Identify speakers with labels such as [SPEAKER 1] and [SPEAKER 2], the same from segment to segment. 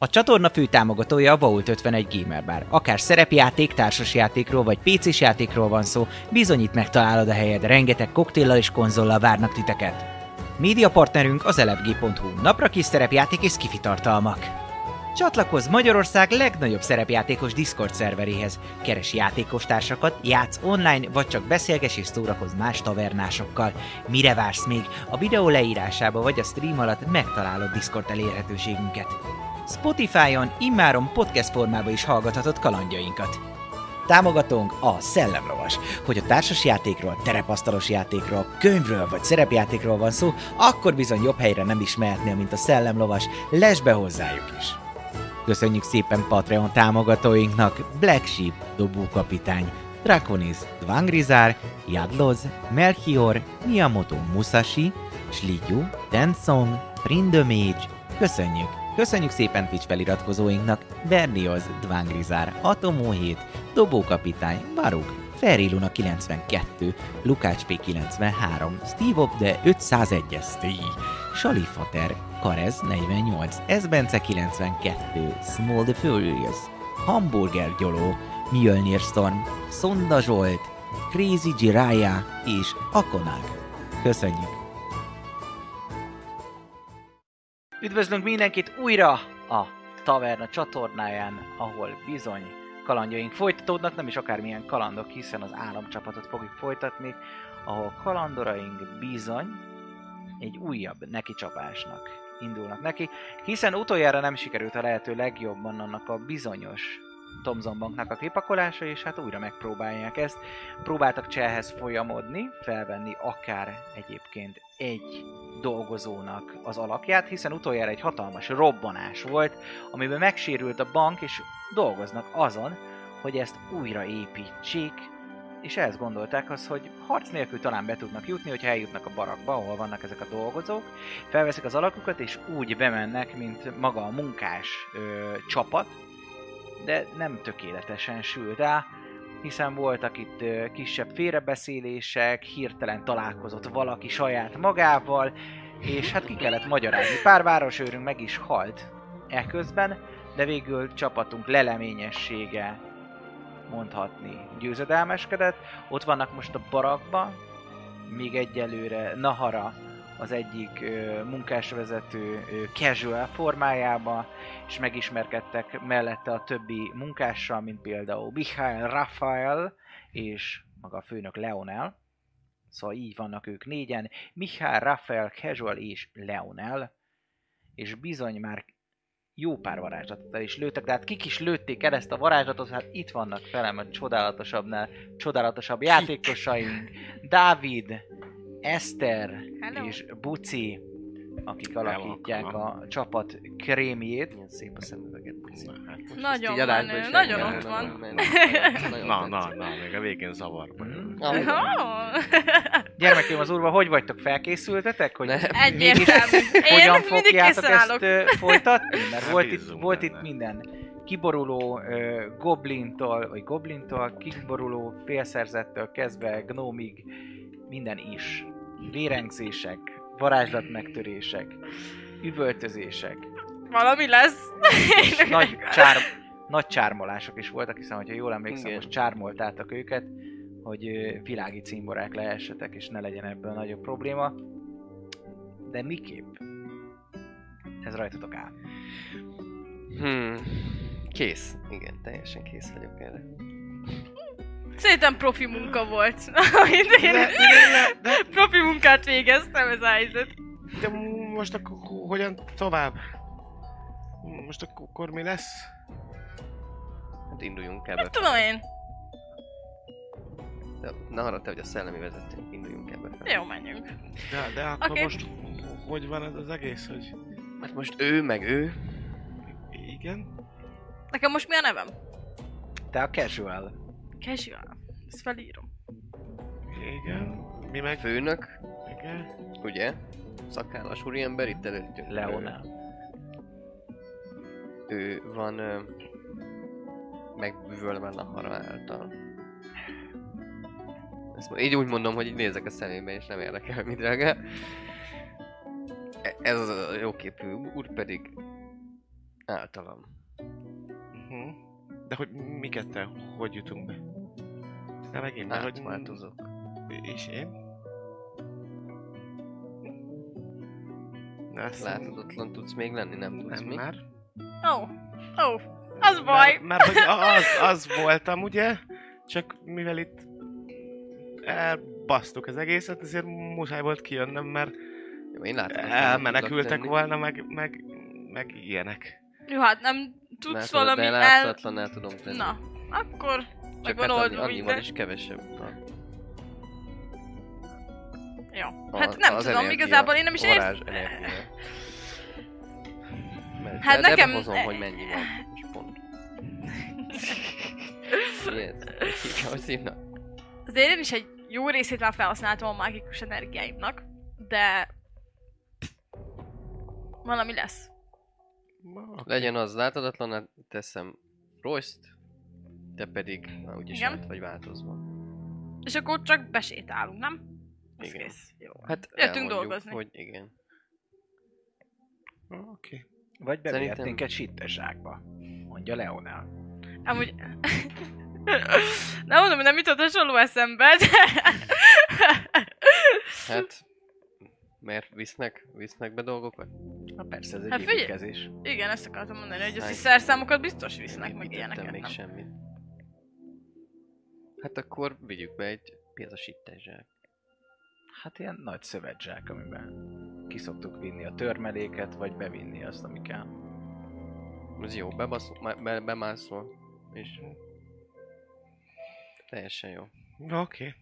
[SPEAKER 1] A csatorna fő támogatója a Vault 51 Gamer Bar. Akár szerepjáték, társasjátékról vagy pc játékról van szó, bizonyít megtalálod a helyed, rengeteg koktéllal és konzollal várnak titeket. Média partnerünk az elefg.hu, napra kis szerepjáték és skifi tartalmak. Csatlakozz Magyarország legnagyobb szerepjátékos Discord szerveréhez. Keres játékostársakat, játsz online, vagy csak beszélges és szórakozz más tavernásokkal. Mire vársz még? A videó leírásába vagy a stream alatt megtalálod Discord elérhetőségünket. Spotify-on immáron podcast formában is hallgathatod kalandjainkat. Támogatónk a Szellemlovas. Hogy a társas játékról, terepasztalos játékról, könyvről vagy szerepjátékról van szó, akkor bizony jobb helyre nem is mehetnél, mint a Szellemlovas. Lesz be hozzájuk is! Köszönjük szépen Patreon támogatóinknak Black Sheep, Dobó Kapitány, Draconis, Dvangrizár, Jadloz, Melchior, Miyamoto Musashi, Slidyu, Denson, Prindomage, köszönjük! Köszönjük szépen Twitch feliratkozóinknak Bernioz, Dvángrizár, Atomó 7, Dobókapitány, Baruk, Feriluna 92, Lukács P93, Steve Op de 501 STI, Salifater, Karez 48, Ezbence 92, Small the Furious, Hamburger Gyoló, Mjölnir Storm, Szonda Zsolt, Crazy Jiraya és Akonák. Köszönjük! Üdvözlünk mindenkit újra a Taverna csatornáján, ahol bizony kalandjaink folytatódnak, nem is akármilyen kalandok, hiszen az államcsapatot fogjuk folytatni, ahol kalandoraink bizony egy újabb nekicsapásnak indulnak neki, hiszen utoljára nem sikerült a lehető legjobban annak a bizonyos Thomson Banknak a kipakolása, és hát újra megpróbálják ezt. Próbáltak cselhez folyamodni, felvenni akár egyébként egy dolgozónak az alakját, hiszen utoljára egy hatalmas robbanás volt, amiben megsérült a bank, és dolgoznak azon, hogy ezt újraépítsék, és ezt gondolták az, hogy harc nélkül talán be tudnak jutni, hogyha eljutnak a barakba, ahol vannak ezek a dolgozók, felveszik az alakukat, és úgy bemennek, mint maga a munkás ö, csapat, de nem tökéletesen sül rá, hiszen voltak itt ö, kisebb félrebeszélések, hirtelen találkozott valaki saját magával, és hát ki kellett magyarázni. Pár városőrünk meg is halt eközben, de végül csapatunk leleményessége mondhatni győzedelmeskedett. Ott vannak most a barakba, még egyelőre Nahara az egyik ö, munkásvezető ö, casual formájába, és megismerkedtek mellette a többi munkással, mint például Mihály Rafael és maga a főnök Leonel. Szóval így vannak ők négyen. Mihály Rafael, Casual és Leonel. És bizony már jó pár varázslatot el is lőttek, de hát kik is lőtték el ezt a varázslatot, hát itt vannak felem a csodálatosabbnál, csodálatosabb játékosaink. Dávid, Eszter
[SPEAKER 2] Hello.
[SPEAKER 1] és Buci, akik alakítják a csapat krémjét.
[SPEAKER 3] Milyen szép a szemüveget, Buci.
[SPEAKER 4] hát
[SPEAKER 2] Nagyon menő, nagyon ott van.
[SPEAKER 4] Na, na, na, még a végén zavarba
[SPEAKER 1] Mhm.
[SPEAKER 3] Hmm.
[SPEAKER 4] jön.
[SPEAKER 2] Oh,
[SPEAKER 1] Gyermekeim az urva, hogy vagytok? Felkészültetek? Hogy
[SPEAKER 3] Ne.
[SPEAKER 2] E- egyértelmű.
[SPEAKER 1] hogyan
[SPEAKER 2] Én mindig
[SPEAKER 1] fogjátok
[SPEAKER 2] készen
[SPEAKER 1] ezt
[SPEAKER 2] állok.
[SPEAKER 1] ö, folytatni? Mert
[SPEAKER 4] Hát
[SPEAKER 1] volt, itt,
[SPEAKER 4] bízunk
[SPEAKER 1] volt
[SPEAKER 4] benne.
[SPEAKER 1] itt minden. Kiboruló ö, goblintól, vagy goblintól, kiboruló félszerzettől kezdve gnomig, minden is. Vérengzések, varázslatmegtörések, üvöltözések,
[SPEAKER 2] Valami lesz.
[SPEAKER 1] és nagy, csár, nagy csármolások is voltak, hiszen ha jól emlékszem,
[SPEAKER 3] Igen.
[SPEAKER 1] most csármoltátok őket, hogy ö, világi címborák lehessetek, és ne legyen ebből nagyobb probléma. De miképp? Ez rajtatok áll.
[SPEAKER 3] Hmm. Kész. Igen, teljesen kész vagyok erre.
[SPEAKER 2] Szerintem profi munka volt. Amit én profi munkát végeztem, ez a helyzet.
[SPEAKER 4] De mo- most akkor ho- hogyan tovább? Most akkor mi lesz?
[SPEAKER 3] Hát induljunk
[SPEAKER 2] Mit
[SPEAKER 3] ebbe.
[SPEAKER 2] tudom én?
[SPEAKER 3] De Ne haragudj, te vagy a szellemi vezető. Induljunk ebbe. fel.
[SPEAKER 2] Jó, menjünk.
[SPEAKER 4] De, de akkor
[SPEAKER 2] Oké.
[SPEAKER 4] most ho- hogy van ez az egész, hogy
[SPEAKER 3] Hát most ő, meg ő.
[SPEAKER 4] igen?
[SPEAKER 2] Nekem most mi a nevem?
[SPEAKER 1] Te a casual.
[SPEAKER 2] Casual. Ezt felírom.
[SPEAKER 4] Igen? Mi meg?
[SPEAKER 3] Főnök,
[SPEAKER 4] Igen?
[SPEAKER 3] ugye? Szakállas úriember, itt előttünk.
[SPEAKER 1] Leonel.
[SPEAKER 3] Ő, ő van ö, megbűvölve Nahara által. Ezt mo- így úgy mondom, hogy így nézek a szemébe, és nem érdekel, mi drága. E- Ez az a jóképű úr pedig Általam.
[SPEAKER 4] Uh-huh. De hogy mi ketten, hogy jutunk be? De meg én, mert
[SPEAKER 3] Hát,
[SPEAKER 4] hogy...
[SPEAKER 3] Átváltozok.
[SPEAKER 4] És én? Na, azt
[SPEAKER 3] Láthatatlan tudsz még lenni, nem tudsz
[SPEAKER 4] nem
[SPEAKER 3] mi?
[SPEAKER 4] már.
[SPEAKER 2] Ó, ó, az baj.
[SPEAKER 4] Már, már hogy az, az voltam, ugye? Csak mivel itt elbasztuk az egészet, ezért muszáj volt kijönnem, mert
[SPEAKER 3] Jó, én látom.
[SPEAKER 4] elmenekültek volna, meg, meg, meg ilyenek.
[SPEAKER 2] Jó, hát nem tudsz valami
[SPEAKER 3] de
[SPEAKER 2] el...
[SPEAKER 3] láthatatlan el tudom tenni.
[SPEAKER 2] Na, akkor meg
[SPEAKER 3] Csak
[SPEAKER 2] van
[SPEAKER 3] hát annyi,
[SPEAKER 2] oldva
[SPEAKER 3] annyival
[SPEAKER 2] minden.
[SPEAKER 3] is kevesebb. van.
[SPEAKER 2] Jó.
[SPEAKER 3] A-
[SPEAKER 2] Hát nem
[SPEAKER 3] az
[SPEAKER 2] tudom,
[SPEAKER 3] energia,
[SPEAKER 2] igazából én nem is értem.
[SPEAKER 3] varázs energia. Mert
[SPEAKER 2] Hát
[SPEAKER 3] hát de,
[SPEAKER 2] nekem-
[SPEAKER 3] nekem... hozom, hogy mennyi van. És pont. Yes. Hogy hívnak?
[SPEAKER 2] Azért én is egy jó részét már felhasználtam a mágikus energiáimnak, de... Valami lesz.
[SPEAKER 4] Ma-
[SPEAKER 3] Legyen az láthatatlan, hát teszem royce te pedig, na úgyis
[SPEAKER 2] Igen.
[SPEAKER 3] át vagy változva.
[SPEAKER 2] És akkor csak besétálunk, nem? Az
[SPEAKER 3] Igen.
[SPEAKER 2] kész. Jó.
[SPEAKER 3] Hát
[SPEAKER 2] Jöttünk
[SPEAKER 3] elmondjuk,
[SPEAKER 2] dolgozni.
[SPEAKER 3] Hogy igen.
[SPEAKER 4] Oké.
[SPEAKER 1] Vagy bevihettünk
[SPEAKER 3] Szerintem-
[SPEAKER 1] egy sittezsákba. Mondja Leonel.
[SPEAKER 2] Amúgy... Nem mondom, hogy nem jutott hasonló eszembe, de...
[SPEAKER 3] Hát, mert visznek, visznek be dolgokat?
[SPEAKER 1] Na persze, ez egy
[SPEAKER 2] Hát
[SPEAKER 1] hát,
[SPEAKER 2] figyelj-
[SPEAKER 1] építkezés.
[SPEAKER 2] Igen, ezt akartam mondani, hogy az
[SPEAKER 3] Száj.
[SPEAKER 2] szerszámokat biztos visznek
[SPEAKER 3] Én
[SPEAKER 2] meg
[SPEAKER 3] nem
[SPEAKER 2] ilyeneket.
[SPEAKER 3] tettem még
[SPEAKER 2] nem?
[SPEAKER 3] semmit. Hát akkor vigyük be egy piacosítással.
[SPEAKER 1] Hát ilyen nagy szövetzsák, amiben ki szoktuk vinni a törmeléket, vagy bevinni azt, ami kell.
[SPEAKER 3] Ez jó, bebaszol, má- be, bemászol, és teljesen jó.
[SPEAKER 4] Oké.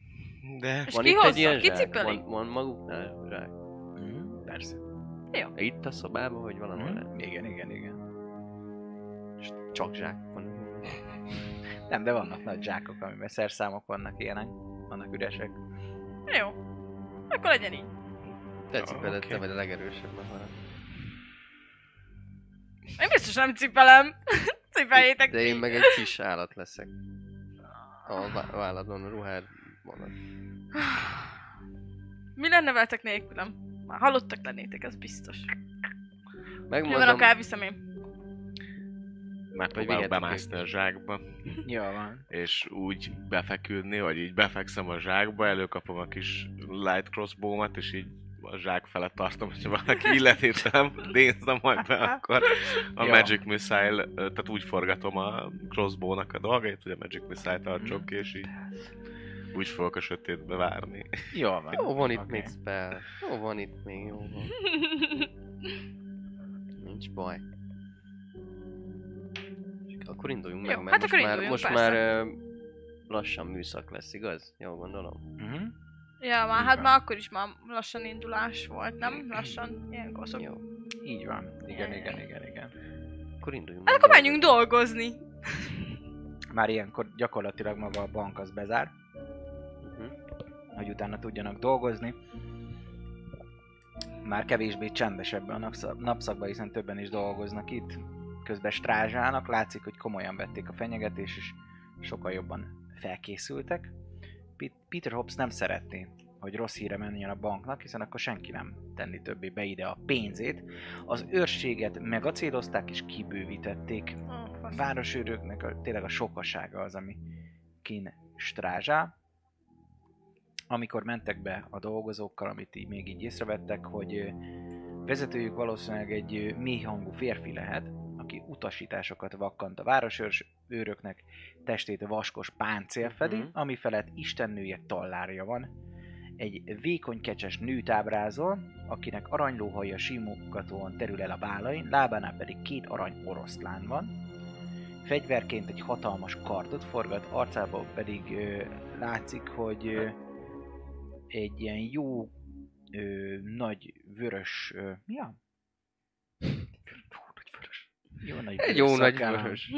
[SPEAKER 4] De
[SPEAKER 2] És ki hozza? Ki
[SPEAKER 3] zsák,
[SPEAKER 2] cipeli?
[SPEAKER 3] van, van maguknál zsák. Mhm.
[SPEAKER 1] Mm, persze.
[SPEAKER 3] Itt a szobában, vagy valahol mm.
[SPEAKER 1] Mm. Igen, igen, igen.
[SPEAKER 3] és csak zsák van.
[SPEAKER 1] Nem, de vannak nagy zsákok, amiben szerszámok vannak ilyenek. Vannak üresek.
[SPEAKER 2] Jó. Akkor legyen így.
[SPEAKER 3] Te cipeled,
[SPEAKER 4] Oké.
[SPEAKER 3] te vagy a legerősebb mehara.
[SPEAKER 2] Én biztos nem cipelem. Cipeljétek
[SPEAKER 3] De én
[SPEAKER 2] ti.
[SPEAKER 3] meg egy kis állat leszek. A vá- válladon a ruhád vonat.
[SPEAKER 2] Mi lenne veletek nélkülem? Már halottak lennétek, ez biztos. Mi van,
[SPEAKER 3] Megmondom,
[SPEAKER 2] akár viszem én.
[SPEAKER 4] már
[SPEAKER 3] vihetek
[SPEAKER 4] próbálok bemászni
[SPEAKER 3] őket.
[SPEAKER 4] a zsákba,
[SPEAKER 1] Jó van.
[SPEAKER 4] és úgy befeküdni, hogy így befekszem a zsákba, előkapom a kis light crossbow-mat, és így a zsák felett tartom, hogyha valaki illetétem, nézze majd be, akkor a
[SPEAKER 1] Ja.
[SPEAKER 4] Magic Missile, ö, tehát úgy forgatom a crossbow-nak a dolgait, hogy a Magic Missile tartsok ki, és így úgy fogok a sötétbe várni.
[SPEAKER 1] Jó van.
[SPEAKER 3] jó van itt
[SPEAKER 1] Oké.
[SPEAKER 3] még spell. Jó van itt még, jó van. Nincs baj. Akkor induljunk meg,
[SPEAKER 2] Jó,
[SPEAKER 3] mert
[SPEAKER 2] hát
[SPEAKER 3] most
[SPEAKER 2] akkor
[SPEAKER 3] már,
[SPEAKER 2] induljunk,
[SPEAKER 3] most
[SPEAKER 2] persze.
[SPEAKER 3] már ö, lassan műszak lesz, igaz? Jól gondolom.
[SPEAKER 1] Mhm.
[SPEAKER 2] ja, már hát
[SPEAKER 1] Így van.
[SPEAKER 2] már akkor is már lassan indulás volt, nem? Lassan ilyenkor szok.
[SPEAKER 3] Jó.
[SPEAKER 1] Így van. Igen,
[SPEAKER 2] Jaj.
[SPEAKER 1] igen, igen, igen.
[SPEAKER 3] Akkor induljunk
[SPEAKER 2] Hát
[SPEAKER 3] meg
[SPEAKER 2] akkor
[SPEAKER 3] dolgozni.
[SPEAKER 2] menjünk dolgozni.
[SPEAKER 1] Már ilyenkor gyakorlatilag maga a bank az bezár,
[SPEAKER 3] Mhm.
[SPEAKER 1] hogy utána tudjanak dolgozni. Már kevésbé csendes ebben a napszak- napszakban, hiszen többen is dolgoznak itt. Közben strázsálnak, látszik, hogy komolyan vették a fenyegetés, és sokkal jobban felkészültek. Pit- Peter Hobbs nem szeretné, hogy rossz híre menjen a banknak, hiszen akkor senki nem tenni többé be ide a pénzét. Az őrséget megacélozták és kibővítették.
[SPEAKER 2] Ó, fasz.
[SPEAKER 1] városőröknek a, tényleg a sokasága az, ami kín strázsál. Amikor mentek be a dolgozókkal, amit így még így észrevettek, hogy ö, vezetőjük valószínűleg egy ö, mély hangú férfi lehet, aki utasításokat vakkant a városőröknek, testét vaskos páncél fedi,
[SPEAKER 3] Mhm.
[SPEAKER 1] ami felett istennője tallárja van. Egy vékony kecses nőt ábrázol, akinek aranylóhaja simogatóan terül el a vállain, lábánál pedig két arany oroszlán van. Fegyverként egy hatalmas kardot forgat, arcában pedig ö, látszik, hogy ö, egy ilyen jó ö, nagy vörös... Ö, mi a? Jó nagy vörös.
[SPEAKER 3] Egy jó nagy
[SPEAKER 1] szakáll.
[SPEAKER 3] vörös.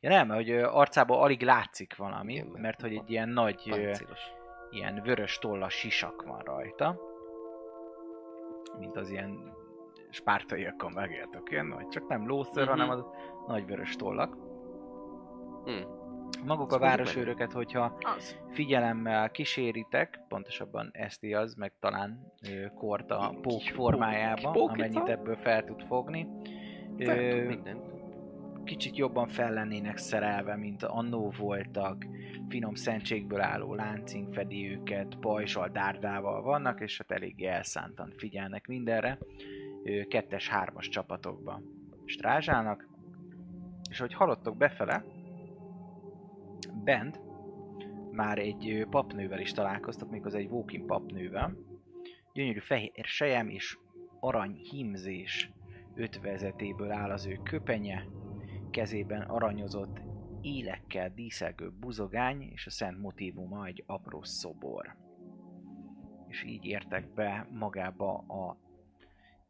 [SPEAKER 1] Ja nem, hogy ö, arcában alig látszik valami,
[SPEAKER 3] Igen, mert
[SPEAKER 1] mert hogy
[SPEAKER 3] van.
[SPEAKER 1] egy ilyen nagy, ö,
[SPEAKER 3] Páncélos.
[SPEAKER 1] ilyen vörös tollas sisak van rajta. Mint az ilyen spártaiakon megéltek ilyen, vagy csak nem lóször,
[SPEAKER 3] Mhm.
[SPEAKER 1] hanem az nagy vörös tollak.
[SPEAKER 3] Hm.
[SPEAKER 1] Maguk a
[SPEAKER 3] Ezt mondjuk meg.
[SPEAKER 1] városőröket, hogyha
[SPEAKER 2] Az.
[SPEAKER 1] figyelemmel kíséritek, pontosabban Eszti az, meg talán ö, Korta
[SPEAKER 3] Kis
[SPEAKER 1] pók
[SPEAKER 3] pók-
[SPEAKER 1] formájában,
[SPEAKER 3] pókica.
[SPEAKER 1] amennyit ebből fel tud fogni.
[SPEAKER 3] Fel
[SPEAKER 1] Ö,
[SPEAKER 3] tud mindent.
[SPEAKER 1] kicsit jobban fel lennének szerelve, mint annó voltak, finom szentségből álló láncing fedi őket, pajzsal, dárdával vannak, és hát eléggé elszántan figyelnek mindenre, Ö, kettes-hármas csapatokban strázsálnak, és hogy haladtok befele, bent már egy ö, papnővel is találkoztok, méghozzá egy walking papnővel, gyönyörű fehér sejem és arany hímzés ötvezetéből áll az ő köpenye, kezében aranyozott élekkel díszelgő buzogány, és a szent motívuma egy apró szobor. És így értek be magába a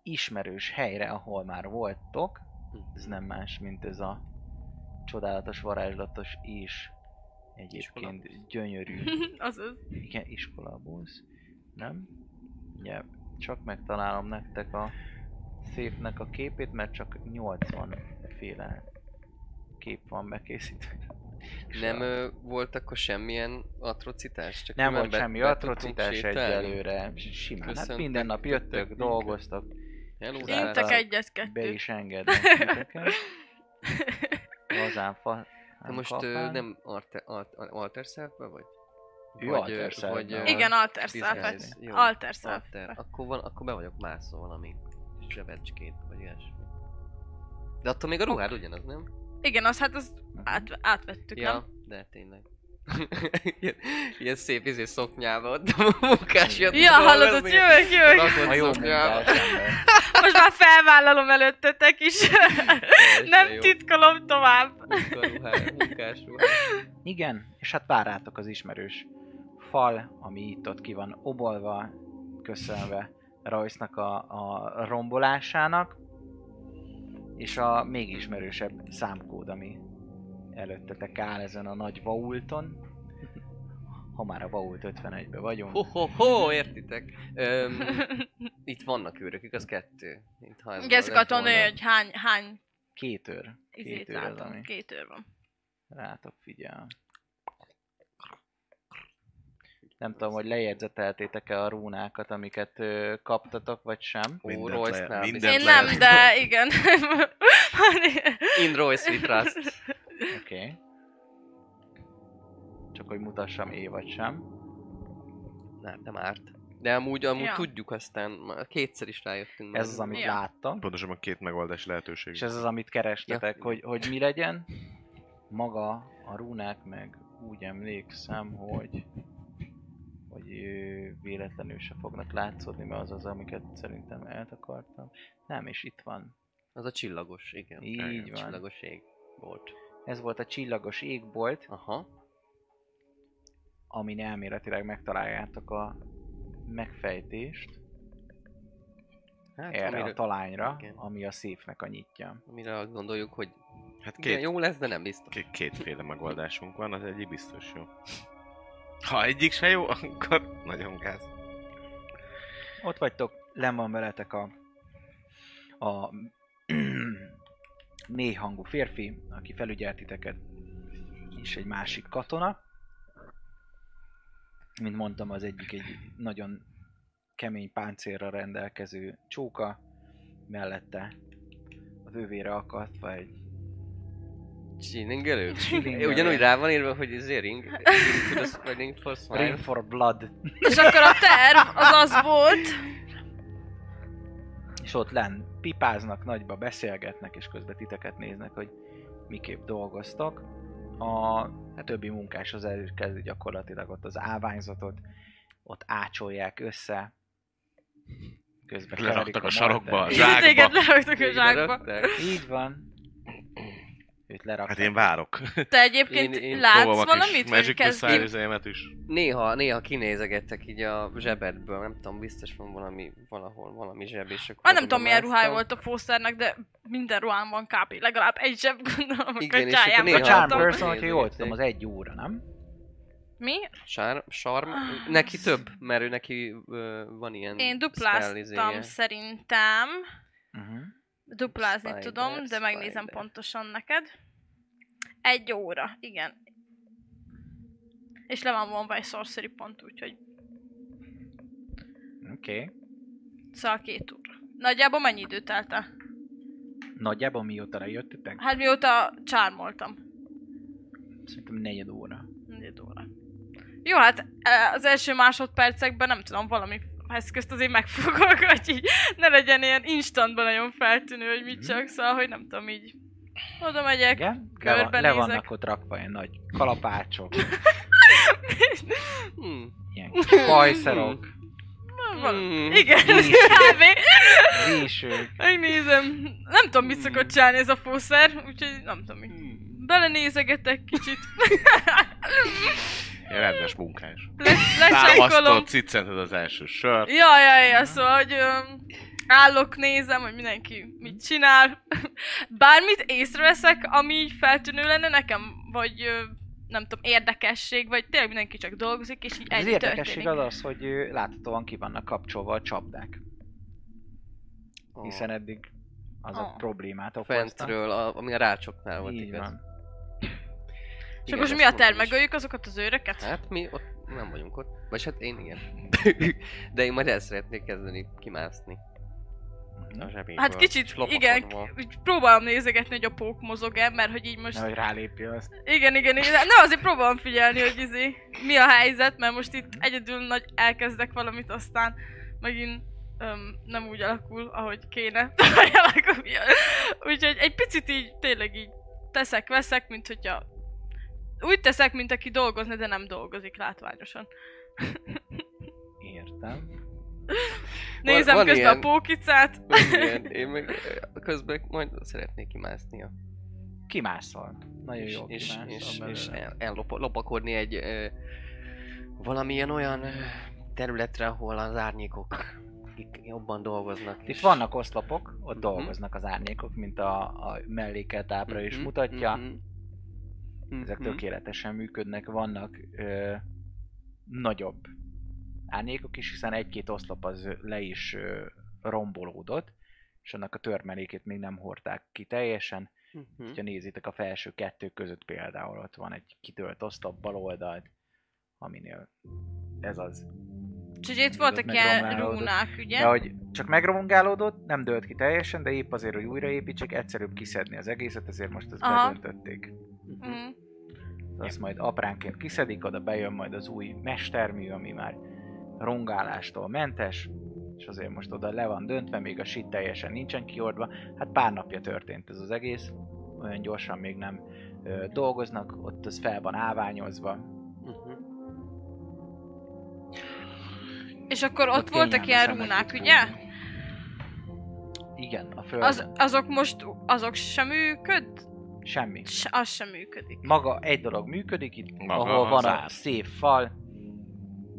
[SPEAKER 1] ismerős helyre, ahol már voltok. Ez nem más, mint ez a csodálatos, varázslatos és egyébként
[SPEAKER 3] Iskolabusz.
[SPEAKER 1] gyönyörű
[SPEAKER 2] Azaz.
[SPEAKER 1] igen, iskolabusz, nem? Ugye, csak megtalálom nektek a szépnek a képét, mert csak 80 féle kép van bekészítve.
[SPEAKER 3] Nem ö, volt akkor semmilyen atrocitás? Csak
[SPEAKER 1] nem volt
[SPEAKER 3] különben
[SPEAKER 1] semmi
[SPEAKER 3] be tudtunk
[SPEAKER 1] atrocitás
[SPEAKER 3] sétálni?
[SPEAKER 1] egyelőre, simán. Hát
[SPEAKER 3] Köszöntek
[SPEAKER 1] minden nap jöttök,
[SPEAKER 3] minket.
[SPEAKER 1] dolgoztak,
[SPEAKER 3] Hello,
[SPEAKER 1] Én Rá-
[SPEAKER 2] Intek
[SPEAKER 1] be
[SPEAKER 2] egyet-kettőt.
[SPEAKER 1] is engednek titeket. Lazán fa...
[SPEAKER 3] De most ö, nem alter, alt, alter self-be vagy?
[SPEAKER 1] Ő
[SPEAKER 3] vagy,
[SPEAKER 1] alter
[SPEAKER 3] ö,
[SPEAKER 1] self-be
[SPEAKER 3] vagy, ö,
[SPEAKER 1] van.
[SPEAKER 2] Igen, alter
[SPEAKER 3] disguise.
[SPEAKER 2] self
[SPEAKER 3] Jó,
[SPEAKER 2] Alter self
[SPEAKER 3] alter. Akkor, van, akkor be vagyok mászva valami zsebecskét, vagy ilyesmi. De attól még a ruhád ugyanaz, nem?
[SPEAKER 2] Igen, az hát az át, átvettük,
[SPEAKER 3] ja,
[SPEAKER 2] nem?
[SPEAKER 3] de tényleg. ilyen, ilyen szép izé szoknyába ott a munkás jött
[SPEAKER 2] Ja, hallod, ott
[SPEAKER 3] dolgozni.
[SPEAKER 2] jövök, jövök.
[SPEAKER 3] Rakott
[SPEAKER 1] A jó
[SPEAKER 3] szoknyába.
[SPEAKER 1] munkás ember.
[SPEAKER 2] Most már felvállalom előttetek is.
[SPEAKER 3] Teljesen
[SPEAKER 2] Nem
[SPEAKER 3] jó.
[SPEAKER 2] titkolom tovább.
[SPEAKER 3] Munkaruhá- Munkás ruhá.
[SPEAKER 1] Igen, és hát várátok az ismerős fal, ami itt ott ki van obolva, köszönve Royce-nak a, a rombolásának, és a még ismerősebb számkód, ami előttetek áll ezen a nagy vaulton. Ha már a vault 51-be vagyunk.
[SPEAKER 3] Ho, ho, ho, értitek? Öm, itt vannak őrök, igaz? Kettő. Itt, ha ez
[SPEAKER 2] Igen, ezt
[SPEAKER 3] lett
[SPEAKER 2] akartam
[SPEAKER 3] volna.
[SPEAKER 2] mondani, hogy hány, hány
[SPEAKER 1] Két őr.
[SPEAKER 2] izét
[SPEAKER 1] Két őr az, ami
[SPEAKER 2] látom. Két őr van.
[SPEAKER 1] rátok figyel. Nem tudom, hogy lejegyzeteltétek-e a rúnákat, amiket ö, kaptatok, vagy sem.
[SPEAKER 3] Ó,
[SPEAKER 4] Mindent
[SPEAKER 3] Royce
[SPEAKER 4] le-
[SPEAKER 3] nem.
[SPEAKER 4] mindent
[SPEAKER 2] Én
[SPEAKER 4] Mindent
[SPEAKER 2] nem,
[SPEAKER 4] lehet.
[SPEAKER 2] de igen.
[SPEAKER 3] In Royce we trust.
[SPEAKER 1] Oké. Okay. Csak hogy mutassam é vagy sem.
[SPEAKER 3] Nem, nem árt. De amúgy, amúgy
[SPEAKER 2] Ja.
[SPEAKER 3] tudjuk aztán, már kétszer is rájöttünk. már.
[SPEAKER 1] Ez az, amit
[SPEAKER 2] Ja.
[SPEAKER 1] láttam,
[SPEAKER 4] Pontosabban két megoldás lehetőség.
[SPEAKER 1] és ez az, amit kerestetek,
[SPEAKER 3] Ja.
[SPEAKER 1] hogy, hogy mi legyen. Maga a rúnák meg úgy emlékszem, hogy hogy ö, véletlenül se fognak látszódni, mert az az, amiket szerintem eltakartam. Nem, és itt van.
[SPEAKER 3] Az a csillagos, igen.
[SPEAKER 1] Így
[SPEAKER 3] A
[SPEAKER 1] van.
[SPEAKER 3] csillagos ég volt.
[SPEAKER 1] Ez volt a csillagos égbolt,
[SPEAKER 3] Aha.
[SPEAKER 1] amin elméletileg megtaláljátok a megfejtést
[SPEAKER 3] Hát,
[SPEAKER 1] erre a
[SPEAKER 3] amire,
[SPEAKER 1] talányra,
[SPEAKER 3] igen.
[SPEAKER 1] ami a széfnek a nyitja.
[SPEAKER 3] amire azt gondoljuk, hogy
[SPEAKER 4] Hát
[SPEAKER 3] igen,
[SPEAKER 4] két,
[SPEAKER 3] jó lesz, de nem biztos.
[SPEAKER 4] K- kétféle megoldásunk van, az egyik biztos jó. Ha egyik se jó, akkor nagyon gáz.
[SPEAKER 1] Ott vagytok, len van veletek a, a mély hangú férfi, aki felügyelt titeket, és egy másik katona. Mint mondtam, az egyik egy nagyon kemény páncélra rendelkező csóka, mellette a vővére akadva egy
[SPEAKER 3] Csilingelő?
[SPEAKER 1] Csilingelő.
[SPEAKER 3] Ugyanúgy rá van írva, hogy ez ring. Ring to the spreading for
[SPEAKER 1] Rain
[SPEAKER 3] smile.
[SPEAKER 1] for Blood
[SPEAKER 2] És akkor a terv az az volt.
[SPEAKER 1] És ott len pipáznak, nagyba beszélgetnek, és közben titeket néznek, hogy miképp dolgoztak. A többi munkás az elkezdi gyakorlatilag ott az állványzatot, ott ácsolják össze, közben keverik
[SPEAKER 4] Leraktak a sarokba,
[SPEAKER 1] maltát.
[SPEAKER 4] a zsák- Zsákba.
[SPEAKER 2] Téged leraktak a
[SPEAKER 3] Végre
[SPEAKER 2] zsákba.
[SPEAKER 3] rakták.
[SPEAKER 1] Így van. Őt lerakták.
[SPEAKER 4] Hát én várok.
[SPEAKER 2] Te egyébként
[SPEAKER 3] Én- én
[SPEAKER 2] látsz
[SPEAKER 4] Próbálom a kis
[SPEAKER 2] valamit, vagy
[SPEAKER 4] Magic Missile
[SPEAKER 2] kezdjük?
[SPEAKER 4] üzémet is.
[SPEAKER 3] Néha, néha kinézegettek így a zsebedből, nem tudom, biztos van valami, valahol, valami zseb, és akkor...
[SPEAKER 2] Ah, nem
[SPEAKER 3] oda
[SPEAKER 2] tudom, milyen ruhája
[SPEAKER 3] másztam.
[SPEAKER 2] volt a Fosternek, de minden ruhán van kb. Legalább egy zseb gondolom, a
[SPEAKER 3] Igen, és akkor
[SPEAKER 2] kacsájában.
[SPEAKER 1] A
[SPEAKER 3] néha-
[SPEAKER 1] Charm
[SPEAKER 2] tartom.
[SPEAKER 3] Charm
[SPEAKER 1] Person, hogyha jól
[SPEAKER 3] nézegették.
[SPEAKER 1] tudom, az egy óra, nem?
[SPEAKER 2] Mi?
[SPEAKER 3] Sár, sarm, neki több, mert ő neki ö, van ilyen
[SPEAKER 2] Ah. Én
[SPEAKER 3] spell
[SPEAKER 2] dupláztam
[SPEAKER 3] izéje.
[SPEAKER 2] szerintem.
[SPEAKER 1] Uh-huh.
[SPEAKER 2] Duplázni
[SPEAKER 3] Spider,
[SPEAKER 2] tudom, de megnézem
[SPEAKER 3] spider.
[SPEAKER 2] pontosan neked. Egy óra, igen. És le van vonva egy sorcery pont, úgyhogy
[SPEAKER 1] Oké. Okay.
[SPEAKER 2] szóval két óra. Nagyjából mennyi időt telt el?
[SPEAKER 1] Nagyjából mióta lejöttetek?
[SPEAKER 2] Hát mióta csármoltam.
[SPEAKER 1] Szerintem negyed óra.
[SPEAKER 2] Negyed óra. Jó, hát e, az első másodpercekben nem tudom, valami eszközt azért megfogok, hogy így ne legyen ilyen instantban nagyon feltűnő, hogy mit csak, szóval, hogy nem tudom, így oda megyek.
[SPEAKER 1] Igen? Le, van, le
[SPEAKER 2] körbenézek.
[SPEAKER 1] vannak ott rakva ilyen nagy kalapácsok,
[SPEAKER 3] Hmm.
[SPEAKER 1] ilyen pajszerok,
[SPEAKER 2] Valami.
[SPEAKER 3] Hmm.
[SPEAKER 2] Igen,
[SPEAKER 1] Nincs.
[SPEAKER 2] kb.
[SPEAKER 1] résők.
[SPEAKER 2] Megnézem. Nem tudom, mit szokott csinálni ez a fószer, úgyhogy nem tudom, így
[SPEAKER 3] Hmm.
[SPEAKER 2] belenézegetek kicsit.
[SPEAKER 4] Ilyen rendes munkás.
[SPEAKER 2] Le- lecsekkolom.
[SPEAKER 4] Támasztott, ciccented az első sört.
[SPEAKER 2] Ja, ja, ja, szóval, hogy öm, állok, nézem, hogy mindenki mit csinál. Bármit észreveszek, ami így feltűnő lenne nekem, vagy ö, nem tudom, érdekesség, vagy tényleg mindenki csak dolgozik, és így
[SPEAKER 1] Az
[SPEAKER 2] egy
[SPEAKER 1] érdekesség
[SPEAKER 2] történik.
[SPEAKER 1] az az, hogy ö, láthatóan ki vannak kapcsolva a csapdák,
[SPEAKER 3] Hmm.
[SPEAKER 1] hiszen eddig az a
[SPEAKER 2] Ah.
[SPEAKER 1] problémát okozta.
[SPEAKER 3] Fentről, a, ami a rácsoknál volt,
[SPEAKER 1] Így
[SPEAKER 3] igaz?
[SPEAKER 1] van.
[SPEAKER 2] És
[SPEAKER 3] Igen,
[SPEAKER 2] akkor most
[SPEAKER 3] ezt
[SPEAKER 2] mi a
[SPEAKER 3] mondtam is.
[SPEAKER 2] termegöljük azokat az őröket?
[SPEAKER 3] Hát mi ott nem vagyunk ott. Vagy hát én igen. De én majd el szeretnék kezdeni kimászni. A zsebéből.
[SPEAKER 2] Hát kicsit,
[SPEAKER 3] Slopakon
[SPEAKER 2] igen,
[SPEAKER 3] van.
[SPEAKER 2] úgy próbálom nézegetni, hogy a pók mozog-e, mert hogy így most...
[SPEAKER 1] Nehogy rálépje azt.
[SPEAKER 2] Igen, igen, igen. Nem, azért próbálom figyelni, hogy izé, mi a helyzet, mert most itt egyedül nagy elkezdek valamit, aztán megint öm, nem úgy alakul, ahogy kéne. Vagy alakul. Úgyhogy egy picit így, tényleg így teszek, veszek, mint hogyha úgy teszek, mint aki dolgozna, de nem dolgozik látványosan.
[SPEAKER 1] Értem.
[SPEAKER 2] Nézem
[SPEAKER 3] van
[SPEAKER 2] közben
[SPEAKER 3] ilyen.
[SPEAKER 2] a pókicát.
[SPEAKER 3] Igen, én meg eh, közben majd szeretnék kimászni a
[SPEAKER 1] Kimászol. Nagyon
[SPEAKER 3] és,
[SPEAKER 1] jó
[SPEAKER 3] és, és,
[SPEAKER 1] kimászol
[SPEAKER 3] és
[SPEAKER 1] belőle.
[SPEAKER 3] el, ellopakodni egy ö, valamilyen olyan ö, területre, ahol az árnyékok akik jobban dolgoznak.
[SPEAKER 1] Itt
[SPEAKER 3] és-
[SPEAKER 1] vannak oszlopok, ott
[SPEAKER 3] Mhm.
[SPEAKER 1] dolgoznak az árnyékok, mint a, a mellékelt ábra is
[SPEAKER 3] Mhm,
[SPEAKER 1] mutatja.
[SPEAKER 3] mhm.
[SPEAKER 1] Ezek
[SPEAKER 3] Mhm.
[SPEAKER 1] tökéletesen működnek, vannak ö, nagyobb árnyékok is, hiszen egy-két oszlop az le is ö, rombolódott, és annak a törmelékét még nem hordták ki teljesen.
[SPEAKER 3] Mhm.
[SPEAKER 1] Ha nézitek a felső kettő között például, ott van egy kitölt oszlop bal oldalt, aminél ez az.
[SPEAKER 2] Úgyhogy itt voltak
[SPEAKER 1] Meg
[SPEAKER 2] ilyen
[SPEAKER 1] romlálódott.
[SPEAKER 2] rúnák,
[SPEAKER 1] De
[SPEAKER 2] ugye?
[SPEAKER 1] hogy csak megrongálódott, nem dőlt ki teljesen, de épp azért, hogy újraépítsék, egyszerűbb kiszedni az egészet, ezért most ezt
[SPEAKER 2] Aha.
[SPEAKER 1] bedöntötték.
[SPEAKER 2] Mhm.
[SPEAKER 1] azt majd apránként kiszedik, oda bejön majd az új mestermű, ami már rongálástól mentes, és azért most oda le van döntve, még a sit teljesen nincsen kiordva. Hát pár napja történt ez az egész, olyan gyorsan még nem ö, dolgoznak, ott az fel van áványozva.
[SPEAKER 3] Mhm.
[SPEAKER 2] És akkor ott
[SPEAKER 1] Ott
[SPEAKER 2] voltak ilyen
[SPEAKER 1] kényelmesen meg
[SPEAKER 2] rúnák,
[SPEAKER 1] tud
[SPEAKER 2] ugye?
[SPEAKER 1] tanulni. Igen, a föld
[SPEAKER 2] Az,
[SPEAKER 1] az...
[SPEAKER 2] azok most, azok sem működ?
[SPEAKER 1] semmi.
[SPEAKER 2] S- az sem működik.
[SPEAKER 1] Maga egy dolog működik itt,
[SPEAKER 4] Maga
[SPEAKER 1] ahol
[SPEAKER 4] az
[SPEAKER 1] van a
[SPEAKER 4] ár.
[SPEAKER 1] szép fal,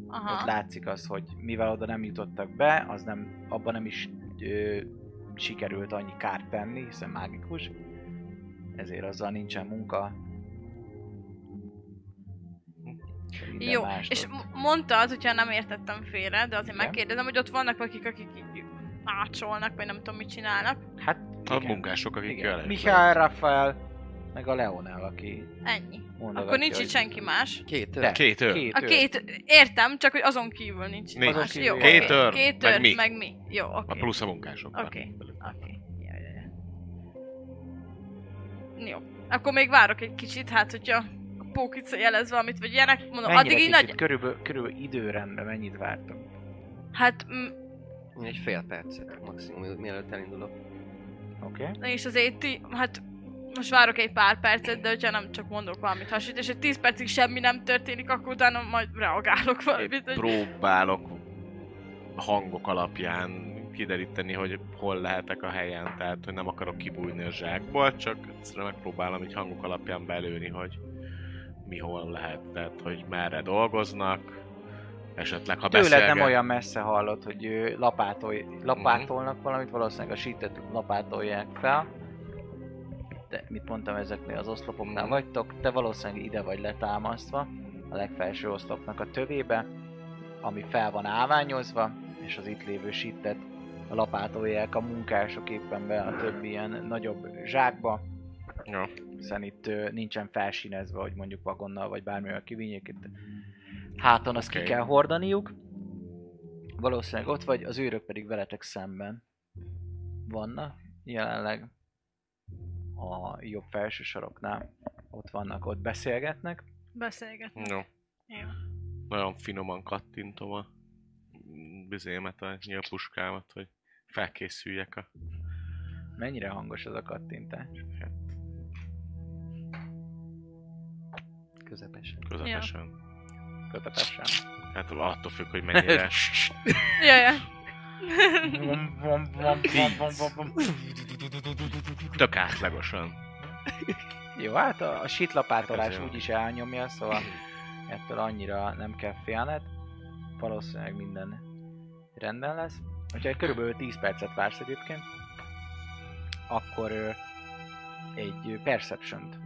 [SPEAKER 1] Aha. ott
[SPEAKER 2] Aha.
[SPEAKER 1] látszik az, hogy mivel oda nem jutottak be, az nem, abban nem is ö, sikerült annyi kárt tenni, hiszen mágikus, ezért azzal nincsen munka. Minden
[SPEAKER 2] Jó,
[SPEAKER 1] mást
[SPEAKER 2] és
[SPEAKER 1] ott.
[SPEAKER 2] m- mondtad, hogyha nem értettem félre, de azért
[SPEAKER 1] Igen.
[SPEAKER 2] megkérdezem, hogy ott vannak akik, akik így ácsolnak, vagy nem tudom, mit csinálnak.
[SPEAKER 1] hát
[SPEAKER 4] A
[SPEAKER 1] igen,
[SPEAKER 4] munkások, akik
[SPEAKER 1] igen.
[SPEAKER 4] jelen.
[SPEAKER 1] Mihály Rafael, meg a Leonel, aki
[SPEAKER 2] Ennyi.
[SPEAKER 1] mondogatja,
[SPEAKER 2] Akkor nincs
[SPEAKER 1] hogy-
[SPEAKER 2] itt senki más.
[SPEAKER 3] Két
[SPEAKER 1] De.
[SPEAKER 3] öreg.
[SPEAKER 4] Két ő.
[SPEAKER 1] Két
[SPEAKER 2] A
[SPEAKER 1] őr.
[SPEAKER 2] két, értem, csak hogy azon kívül nincs itt
[SPEAKER 4] Nincs.
[SPEAKER 2] más.
[SPEAKER 1] Azon
[SPEAKER 2] Jó,
[SPEAKER 1] kívül.
[SPEAKER 2] oké.
[SPEAKER 4] Két őr,
[SPEAKER 2] Két
[SPEAKER 4] meg
[SPEAKER 2] őr,
[SPEAKER 4] mi?
[SPEAKER 2] meg mi. Jó, oké.
[SPEAKER 4] A plusz a munkások.
[SPEAKER 2] Oké. Oké. Jaj, jaj, jaj. Jó. Akkor még várok egy kicsit, hát hogyha a pókica jelez valamit, vagy ilyenek, mondom,
[SPEAKER 1] Mennyire
[SPEAKER 2] addig így
[SPEAKER 1] kicsit,
[SPEAKER 2] nagy...
[SPEAKER 1] körülbelül, körülbelül időrendben mennyit vártok?
[SPEAKER 2] Hát, mm,
[SPEAKER 3] Egy fél percet maximum, mi- mielőtt elindulok.
[SPEAKER 1] Oké? Okay?
[SPEAKER 2] és azért ti, hát most várok egy pár percet, de hogyha nem csak mondok valamit hasonlít, és egy 10 percig semmi nem történik, akkor utána majd reagálok
[SPEAKER 4] Én
[SPEAKER 2] valamit, hogy
[SPEAKER 4] próbálok hangok alapján kideríteni, hogy hol lehetek a helyen, tehát hogy nem akarok kibújni a zsákból, csak egyszerűen megpróbálom így hangok alapján belőni, hogy mi hol lehet, tehát hogy merre dolgoznak, esetleg ha
[SPEAKER 1] Tőled
[SPEAKER 4] beszélget... Mhm.
[SPEAKER 1] nem olyan messze hallott, hogy ö, lapátolj, lapátolnak valamit, valószínűleg a sítet lapátolják fel. Te, mit mondtam, ezeknél az oszlopoknál
[SPEAKER 4] Mhm.
[SPEAKER 1] vagytok, te valószínűleg ide vagy letámasztva, a legfelső oszlopnak a tövébe, ami fel van áványozva, és az itt lévő sítet lapátolják a munkások éppen be a többi ilyen nagyobb zsákba,
[SPEAKER 4] Ja.
[SPEAKER 1] hiszen itt ö, nincsen felsínezve, hogy mondjuk vagonnal vagy bármivel kivinjék, itt háton azt ki
[SPEAKER 4] Oké.
[SPEAKER 1] kell hordaniuk. Valószínűleg ott vagy, az őrök pedig veletek szemben vannak jelenleg. a jobb felső saroknál. Ott vannak, ott beszélgetnek.
[SPEAKER 2] Beszélgetni.
[SPEAKER 4] Jó.
[SPEAKER 2] Jó.
[SPEAKER 4] Nagyon finoman kattintom a bizémet, a nyílpuskámat, hogy felkészüljek a...
[SPEAKER 1] Mennyire hangos az a kattintás?
[SPEAKER 3] Közepesen.
[SPEAKER 4] Közepesen.
[SPEAKER 1] Kötetesen.
[SPEAKER 4] Hát attól függ, hogy mennyire...
[SPEAKER 2] Ja, ja.
[SPEAKER 1] Vom, vom, vom, vom, vom, vom, vom.
[SPEAKER 4] Tök átlagosan.
[SPEAKER 1] Jó, hát a, a sitlapátolás
[SPEAKER 4] Hát ez jó.
[SPEAKER 1] úgyis elnyomja, szóval ettől annyira nem kell félned. Valószínűleg minden rendben lesz. Hogyha körülbelül 10 percet vársz egyébként, akkor ö, egy perception-t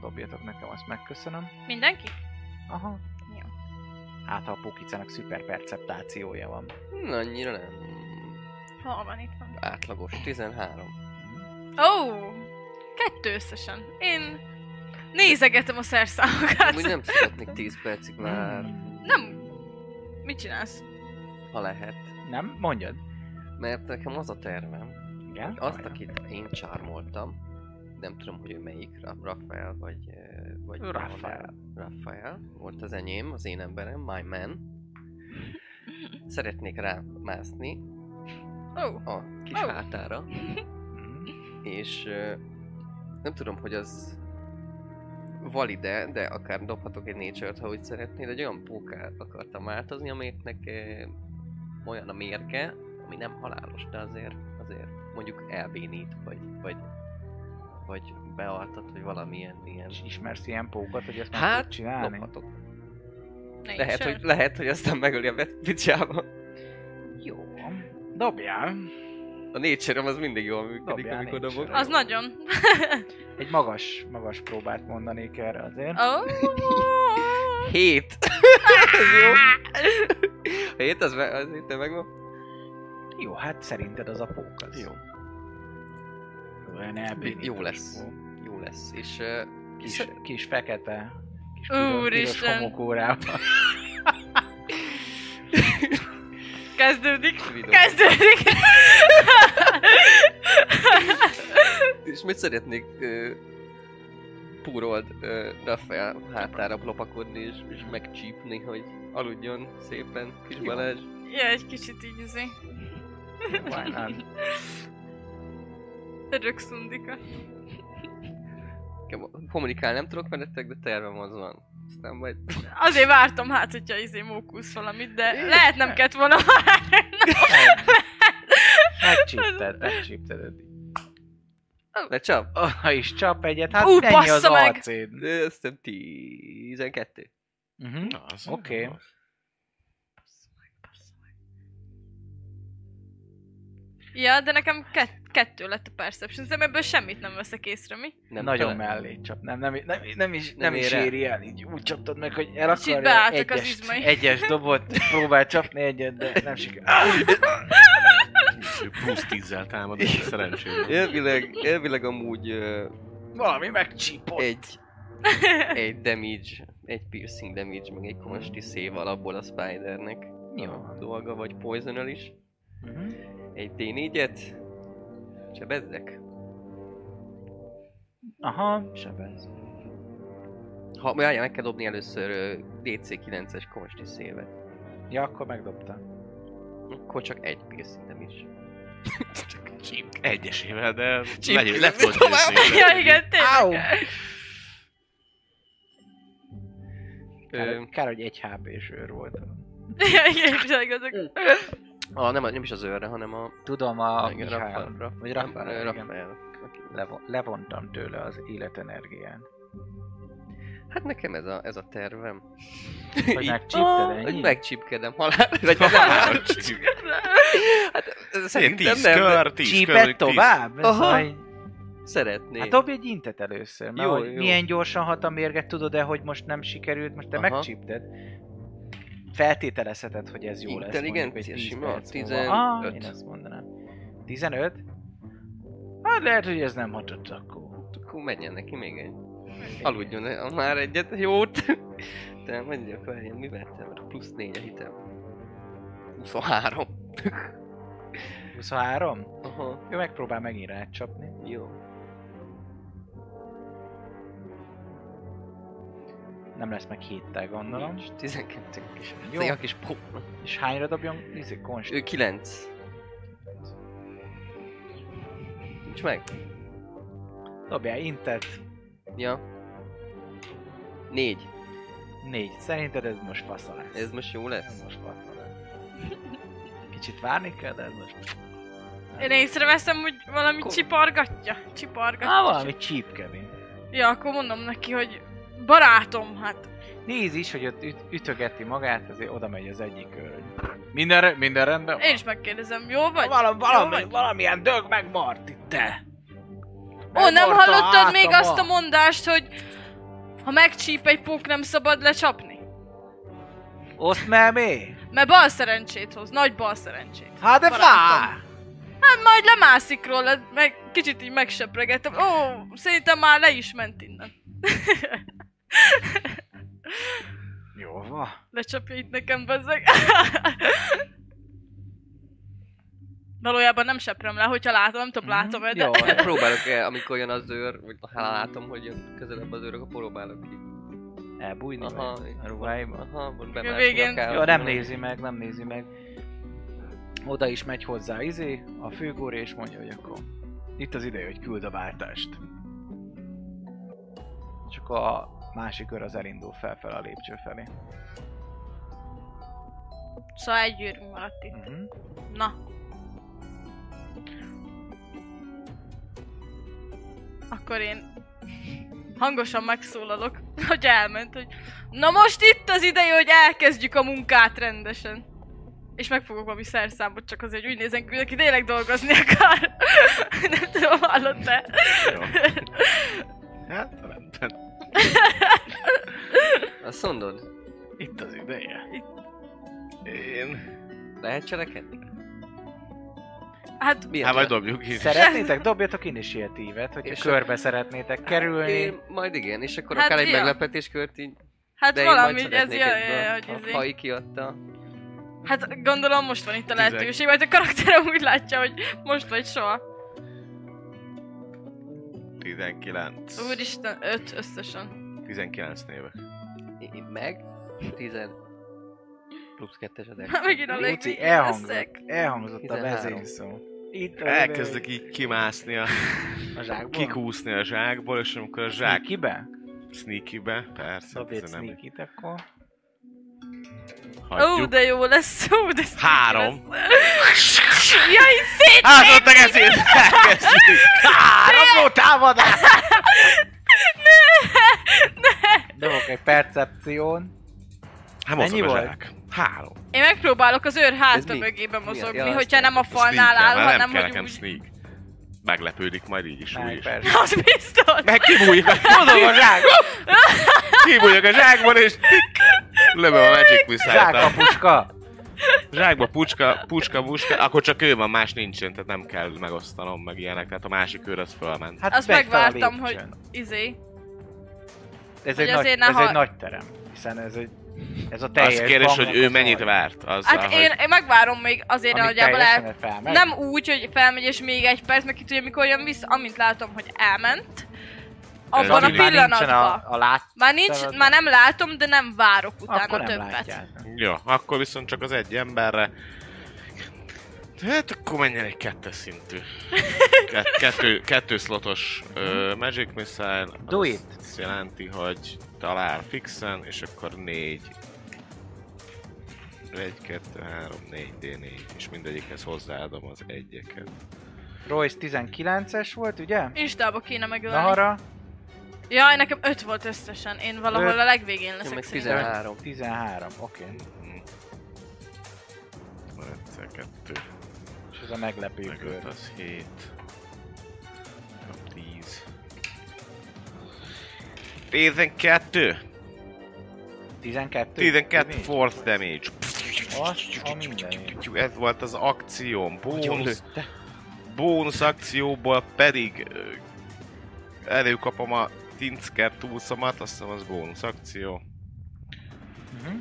[SPEAKER 1] dobjatok nekem, azt megköszönöm.
[SPEAKER 2] Mindenki?
[SPEAKER 1] Aha.
[SPEAKER 2] Jó.
[SPEAKER 1] Hát ha a Pukicának szuper perceptációja van.
[SPEAKER 3] Na, annyira nem.
[SPEAKER 2] Hol van itt van?
[SPEAKER 3] Átlagos, 13.
[SPEAKER 2] Ó! Oh, kettő összesen. Én nézegetem a
[SPEAKER 1] Hát
[SPEAKER 2] szerszámokat.
[SPEAKER 3] Amúgy nem szeretnék 10 percig
[SPEAKER 1] Hmm.
[SPEAKER 3] már,
[SPEAKER 2] Nem. Mit csinálsz?
[SPEAKER 3] ha lehet.
[SPEAKER 1] Nem? Mondjad.
[SPEAKER 3] Mert nekem az a tervem,
[SPEAKER 1] Igen?
[SPEAKER 3] hogy azt,
[SPEAKER 1] Hajrá.
[SPEAKER 3] akit én csármoltam, nem tudom, hogy ő melyik, Ra- Rafael vagy... eh, vagy
[SPEAKER 1] Rafael.
[SPEAKER 3] Rafael, volt az enyém, az én emberem, my man. Szeretnék rámászni
[SPEAKER 2] Ó, oh,
[SPEAKER 3] a kis
[SPEAKER 2] Ó.
[SPEAKER 3] hátára,
[SPEAKER 1] Mhm.
[SPEAKER 3] és ö, nem tudom, hogy az valide, de akár dobhatok egy nature ha úgy szeretnéd, egy olyan pókát akartam változni, amelyiknek ö, olyan a mérge, ami nem halálos, de azért, azért mondjuk elbénít, vagy, vagy, vagy bealtat, vagy valamilyen ilyen.
[SPEAKER 1] És ismersz ilyen pókot, hogy ezt meg
[SPEAKER 3] Hát,
[SPEAKER 1] tudod csinálni?
[SPEAKER 3] Dobhatok. Lehet,
[SPEAKER 2] lehet,
[SPEAKER 3] hogy, lehet, hogy aztán megöli a picsába.
[SPEAKER 1] Jó. Dobjál.
[SPEAKER 3] A nature az mindig jól működik,
[SPEAKER 1] Dobjál
[SPEAKER 3] amikor dobok.
[SPEAKER 1] nature-ra.
[SPEAKER 2] Az nagyon.
[SPEAKER 1] Egy magas, magas próbát mondanék erre azért.
[SPEAKER 2] Ó!
[SPEAKER 3] Hét! Ez jó. A hét az, me- az itt megvan?
[SPEAKER 1] Jó, hát szerinted az a pók az.
[SPEAKER 3] Jó.
[SPEAKER 1] Olyan elbénítós
[SPEAKER 3] Jó lesz.
[SPEAKER 1] pók.
[SPEAKER 3] Jó lesz. És uh,
[SPEAKER 1] Kis,
[SPEAKER 3] kis,
[SPEAKER 1] kis fekete. Kis piros
[SPEAKER 2] Úristen.
[SPEAKER 1] homokórában.
[SPEAKER 2] Kezdődik.
[SPEAKER 3] videó.
[SPEAKER 2] Kezdődik.
[SPEAKER 3] és mit szeretnék uh, púrold uh, Rafael hátára lopakodni és, és megcsípni, hogy aludjon szépen, kis
[SPEAKER 1] Jó.
[SPEAKER 3] Balázs.
[SPEAKER 2] ja, egy kicsit így izé.
[SPEAKER 1] Why not?
[SPEAKER 2] Örök szundika.
[SPEAKER 3] Nekem Kommunikálni nem tudok veletek, de tervem az van. Aztán majd...
[SPEAKER 2] Azért vártam hát, hogyha izé mókusz valamit, de
[SPEAKER 1] Én-
[SPEAKER 2] lehet nem kellett volna várnom.
[SPEAKER 1] Megcsípted, megcsípted.
[SPEAKER 3] Lecsap!
[SPEAKER 1] Ha is csap egyet, hát
[SPEAKER 2] Ú,
[SPEAKER 1] Ú, ennyi az
[SPEAKER 2] bassza meg!
[SPEAKER 1] arcéd.
[SPEAKER 3] Ö, Azt hiszem 12.
[SPEAKER 1] Mhm.
[SPEAKER 4] Na, az
[SPEAKER 1] Oké.
[SPEAKER 4] jó.
[SPEAKER 2] Ja, de nekem kett- kettő lett a perception, de ebből semmit nem veszek észre, mi?
[SPEAKER 3] Nem
[SPEAKER 1] Nagyon
[SPEAKER 3] talán.
[SPEAKER 1] mellé csap, nem, nem, nem, nem is, nem,
[SPEAKER 3] Nem
[SPEAKER 1] is
[SPEAKER 3] ér el.
[SPEAKER 1] éri el, így úgy csaptad meg, hogy el
[SPEAKER 2] Kicsit
[SPEAKER 1] akarja
[SPEAKER 2] beálltak az
[SPEAKER 1] egyes,
[SPEAKER 2] izmai.
[SPEAKER 1] egyes dobot, próbál csapni egyet, de nem sikerül. Ah,
[SPEAKER 4] Plusz tízzel támad, és szerencsére.
[SPEAKER 3] Elvileg, elvileg amúgy ö,
[SPEAKER 1] Valami megcsípott.
[SPEAKER 3] egy, egy damage, egy piercing damage, meg egy consti save alapból a spidernek
[SPEAKER 1] Jó.
[SPEAKER 3] dolga, vagy poisonal is.
[SPEAKER 1] Mhm.
[SPEAKER 3] Egy D4-et sebezzek.
[SPEAKER 1] Aha, sebez.
[SPEAKER 3] Ha, várjál, meg kell dobni először ö, DC 9-es consti save
[SPEAKER 1] Ja, akkor megdobta.
[SPEAKER 3] Akkor csak egy piercing damage.
[SPEAKER 4] Egyesével, de
[SPEAKER 3] Csíp-
[SPEAKER 4] legyen, le tudod
[SPEAKER 3] Tovább.
[SPEAKER 4] nézni.
[SPEAKER 2] ja, igen, tényleg.
[SPEAKER 1] Au!
[SPEAKER 3] Ö,
[SPEAKER 1] Hát, Kár, kár, hogy egy HP-s őr volt.
[SPEAKER 2] Ja, igen, tényleg azok.
[SPEAKER 3] a, nem, a- nem is az őrre, hanem a...
[SPEAKER 1] Tudom, a
[SPEAKER 3] igen,
[SPEAKER 1] Mihály.
[SPEAKER 3] Rafael-
[SPEAKER 1] Vagy
[SPEAKER 3] Rafael-
[SPEAKER 1] Rafael,
[SPEAKER 3] ö,
[SPEAKER 1] igen.
[SPEAKER 3] Rafael. Aki-
[SPEAKER 1] Levo- levontam tőle az életenergián.
[SPEAKER 3] Hát nekem ez a, ez a tervem.
[SPEAKER 1] Hogy
[SPEAKER 3] Így-
[SPEAKER 1] megcsípted
[SPEAKER 3] Hogy
[SPEAKER 1] ennyi?
[SPEAKER 3] megcsípkedem halál, vagy halál.
[SPEAKER 4] Tovább. Csíp.
[SPEAKER 3] Hát ez
[SPEAKER 4] Ilyen
[SPEAKER 3] szerintem
[SPEAKER 4] tíz
[SPEAKER 3] nem, de
[SPEAKER 4] kör, tíz kör,
[SPEAKER 1] Csípett
[SPEAKER 4] tíz-
[SPEAKER 1] tovább? Ez
[SPEAKER 3] Aha.
[SPEAKER 1] vagy-
[SPEAKER 3] szeretnék.
[SPEAKER 1] Hát dobj egy intet először, mert
[SPEAKER 3] Jó,
[SPEAKER 1] hogy
[SPEAKER 3] jó.
[SPEAKER 1] milyen gyorsan hat a mérget, tudod-e, hogy most nem sikerült, most te
[SPEAKER 3] Aha.
[SPEAKER 1] megcsípted. Feltételezheted, hogy ez jó lesz. mondjuk
[SPEAKER 3] Intelligencia
[SPEAKER 1] egy 10
[SPEAKER 3] sima,
[SPEAKER 1] perc múlva.
[SPEAKER 3] 15.
[SPEAKER 1] Ah, én ezt mondanám. 15? Hát lehet, hogy ez nem hatott akkor.
[SPEAKER 3] Akkor menjen neki még egy. Aludjon el már egyet, jót. De mondjuk, várjál, mi vettem? rá? Plusz négy a hitem. 23.
[SPEAKER 1] 23?
[SPEAKER 3] Aha,
[SPEAKER 1] Jó, megpróbál megint rácsapni.
[SPEAKER 3] jó.
[SPEAKER 1] Nem lesz meg héttel, gondolom.
[SPEAKER 3] Nincs, 12 is.
[SPEAKER 1] Jó.
[SPEAKER 3] Jó. Ez egy kis pó.
[SPEAKER 1] És hányra dobjon? Izé, konst.
[SPEAKER 3] Ő 9. Nincs meg?
[SPEAKER 1] Dobjál intet.
[SPEAKER 3] Ja. 4.
[SPEAKER 1] Négy. Szerinted ez most fasza lesz.
[SPEAKER 3] Ez most jó
[SPEAKER 1] Ez
[SPEAKER 3] lesz.
[SPEAKER 1] most fasza lesz. Kicsit várni kell, de ez most...
[SPEAKER 2] Én észreveszem, hogy valami
[SPEAKER 3] Ko-
[SPEAKER 2] csipargatja. Csipargatja.
[SPEAKER 1] Á, Ah, valami csípkevén.
[SPEAKER 2] Ja, akkor mondom neki, hogy barátom, hát.
[SPEAKER 1] Néz is, hogy ott üt- ütögeti magát, azért oda megy az egyik őröny. Minden, re- minden rendben van?
[SPEAKER 2] Én is megkérdezem, jó vagy?
[SPEAKER 1] Valam,
[SPEAKER 2] Jó
[SPEAKER 1] valami,
[SPEAKER 2] vagy?
[SPEAKER 1] valamilyen dög megmart itt te!
[SPEAKER 2] Ó, nem
[SPEAKER 1] Megmarta
[SPEAKER 2] hallottad még
[SPEAKER 1] hátama.
[SPEAKER 2] azt a mondást, hogy ha megcsíp egy pók, nem szabad lecsapni?
[SPEAKER 1] Oszd meg mi?
[SPEAKER 2] Mert bal szerencsét hoz, nagy bal szerencsét.
[SPEAKER 1] Hát de
[SPEAKER 2] Barátom.
[SPEAKER 1] fá!
[SPEAKER 2] Hát majd lemászik róla, meg kicsit így megsepregetem. Ó, szerintem már le is ment innen.
[SPEAKER 1] Jó van.
[SPEAKER 2] Lecsapja itt nekem, bezzeg. Valójában nem seprem le, hogyha látom, nem tudom,
[SPEAKER 1] Mhm,
[SPEAKER 2] látom de...
[SPEAKER 1] jó.
[SPEAKER 3] Hát Próbálok el, amikor jön az őr, vagy ha látom, hogy jön közelebb az őr, akkor próbálok ki.
[SPEAKER 1] Elbújni
[SPEAKER 3] Aha.
[SPEAKER 1] vagy a ruháiba.
[SPEAKER 3] Aha, most
[SPEAKER 2] A
[SPEAKER 3] bemásni
[SPEAKER 2] végén-
[SPEAKER 1] Jó, nem nézi meg, nem nézi meg. Oda is megy hozzá Izé, a főgóri, és mondja, hogy akkor itt az ideje, hogy küld a váltást. És akkor a másik kör az elindul felfel a lépcső felé.
[SPEAKER 2] Szóval egy gyűrűnk maradt itt.
[SPEAKER 1] Uh-huh.
[SPEAKER 2] Na. Akkor én hangosan megszólalok, hogy elment, hogy na most itt az ideje, hogy elkezdjük a munkát rendesen. És megfogok valami szerszámot, csak azért hogy úgy nézen ki, hogy aki tényleg dolgozni akar. Nem tudom, hallott-e?
[SPEAKER 4] Jó. Hát, rendben.
[SPEAKER 3] Azt mondod?
[SPEAKER 1] Itt az ideje.
[SPEAKER 4] Én...
[SPEAKER 3] Lehet cselekedni?
[SPEAKER 2] Hát
[SPEAKER 3] Milyen
[SPEAKER 4] Hát, vagy
[SPEAKER 3] csele-
[SPEAKER 4] dobjuk is.
[SPEAKER 1] Szeretnétek? Dobjatok initiatívet, hogyha
[SPEAKER 3] És-
[SPEAKER 1] körbe szeretnétek kerülni.
[SPEAKER 3] Én, majd igen, és akkor
[SPEAKER 2] Hát
[SPEAKER 3] akár egy
[SPEAKER 2] ja.
[SPEAKER 3] meglepetéskört így,
[SPEAKER 2] Hát
[SPEAKER 3] de én
[SPEAKER 2] valami,
[SPEAKER 3] majd
[SPEAKER 2] így ez
[SPEAKER 3] szeretnék
[SPEAKER 2] jaj,
[SPEAKER 3] egyből,
[SPEAKER 2] hogy
[SPEAKER 3] ha
[SPEAKER 2] izé.
[SPEAKER 3] Kai kiadta.
[SPEAKER 2] Hát gondolom most van itt a
[SPEAKER 4] Tizek.
[SPEAKER 2] lehetőség, majd a karakterem úgy látja, hogy most vagy soha.
[SPEAKER 4] 19.
[SPEAKER 2] Úristen, öt összesen.
[SPEAKER 4] 19 névek.
[SPEAKER 3] Én- én Meg? 10 plusz 2-es adás.
[SPEAKER 2] Már Megint a
[SPEAKER 1] Luci,
[SPEAKER 2] legvégén
[SPEAKER 1] elhangzott, elhangzott a
[SPEAKER 3] 13.
[SPEAKER 1] vezényszó. Itt az
[SPEAKER 4] Elkezdek
[SPEAKER 1] ideje,
[SPEAKER 4] így kimászni a...
[SPEAKER 1] hogy a zsákból.
[SPEAKER 4] Kikúszni a zsákból, és amikor a zsák...
[SPEAKER 1] Kibe?
[SPEAKER 4] Sneakybe? Persze,
[SPEAKER 1] Dobj egy
[SPEAKER 4] ez nem...
[SPEAKER 1] sneaky-t akkor.
[SPEAKER 2] Ó,
[SPEAKER 4] Hagyjuk.
[SPEAKER 2] de jó lesz, ó, de szép
[SPEAKER 4] Három.
[SPEAKER 2] lesz. Jaj, szép!
[SPEAKER 4] Hát, ott megeszünk! Elkezdjük!
[SPEAKER 1] Áramló támadás! Ne! Ne! Dobok egy percepción.
[SPEAKER 4] Hát mozog
[SPEAKER 1] Mennyi
[SPEAKER 4] a
[SPEAKER 1] volt?
[SPEAKER 4] zsák. Három.
[SPEAKER 2] Én megpróbálok az őr háta
[SPEAKER 3] mi?
[SPEAKER 2] mögébe
[SPEAKER 3] Milyen?
[SPEAKER 2] mozogni,
[SPEAKER 3] Ja, azt
[SPEAKER 2] hogyha nem a falnál
[SPEAKER 4] Sneak-el,
[SPEAKER 2] áll,
[SPEAKER 4] mert
[SPEAKER 2] hanem
[SPEAKER 4] nem kell
[SPEAKER 2] hogy
[SPEAKER 4] nekem
[SPEAKER 2] úgy...
[SPEAKER 4] sneak. Meglepődik majd így is, úgy
[SPEAKER 1] Meg
[SPEAKER 4] is.
[SPEAKER 1] persze.
[SPEAKER 2] Az biztos!
[SPEAKER 4] Meg kibújik, meg mozog a zsák! Kibújok a zsákban, és tik! Lövöm a Magic Missile-t. a
[SPEAKER 1] Zsákkapuska!
[SPEAKER 4] Zsákba pucska, pucska, puska, akkor csak ő van, más nincsen, tehát nem kell megosztanom meg ilyenek, tehát a másik őr az fölment.
[SPEAKER 1] Hát
[SPEAKER 2] Azt
[SPEAKER 1] megy fel a
[SPEAKER 2] megvártam, hogy
[SPEAKER 1] lépcsőn.
[SPEAKER 2] izé.
[SPEAKER 1] Ez,
[SPEAKER 2] hogy
[SPEAKER 1] egy nagy,
[SPEAKER 2] azért ne
[SPEAKER 1] ez
[SPEAKER 2] hal-
[SPEAKER 1] egy nagy terem, hiszen ez egy... Ez a teljes
[SPEAKER 4] Azt kérdés, hogy
[SPEAKER 1] banknak
[SPEAKER 4] ő
[SPEAKER 1] az
[SPEAKER 4] mennyit
[SPEAKER 1] nagy,
[SPEAKER 4] várt azzal,
[SPEAKER 2] Hát
[SPEAKER 4] hogy...
[SPEAKER 2] én, én megvárom még azért
[SPEAKER 1] amíg
[SPEAKER 2] nagyjából
[SPEAKER 1] teljesen
[SPEAKER 2] el...
[SPEAKER 1] felmegy.
[SPEAKER 2] Nem úgy, hogy felmegy és még egy perc, meg ki tudja mikor jön vissza, amint látom, hogy elment.
[SPEAKER 1] Ez
[SPEAKER 2] Abban a
[SPEAKER 1] amíg már nincsen
[SPEAKER 2] pillanatban.
[SPEAKER 1] A, a lát...
[SPEAKER 2] Már nincs,
[SPEAKER 1] Tudod?
[SPEAKER 2] már nem látom, de nem várok utána
[SPEAKER 1] Akkor nem
[SPEAKER 2] többet.
[SPEAKER 1] látják.
[SPEAKER 4] Jó, akkor viszont csak az egy emberre... Hát akkor menjen egy kettes szintű. Ke- Kettő, kettő slotos ö, Magic Missile. az
[SPEAKER 1] Do it.
[SPEAKER 4] Azt jelenti, hogy talál fixen, és akkor négy. Egy, kettő, három, négy, D4. És mindegyikhez hozzáadom az egyeket.
[SPEAKER 1] Royce 19-es volt, ugye?
[SPEAKER 2] Instába kéne megölni.
[SPEAKER 1] Nahara
[SPEAKER 2] Jaj, nekem öt volt összesen. Én valahol
[SPEAKER 1] Öt.
[SPEAKER 2] a legvégén
[SPEAKER 3] Én
[SPEAKER 2] leszek
[SPEAKER 3] meg
[SPEAKER 2] szerintem.
[SPEAKER 3] 13.
[SPEAKER 1] 13, oké. Okay.
[SPEAKER 4] Mhm. Van egyszer kettő.
[SPEAKER 1] És ez a meglepő
[SPEAKER 4] Meg öt
[SPEAKER 1] kör.
[SPEAKER 4] az 7. 10. 12!
[SPEAKER 1] 12?
[SPEAKER 4] 12
[SPEAKER 1] Mi?
[SPEAKER 4] fourth damage.
[SPEAKER 1] Azt a mindenit.
[SPEAKER 4] Ez volt az akcióm.
[SPEAKER 3] Nagyon
[SPEAKER 4] Bónusz,
[SPEAKER 3] lőtte.
[SPEAKER 4] bónusz akcióból pedig ö, előkapom a Tinsker túlszamat, azt hiszem az bónusz akció.
[SPEAKER 1] Mhm.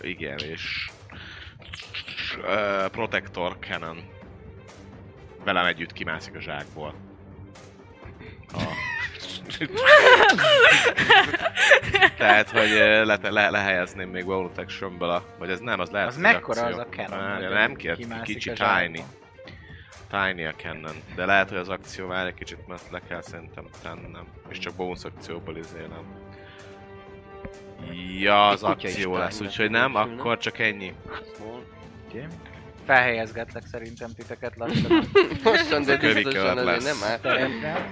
[SPEAKER 4] Igen, és... Ö, Protector Cannon. Velem együtt kimászik a zsákból. A... Tehát, hogy ö, le, le, lehelyezném még Wow Protection-ből a... Vagy ez nem, az lehet
[SPEAKER 1] Az
[SPEAKER 4] hogy
[SPEAKER 1] mekkora
[SPEAKER 4] akció.
[SPEAKER 1] az a cannon,
[SPEAKER 4] Várja,
[SPEAKER 1] hogy
[SPEAKER 4] Nem kért,
[SPEAKER 1] kimászik
[SPEAKER 4] kicsi
[SPEAKER 1] a
[SPEAKER 4] tiny.
[SPEAKER 1] zsákba?
[SPEAKER 4] Tiny a cannon. De lehet, hogy az akció már egy kicsit, mert le kell szerintem tennem. És csak bonus akcióból izélem. Ja,
[SPEAKER 3] Egy
[SPEAKER 4] az
[SPEAKER 3] kutya is
[SPEAKER 4] akció
[SPEAKER 3] tiny
[SPEAKER 4] lesz,
[SPEAKER 3] lett
[SPEAKER 4] úgyhogy
[SPEAKER 3] volna,
[SPEAKER 4] nem,
[SPEAKER 3] fülne.
[SPEAKER 4] akkor csak ennyi.
[SPEAKER 3] Small.
[SPEAKER 1] Oké. Felhelyezgetlek szerintem titeket lassan a
[SPEAKER 3] Mostan, de
[SPEAKER 4] Kövi követ
[SPEAKER 3] biztosan azért
[SPEAKER 4] lesz.
[SPEAKER 3] nem árt.
[SPEAKER 1] teremre.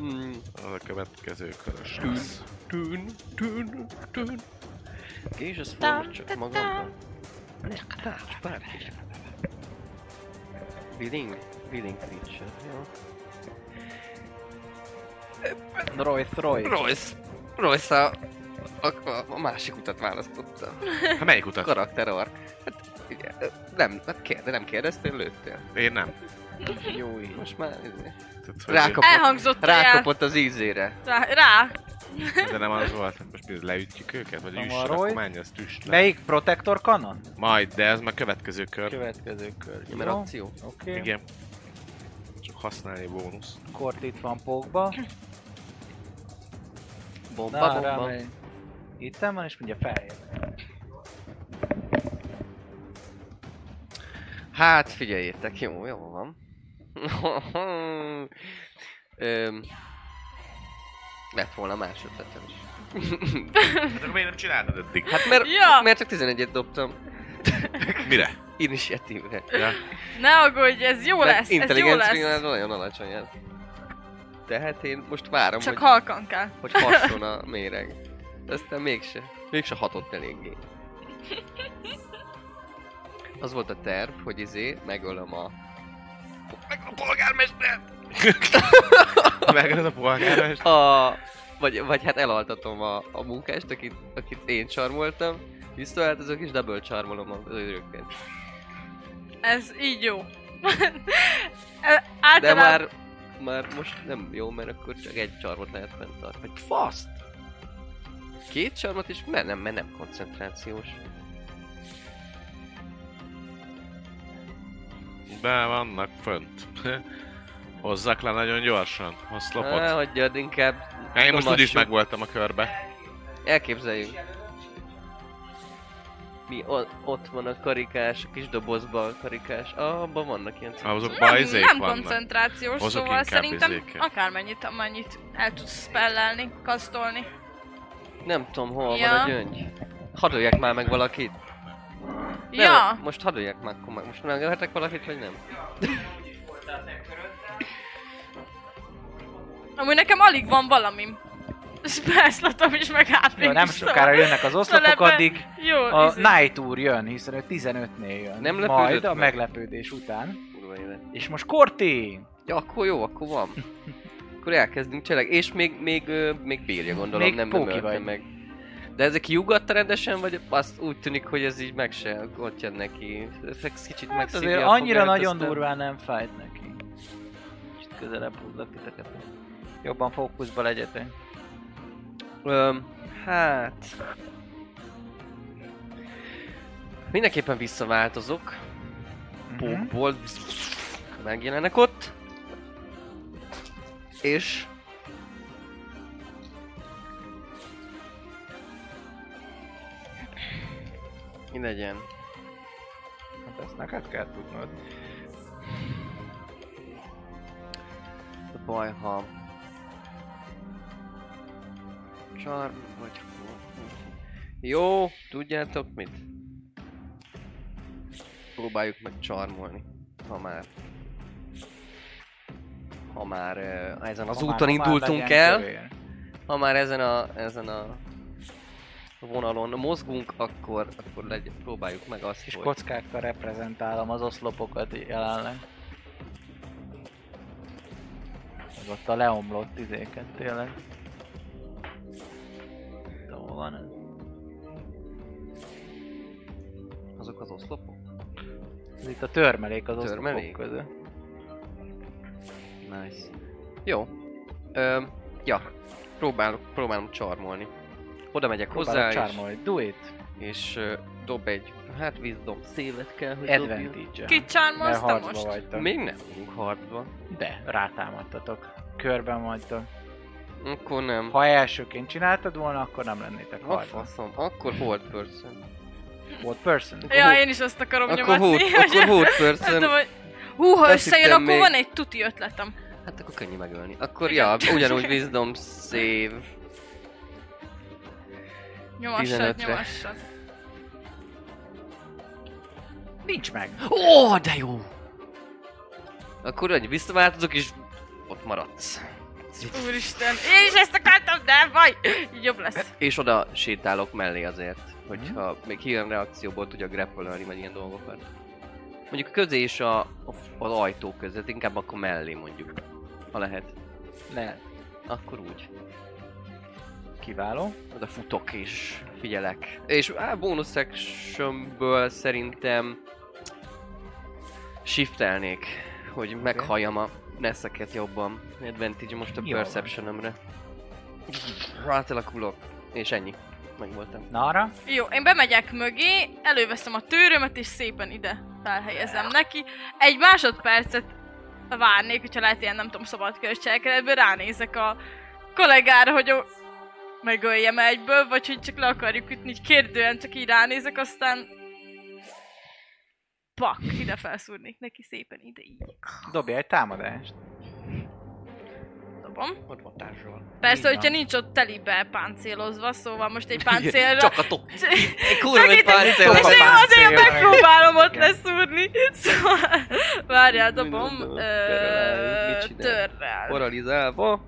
[SPEAKER 3] Mm.
[SPEAKER 4] Az a következő körös
[SPEAKER 3] Tűn.
[SPEAKER 4] lesz.
[SPEAKER 3] Tűn, tűn, tűn. Ki is ezt fogom csak magamban. Willing, willing creature, jó.
[SPEAKER 1] Royce, Royce.
[SPEAKER 3] Royce, Royce a, a, a, a másik utat választotta.
[SPEAKER 4] Hát melyik utat?
[SPEAKER 3] Karakter arc. Hát, ugye, ö, nem, hát kér, de nem kérdeztél, lőttél.
[SPEAKER 4] Én nem.
[SPEAKER 1] Jó így.
[SPEAKER 3] Most már izé,
[SPEAKER 4] Tehát, hogy-
[SPEAKER 3] rákapott,
[SPEAKER 2] Elhangzott rá,
[SPEAKER 3] rákapott az ízére.
[SPEAKER 2] rá.
[SPEAKER 4] De nem az volt, most mi leütjük őket, vagy
[SPEAKER 1] Nem
[SPEAKER 4] üss,
[SPEAKER 1] arról.
[SPEAKER 4] akkor menj, ezt üst le.
[SPEAKER 1] Melyik Protector Canon?
[SPEAKER 4] Majd, de ez már következő kör.
[SPEAKER 1] Következő kör.
[SPEAKER 3] Mert
[SPEAKER 1] Jó,
[SPEAKER 3] akció.
[SPEAKER 1] oké.
[SPEAKER 4] Igen. Csak használni bónusz.
[SPEAKER 1] Kort itt van pókba.
[SPEAKER 3] Bomba,
[SPEAKER 1] Na,
[SPEAKER 3] bomba.
[SPEAKER 1] rámegy. Itt van, és mindjárt feljön.
[SPEAKER 3] Hát figyeljétek, jó, jó van. Öm, lett volna más ötletem is.
[SPEAKER 4] Hát akkor miért nem csináltad eddig?
[SPEAKER 3] Hát mert,
[SPEAKER 2] Ja.
[SPEAKER 3] mert csak 11-et dobtam.
[SPEAKER 4] Mire?
[SPEAKER 3] Initiatívre.
[SPEAKER 4] Ja.
[SPEAKER 2] Ne aggódj, ez jó lesz, ez jó
[SPEAKER 3] Intelligencia
[SPEAKER 2] lesz.
[SPEAKER 3] nagyon alacsony ez. Tehát én most várom,
[SPEAKER 2] Csak
[SPEAKER 3] hogy, ha...
[SPEAKER 2] halkan kell.
[SPEAKER 3] hogy hasson a méreg. De aztán mégse. Mégse hatott eléggé. Az volt a terv, hogy izé, megölöm a... Meg a polgármestert!
[SPEAKER 4] Megölöd a polgármest?
[SPEAKER 3] a, vagy, vagy hát elaltatom a, a munkást, akit, akit én csarmoltam, visszaállt azok is double csarmolom az őröket.
[SPEAKER 2] Ez így jó.
[SPEAKER 3] De
[SPEAKER 2] Általában
[SPEAKER 3] már, már most nem jó, mert akkor csak egy csarmot lehet fenntartani. Vagy faszt! Két csarmot is? Mert nem, mert nem koncentrációs.
[SPEAKER 4] Be vannak fönt. Hozzak le nagyon gyorsan. A
[SPEAKER 3] Á,
[SPEAKER 4] szlopot.
[SPEAKER 3] hagyjad inkább.
[SPEAKER 4] Én most úgyis
[SPEAKER 3] domassuk.
[SPEAKER 4] megvoltam a körbe.
[SPEAKER 3] Elképzeljünk. Mi o- ott van a karikás, a kis dobozban a karikás. Ah, abban vannak ilyen
[SPEAKER 4] Ah, Azok
[SPEAKER 2] nem,
[SPEAKER 4] ma izék
[SPEAKER 2] nem
[SPEAKER 4] vannak.
[SPEAKER 2] koncentrációs,
[SPEAKER 4] Hozok
[SPEAKER 2] szóval
[SPEAKER 4] inkább
[SPEAKER 2] szerintem
[SPEAKER 4] izéket.
[SPEAKER 2] akármennyit, amennyit el tudsz spellelni, kasztolni.
[SPEAKER 3] Nem tudom, hol van
[SPEAKER 2] Ja.
[SPEAKER 3] a gyöngy. Hadolják már meg valakit. Nem,
[SPEAKER 2] Ja,
[SPEAKER 3] Most hadolják már, akkor meg. Most megölhetek valakit, vagy nem?
[SPEAKER 2] amúgy nekem alig van valamim. Spellslotom is, meg hp
[SPEAKER 1] Jó, nem sokára jönnek az oszlopok,
[SPEAKER 2] Szóval ebben
[SPEAKER 1] addig
[SPEAKER 2] Jó,
[SPEAKER 1] a
[SPEAKER 2] izé.
[SPEAKER 1] Night úr jön, hiszen ő 15-nél jön.
[SPEAKER 3] Nem lepődött
[SPEAKER 1] Majd a
[SPEAKER 3] meg?
[SPEAKER 1] meglepődés után.
[SPEAKER 3] Kurva élet.
[SPEAKER 1] És most Korti!
[SPEAKER 3] Ja, akkor jó, akkor van. Akkor elkezdünk cselek. És még, még, ö, még bírja, gondolom,
[SPEAKER 1] Még
[SPEAKER 3] nem, nem
[SPEAKER 1] póki
[SPEAKER 3] ölte
[SPEAKER 1] vagy.
[SPEAKER 3] meg. De ezek kiugatta rendesen, vagy azt úgy tűnik, hogy ez így meg se ott jön neki. Ezek kicsit
[SPEAKER 1] Hát
[SPEAKER 3] megszívja
[SPEAKER 1] azért
[SPEAKER 3] a
[SPEAKER 1] annyira
[SPEAKER 3] fogát,
[SPEAKER 1] nagyon
[SPEAKER 3] aztán-
[SPEAKER 1] durván nem fájt neki. Kicsit közelebb húzlak titeket. Jobban fókuszba legyetek.
[SPEAKER 3] Öm, hát... Mindenképpen visszaváltozok.
[SPEAKER 1] Mhm.
[SPEAKER 3] pókból megjelenek ott, és mi legyen?
[SPEAKER 1] Hát ezt neked kell tudnod.
[SPEAKER 3] A baj, ha Charm vagy Jó, tudjátok mit? Próbáljuk meg csarmolni, ha már ha már ö, ezen az
[SPEAKER 1] Ha már-
[SPEAKER 3] úton
[SPEAKER 1] ha már
[SPEAKER 3] indultunk
[SPEAKER 1] legyen
[SPEAKER 3] el,
[SPEAKER 1] kövér.
[SPEAKER 3] ha már ezen a, ezen a vonalon mozgunk, akkor, akkor legy, próbáljuk meg azt,
[SPEAKER 1] Kis
[SPEAKER 3] hogy...
[SPEAKER 1] kockákkal reprezentálom az oszlopokat jelenleg. Meg ott a leomlott izéket tényleg. De hol van ez?
[SPEAKER 3] Azok az oszlopok?
[SPEAKER 1] ez? itt a törmelék az oszlopok
[SPEAKER 3] Törmelék?
[SPEAKER 1] között.
[SPEAKER 3] Nice. Jó. Öm, ja, próbálok, próbálom csarmolni. Oda megyek
[SPEAKER 1] Hozzá
[SPEAKER 3] hozzá, és,
[SPEAKER 1] Csármolj, do it!
[SPEAKER 3] és ö, dob egy, hát wisdom szévet kell, hogy dobjon.
[SPEAKER 1] Advantage-e.
[SPEAKER 2] Kit
[SPEAKER 1] Mert
[SPEAKER 2] charmolsz te
[SPEAKER 1] harcba
[SPEAKER 2] most?
[SPEAKER 1] vagytok.
[SPEAKER 3] Még nem vagyunk hardban.
[SPEAKER 1] De, rátámadtatok. Körben vagytok.
[SPEAKER 3] Akkor nem.
[SPEAKER 1] Ha elsőként csináltad volna, akkor nem lennétek
[SPEAKER 3] A
[SPEAKER 1] hajban.
[SPEAKER 3] faszom, akkor hold person.
[SPEAKER 1] Volt person.
[SPEAKER 2] Ja, én is azt akarom
[SPEAKER 3] Akkor hold,
[SPEAKER 2] nyomatni. hogy-
[SPEAKER 3] akkor hold
[SPEAKER 2] Nem tudom,
[SPEAKER 3] person.
[SPEAKER 2] hogy... Hú, ha
[SPEAKER 3] Azt
[SPEAKER 2] összejön,
[SPEAKER 3] hittem
[SPEAKER 2] akkor
[SPEAKER 3] még.
[SPEAKER 2] van egy tuti ötletem.
[SPEAKER 3] Hát akkor könnyű megölni. Akkor ja, ugyanúgy wisdom save.
[SPEAKER 2] Nyomassad,
[SPEAKER 3] 15-re.
[SPEAKER 2] nyomassad.
[SPEAKER 1] Nincs meg.
[SPEAKER 3] Ó, de jó! Akkor annyi visszaváltozok és ott maradsz.
[SPEAKER 2] Úristen, én is ezt akartam, de baj! Így jobb lesz.
[SPEAKER 3] És oda sétálok mellé azért, hogyha még ilyen reakcióból tudja grappolni, vagy ilyen dolgokat. Mondjuk közé és a, a, az ajtó között, inkább akkor mellé mondjuk. Ha lehet.
[SPEAKER 1] Lehet.
[SPEAKER 3] Akkor úgy.
[SPEAKER 1] Kiváló.
[SPEAKER 3] Oda futok és figyelek. És á, bónusz actionből szerintem shiftelnék, hogy meghalljam a neszeket jobban. Advantage most a
[SPEAKER 1] Jó.
[SPEAKER 3] perceptionömre. Rátalakulok. És ennyi. Megvoltam.
[SPEAKER 1] Na arra?
[SPEAKER 2] Jó, én bemegyek mögé, előveszem a tőrömet, és szépen ide felhelyezem neki. Egy másodpercet várnék, hogyha lehet ilyen, nem tudom, szabad közcselekedetből, ránézek a kollégára, hogy ó, megöljem egyből, vagy hogy csak le akarjuk ütni, így kérdően csak így ránézek, aztán... Pak, ide felszúrnék neki szépen, ide így
[SPEAKER 1] Dobja egy támadást.
[SPEAKER 2] dobom.
[SPEAKER 3] Ott van társadalom.
[SPEAKER 1] Így
[SPEAKER 2] Persze,
[SPEAKER 1] van.
[SPEAKER 2] hogyha nincs ott telibe páncélozva, szóval most egy páncélra...
[SPEAKER 3] Csak a top.
[SPEAKER 2] Csak
[SPEAKER 3] Egy kurva egy
[SPEAKER 2] itt-
[SPEAKER 3] páncél
[SPEAKER 2] És
[SPEAKER 1] Csak
[SPEAKER 3] van.
[SPEAKER 1] itt-
[SPEAKER 2] én azért
[SPEAKER 1] páncélra.
[SPEAKER 2] megpróbálom ott
[SPEAKER 1] Igen.
[SPEAKER 2] leszúrni. Szóval... Várjál, dobom...
[SPEAKER 3] Mindegy,
[SPEAKER 2] ö,
[SPEAKER 3] terrel, mit csinál?
[SPEAKER 2] Törrel.
[SPEAKER 3] Paralizálva.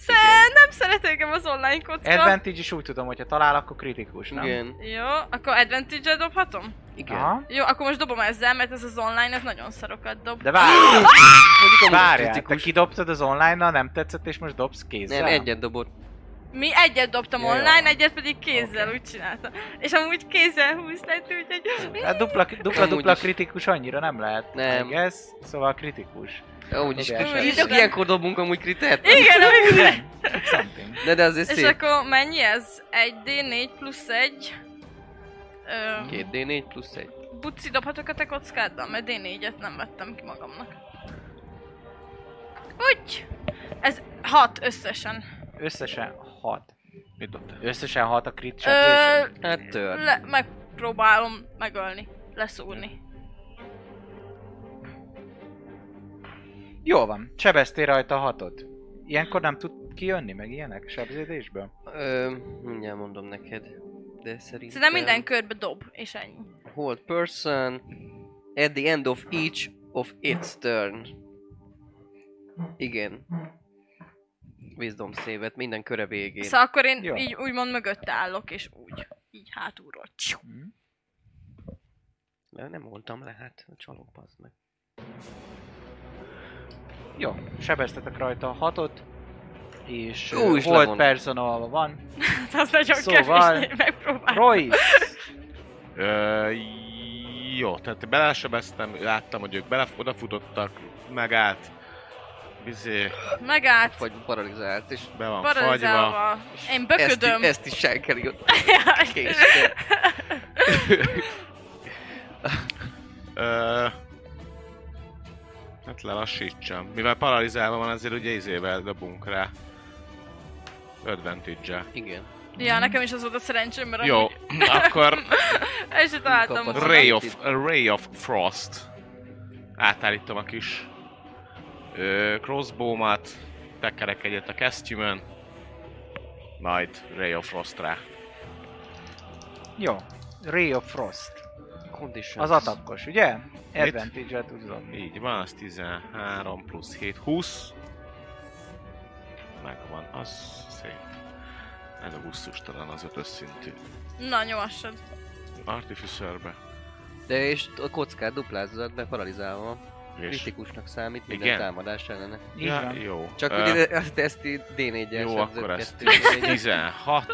[SPEAKER 2] Sze, nem szeret engem az online kocka.
[SPEAKER 1] Advantage is úgy tudom, hogyha talál, akkor kritikus, nem?
[SPEAKER 3] Igen.
[SPEAKER 2] Jó, akkor advantage dobhatom?
[SPEAKER 3] Igen.
[SPEAKER 1] Aha.
[SPEAKER 2] Jó, akkor most dobom ezzel, mert ez az online, ez nagyon szarokat dob.
[SPEAKER 1] De várj!
[SPEAKER 3] Mondjuk
[SPEAKER 1] Várjál, te kidobtad az online-nal, nem tetszett, és most dobsz kézzel?
[SPEAKER 3] Nem, egyet dobott.
[SPEAKER 2] Mi egyet dobtam
[SPEAKER 1] Jaj,
[SPEAKER 2] online,
[SPEAKER 1] jaj.
[SPEAKER 2] egyet pedig kézzel,
[SPEAKER 1] Oké.
[SPEAKER 2] úgy csináltam. És amúgy kézzel húztett, úgyhogy...
[SPEAKER 1] Hát dupla, dupla,
[SPEAKER 3] Amúgy
[SPEAKER 1] dupla
[SPEAKER 3] is.
[SPEAKER 1] kritikus annyira nem lehet.
[SPEAKER 3] Nem.
[SPEAKER 1] I guess, szóval kritikus.
[SPEAKER 3] Amúgy is.
[SPEAKER 1] Dobjál
[SPEAKER 2] sem.
[SPEAKER 3] És csak ilyenkor dobunk amúgy kritet.
[SPEAKER 2] Igen, amikor...
[SPEAKER 1] Something.
[SPEAKER 3] De de azért
[SPEAKER 2] És
[SPEAKER 3] szép.
[SPEAKER 2] akkor mennyi ez? 1D4 plusz 1. Ö,
[SPEAKER 3] 2D4 plusz 1.
[SPEAKER 2] buci dobhatok a te kockáddal, mert D4-et nem vettem ki magamnak. Úgy! Ez 6 összesen.
[SPEAKER 1] Összesen 6.
[SPEAKER 4] Mit dobtál?
[SPEAKER 1] Összesen 6 a crit
[SPEAKER 2] Ö,
[SPEAKER 1] sejtés.
[SPEAKER 3] Hát tör.
[SPEAKER 2] le, megpróbálom megölni, leszúrni.
[SPEAKER 1] Jól van, sebeztél rajta hatot. Ilyenkor nem tud kijönni, meg ilyenek sebződésből?
[SPEAKER 3] Ö, mindjárt mondom neked. De szerintem...
[SPEAKER 2] Szerintem minden körbe dob, és ennyi.
[SPEAKER 3] Hold person. At the end of each of its turn. Igen. Wisdom save minden köre végén.
[SPEAKER 2] Szóval akkor én
[SPEAKER 1] Jó.
[SPEAKER 2] így úgymond mögött állok, és úgy, így hátulról. Csiu.
[SPEAKER 1] Hm?
[SPEAKER 3] Mert nem voltam le, hát csalók az meg.
[SPEAKER 1] Jó, sebeztetek rajta a hatot, és
[SPEAKER 3] Jó
[SPEAKER 1] Ú,
[SPEAKER 3] is
[SPEAKER 1] volt
[SPEAKER 3] levon.
[SPEAKER 1] personal van.
[SPEAKER 2] Hát az nagyon
[SPEAKER 1] Szóval-
[SPEAKER 2] kevés, de én megpróbálom.
[SPEAKER 1] Royce!
[SPEAKER 4] Ö, jó, tehát belesebeztem, láttam, hogy ők bele, odafutottak, megállt, bizé,
[SPEAKER 2] Megállt,
[SPEAKER 3] Vagy paralizált, és
[SPEAKER 4] be van fagyva.
[SPEAKER 2] paralizálva. Én böködöm.
[SPEAKER 3] Ezt, ezt is sánkeli ott
[SPEAKER 2] Jaj.
[SPEAKER 3] késre.
[SPEAKER 4] Ö, hát lelassítsam. Mivel paralizálva van, azért ugye izével dobunk rá. Advantage-el.
[SPEAKER 3] Igen.
[SPEAKER 2] Ja, nekem is az volt a szerencsém, mert
[SPEAKER 4] Jó,
[SPEAKER 2] amúgy
[SPEAKER 4] akkor
[SPEAKER 2] el se találtam
[SPEAKER 3] Kapott.
[SPEAKER 2] volna.
[SPEAKER 4] Ray of, Ray of Frost. Átállítom a kis ö, crossbow-mat, tekerek egyet a kesztyümön, majd Ray of Frost rá.
[SPEAKER 1] Jó, Ray of Frost.
[SPEAKER 3] Condition.
[SPEAKER 1] Az atakos, ugye? Advantage-el tudsz dobni.
[SPEAKER 4] Így van, az 13 plusz 7, 20. Megvan, az szép. Ez a gusztustalan az ötös szintű.
[SPEAKER 2] Na, nyomassad.
[SPEAKER 4] Artificerbe.
[SPEAKER 3] De és a kockát duplázod, mert paralizálva van.
[SPEAKER 4] És...
[SPEAKER 3] Kritikusnak számít minden
[SPEAKER 4] Igen.
[SPEAKER 3] támadás ellene.
[SPEAKER 1] Így
[SPEAKER 4] Ja,
[SPEAKER 1] van.
[SPEAKER 4] jó.
[SPEAKER 3] Csak
[SPEAKER 4] Ö,
[SPEAKER 3] hogy ide- ezt, ezt így D4-el
[SPEAKER 4] Jó,
[SPEAKER 3] sebzett
[SPEAKER 4] akkor ezt
[SPEAKER 3] kettő D4-el.
[SPEAKER 4] 16.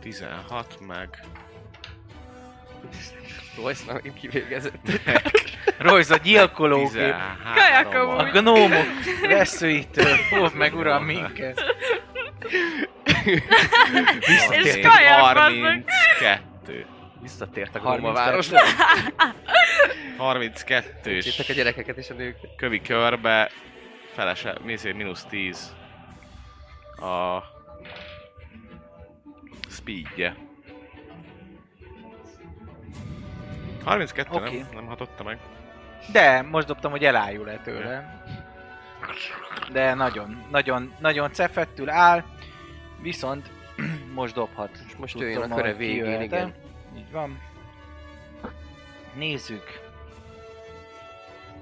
[SPEAKER 4] 16 meg...
[SPEAKER 3] Royce már megint kivégezett.
[SPEAKER 1] Royce a gyilkológép.
[SPEAKER 4] 13.
[SPEAKER 2] Kajakom
[SPEAKER 1] A
[SPEAKER 2] úgy.
[SPEAKER 1] gnómok veszőitől fog meg uram minket.
[SPEAKER 2] És
[SPEAKER 4] Visszatért
[SPEAKER 2] kaják, bazd meg.
[SPEAKER 4] 32.
[SPEAKER 3] Visszatért a
[SPEAKER 1] 32.
[SPEAKER 3] Góma városba.
[SPEAKER 4] 32
[SPEAKER 3] Jöttek a
[SPEAKER 4] és
[SPEAKER 3] gyerekeket és a nőket.
[SPEAKER 4] kövi körbe, felese, mészé, mínusz 10. a speedje. 32,
[SPEAKER 1] Oké.
[SPEAKER 4] nem, nem hatotta meg.
[SPEAKER 1] De, most dobtam, hogy elájul-e tőle. De nagyon, nagyon, nagyon cefettül áll, viszont most dobhat.
[SPEAKER 3] És most
[SPEAKER 1] Tudtam,
[SPEAKER 3] jöjjön a
[SPEAKER 1] ahogy
[SPEAKER 3] köre végén,
[SPEAKER 1] kijöhet-e.
[SPEAKER 3] igen.
[SPEAKER 1] Így van. Nézzük.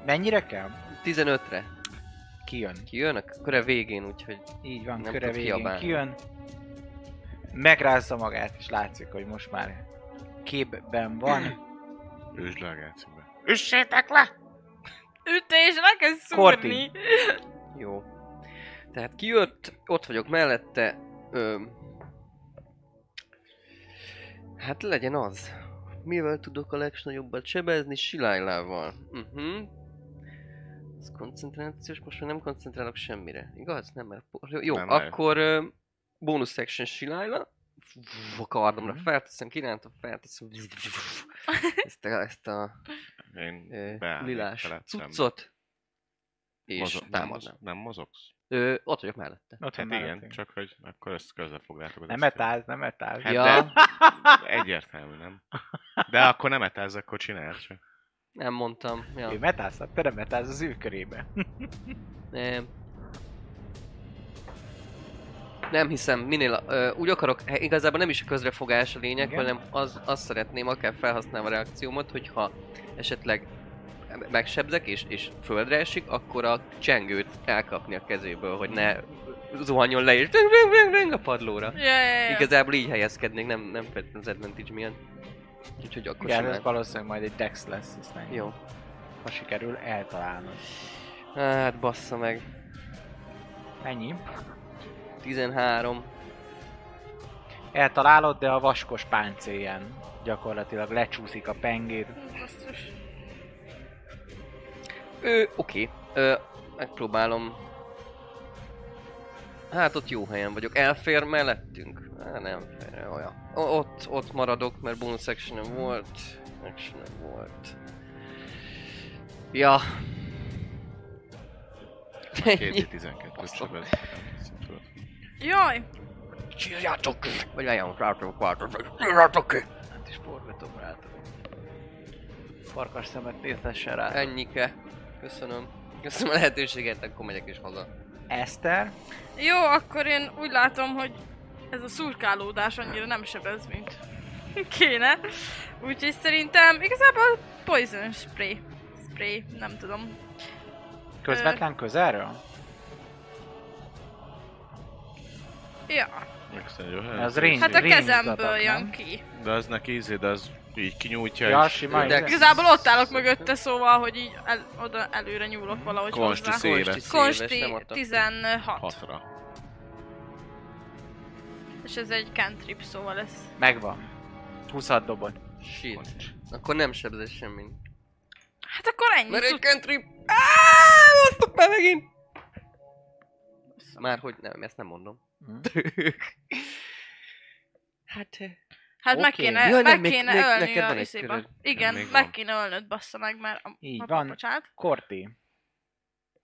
[SPEAKER 1] Mennyire kell?
[SPEAKER 3] 15-re
[SPEAKER 1] Kijön.
[SPEAKER 3] kijön a köre végén, úgyhogy
[SPEAKER 1] Így van,
[SPEAKER 3] Nem
[SPEAKER 1] köre
[SPEAKER 3] tud
[SPEAKER 1] végén
[SPEAKER 3] kiabálni.
[SPEAKER 1] kijön. Megrázza magát, és látszik, hogy most már képben van.
[SPEAKER 4] Ősd le a gáciba.
[SPEAKER 2] Ütés, le kell
[SPEAKER 1] Korti.
[SPEAKER 2] szúrni.
[SPEAKER 3] jó. Tehát kijött, ott vagyok mellette. Ö, hát legyen az. Mivel tudok a legnagyobbat sebezni? Silájlával. Uh-huh. Ez koncentrációs, most már nem koncentrálok semmire. Igaz? Nem, mert... po- Jó,
[SPEAKER 4] Nem,
[SPEAKER 3] nem,
[SPEAKER 4] nem.
[SPEAKER 3] akkor ö, bonus section Silájla. A kardomra
[SPEAKER 1] Mhm.
[SPEAKER 3] felteszem, kirántom, felteszem. Ezt a, ezt a
[SPEAKER 4] Én
[SPEAKER 3] ö,
[SPEAKER 4] Beállnék
[SPEAKER 3] lilás
[SPEAKER 4] felettem.
[SPEAKER 3] cuccot. És
[SPEAKER 4] mozog- nem,
[SPEAKER 3] támadnám.
[SPEAKER 4] moz- nem mozogsz?
[SPEAKER 3] Ö, ott vagyok mellette.
[SPEAKER 1] Ott
[SPEAKER 4] Hát
[SPEAKER 1] van
[SPEAKER 4] igen,
[SPEAKER 1] mellettünk.
[SPEAKER 4] csak hogy akkor ezt közel fogjátok. az
[SPEAKER 1] Nem
[SPEAKER 4] eszköz.
[SPEAKER 1] etáz, nem etáz.
[SPEAKER 4] Hát
[SPEAKER 3] Ja.
[SPEAKER 4] de egyértelmű, nem? De akkor nem etáz, akkor csináld csak.
[SPEAKER 3] Nem mondtam.
[SPEAKER 1] Ő
[SPEAKER 3] Ja.
[SPEAKER 1] metázhat, te nem metáz az ő körébe.
[SPEAKER 3] Nem. Nem hiszem, minél ö, úgy akarok, hát igazából nem is a közrefogás a lényeg,
[SPEAKER 1] Igen.
[SPEAKER 3] hanem az, azt szeretném, akár felhasználva a reakciómat, hogyha esetleg megsebzek és, és földre esik, akkor a csengőt elkapni a kezéből, hogy ne zuhanjon le és döng, döng, döng, döng a padlóra.
[SPEAKER 2] Ja, ja, ja.
[SPEAKER 3] Igazából így helyezkednék, nem, nem feltétlenül az advantage miatt. Úgyhogy akkor
[SPEAKER 1] Igen, ez
[SPEAKER 3] simán.
[SPEAKER 1] valószínűleg majd egy dex lesz, hiszen
[SPEAKER 3] Jó.
[SPEAKER 1] ha sikerül, eltalálnod.
[SPEAKER 3] Hát bassza meg.
[SPEAKER 1] Ennyi.
[SPEAKER 3] 13.
[SPEAKER 1] Eltalálod, de a vaskos páncélján gyakorlatilag lecsúszik a pengét.
[SPEAKER 2] Basszus.
[SPEAKER 3] Ő, oké. Ö, megpróbálom. Hát ott jó helyen vagyok. Elfér mellettünk? Á, nem fér, olyan. O- ott, ott maradok, mert bonus action volt. Action volt. Ja. Ennyi.
[SPEAKER 4] 2-12.
[SPEAKER 3] Baszom.
[SPEAKER 4] Csak az-
[SPEAKER 2] Jaj,
[SPEAKER 3] Csírjátok ki! Vagy olyan, rátok, rátok, csírjátok ki!
[SPEAKER 1] Hát is forgatom rád. Farkas szemet nézhessen rá.
[SPEAKER 3] Ennyike. Köszönöm. Köszönöm a lehetőséget, akkor megyek is haza.
[SPEAKER 1] Eszter,
[SPEAKER 2] jó, akkor én úgy látom, hogy ez a szurkálódás annyira nem sebez, mint kéne. Úgyhogy szerintem igazából poison spray. Spray, nem tudom.
[SPEAKER 1] közvetlen közelről?
[SPEAKER 2] Ja,
[SPEAKER 4] Megszeri, jó,
[SPEAKER 1] Ez
[SPEAKER 4] hát,
[SPEAKER 1] range.
[SPEAKER 2] hát a
[SPEAKER 1] Ring
[SPEAKER 2] kezemből
[SPEAKER 1] mutatok, nem?
[SPEAKER 2] jön ki.
[SPEAKER 4] De az neki ízé, de az így kinyújtja
[SPEAKER 1] Ja,
[SPEAKER 4] és-
[SPEAKER 1] sima,
[SPEAKER 4] De-
[SPEAKER 1] igen.
[SPEAKER 2] Igazából ott állok mögötte, szóval, hogy így el, oda előre nyúlok valahogy
[SPEAKER 4] Konsti
[SPEAKER 2] hozzá.
[SPEAKER 4] széve.
[SPEAKER 3] Konsti széves,
[SPEAKER 2] Konsti
[SPEAKER 3] nem adtam.
[SPEAKER 2] 16.
[SPEAKER 4] Hatra.
[SPEAKER 2] És ez egy cantrip, szóval ez...
[SPEAKER 1] Megvan. 20 dobod.
[SPEAKER 3] Shit. Akkor nem sebzett semmi.
[SPEAKER 2] Hát akkor ennyi.
[SPEAKER 3] Mert egy
[SPEAKER 2] Tud...
[SPEAKER 3] country... Áááá, osztok már megint! Már hogy nem, ezt nem mondom.
[SPEAKER 1] Hm?
[SPEAKER 3] Hát...
[SPEAKER 2] Hát meg
[SPEAKER 1] Oké.
[SPEAKER 2] kéne,
[SPEAKER 3] Jaj, nem,
[SPEAKER 2] meg
[SPEAKER 3] még-
[SPEAKER 2] kéne
[SPEAKER 3] még-
[SPEAKER 2] ölni
[SPEAKER 3] neked
[SPEAKER 2] a
[SPEAKER 3] van egy
[SPEAKER 2] izéba.
[SPEAKER 3] köröd.
[SPEAKER 2] Igen,
[SPEAKER 4] Még
[SPEAKER 2] meg
[SPEAKER 4] van.
[SPEAKER 2] kéne ölnöd, bassza meg már. A,
[SPEAKER 1] Így
[SPEAKER 2] a
[SPEAKER 1] van.
[SPEAKER 2] Bocsánat.
[SPEAKER 1] Korti.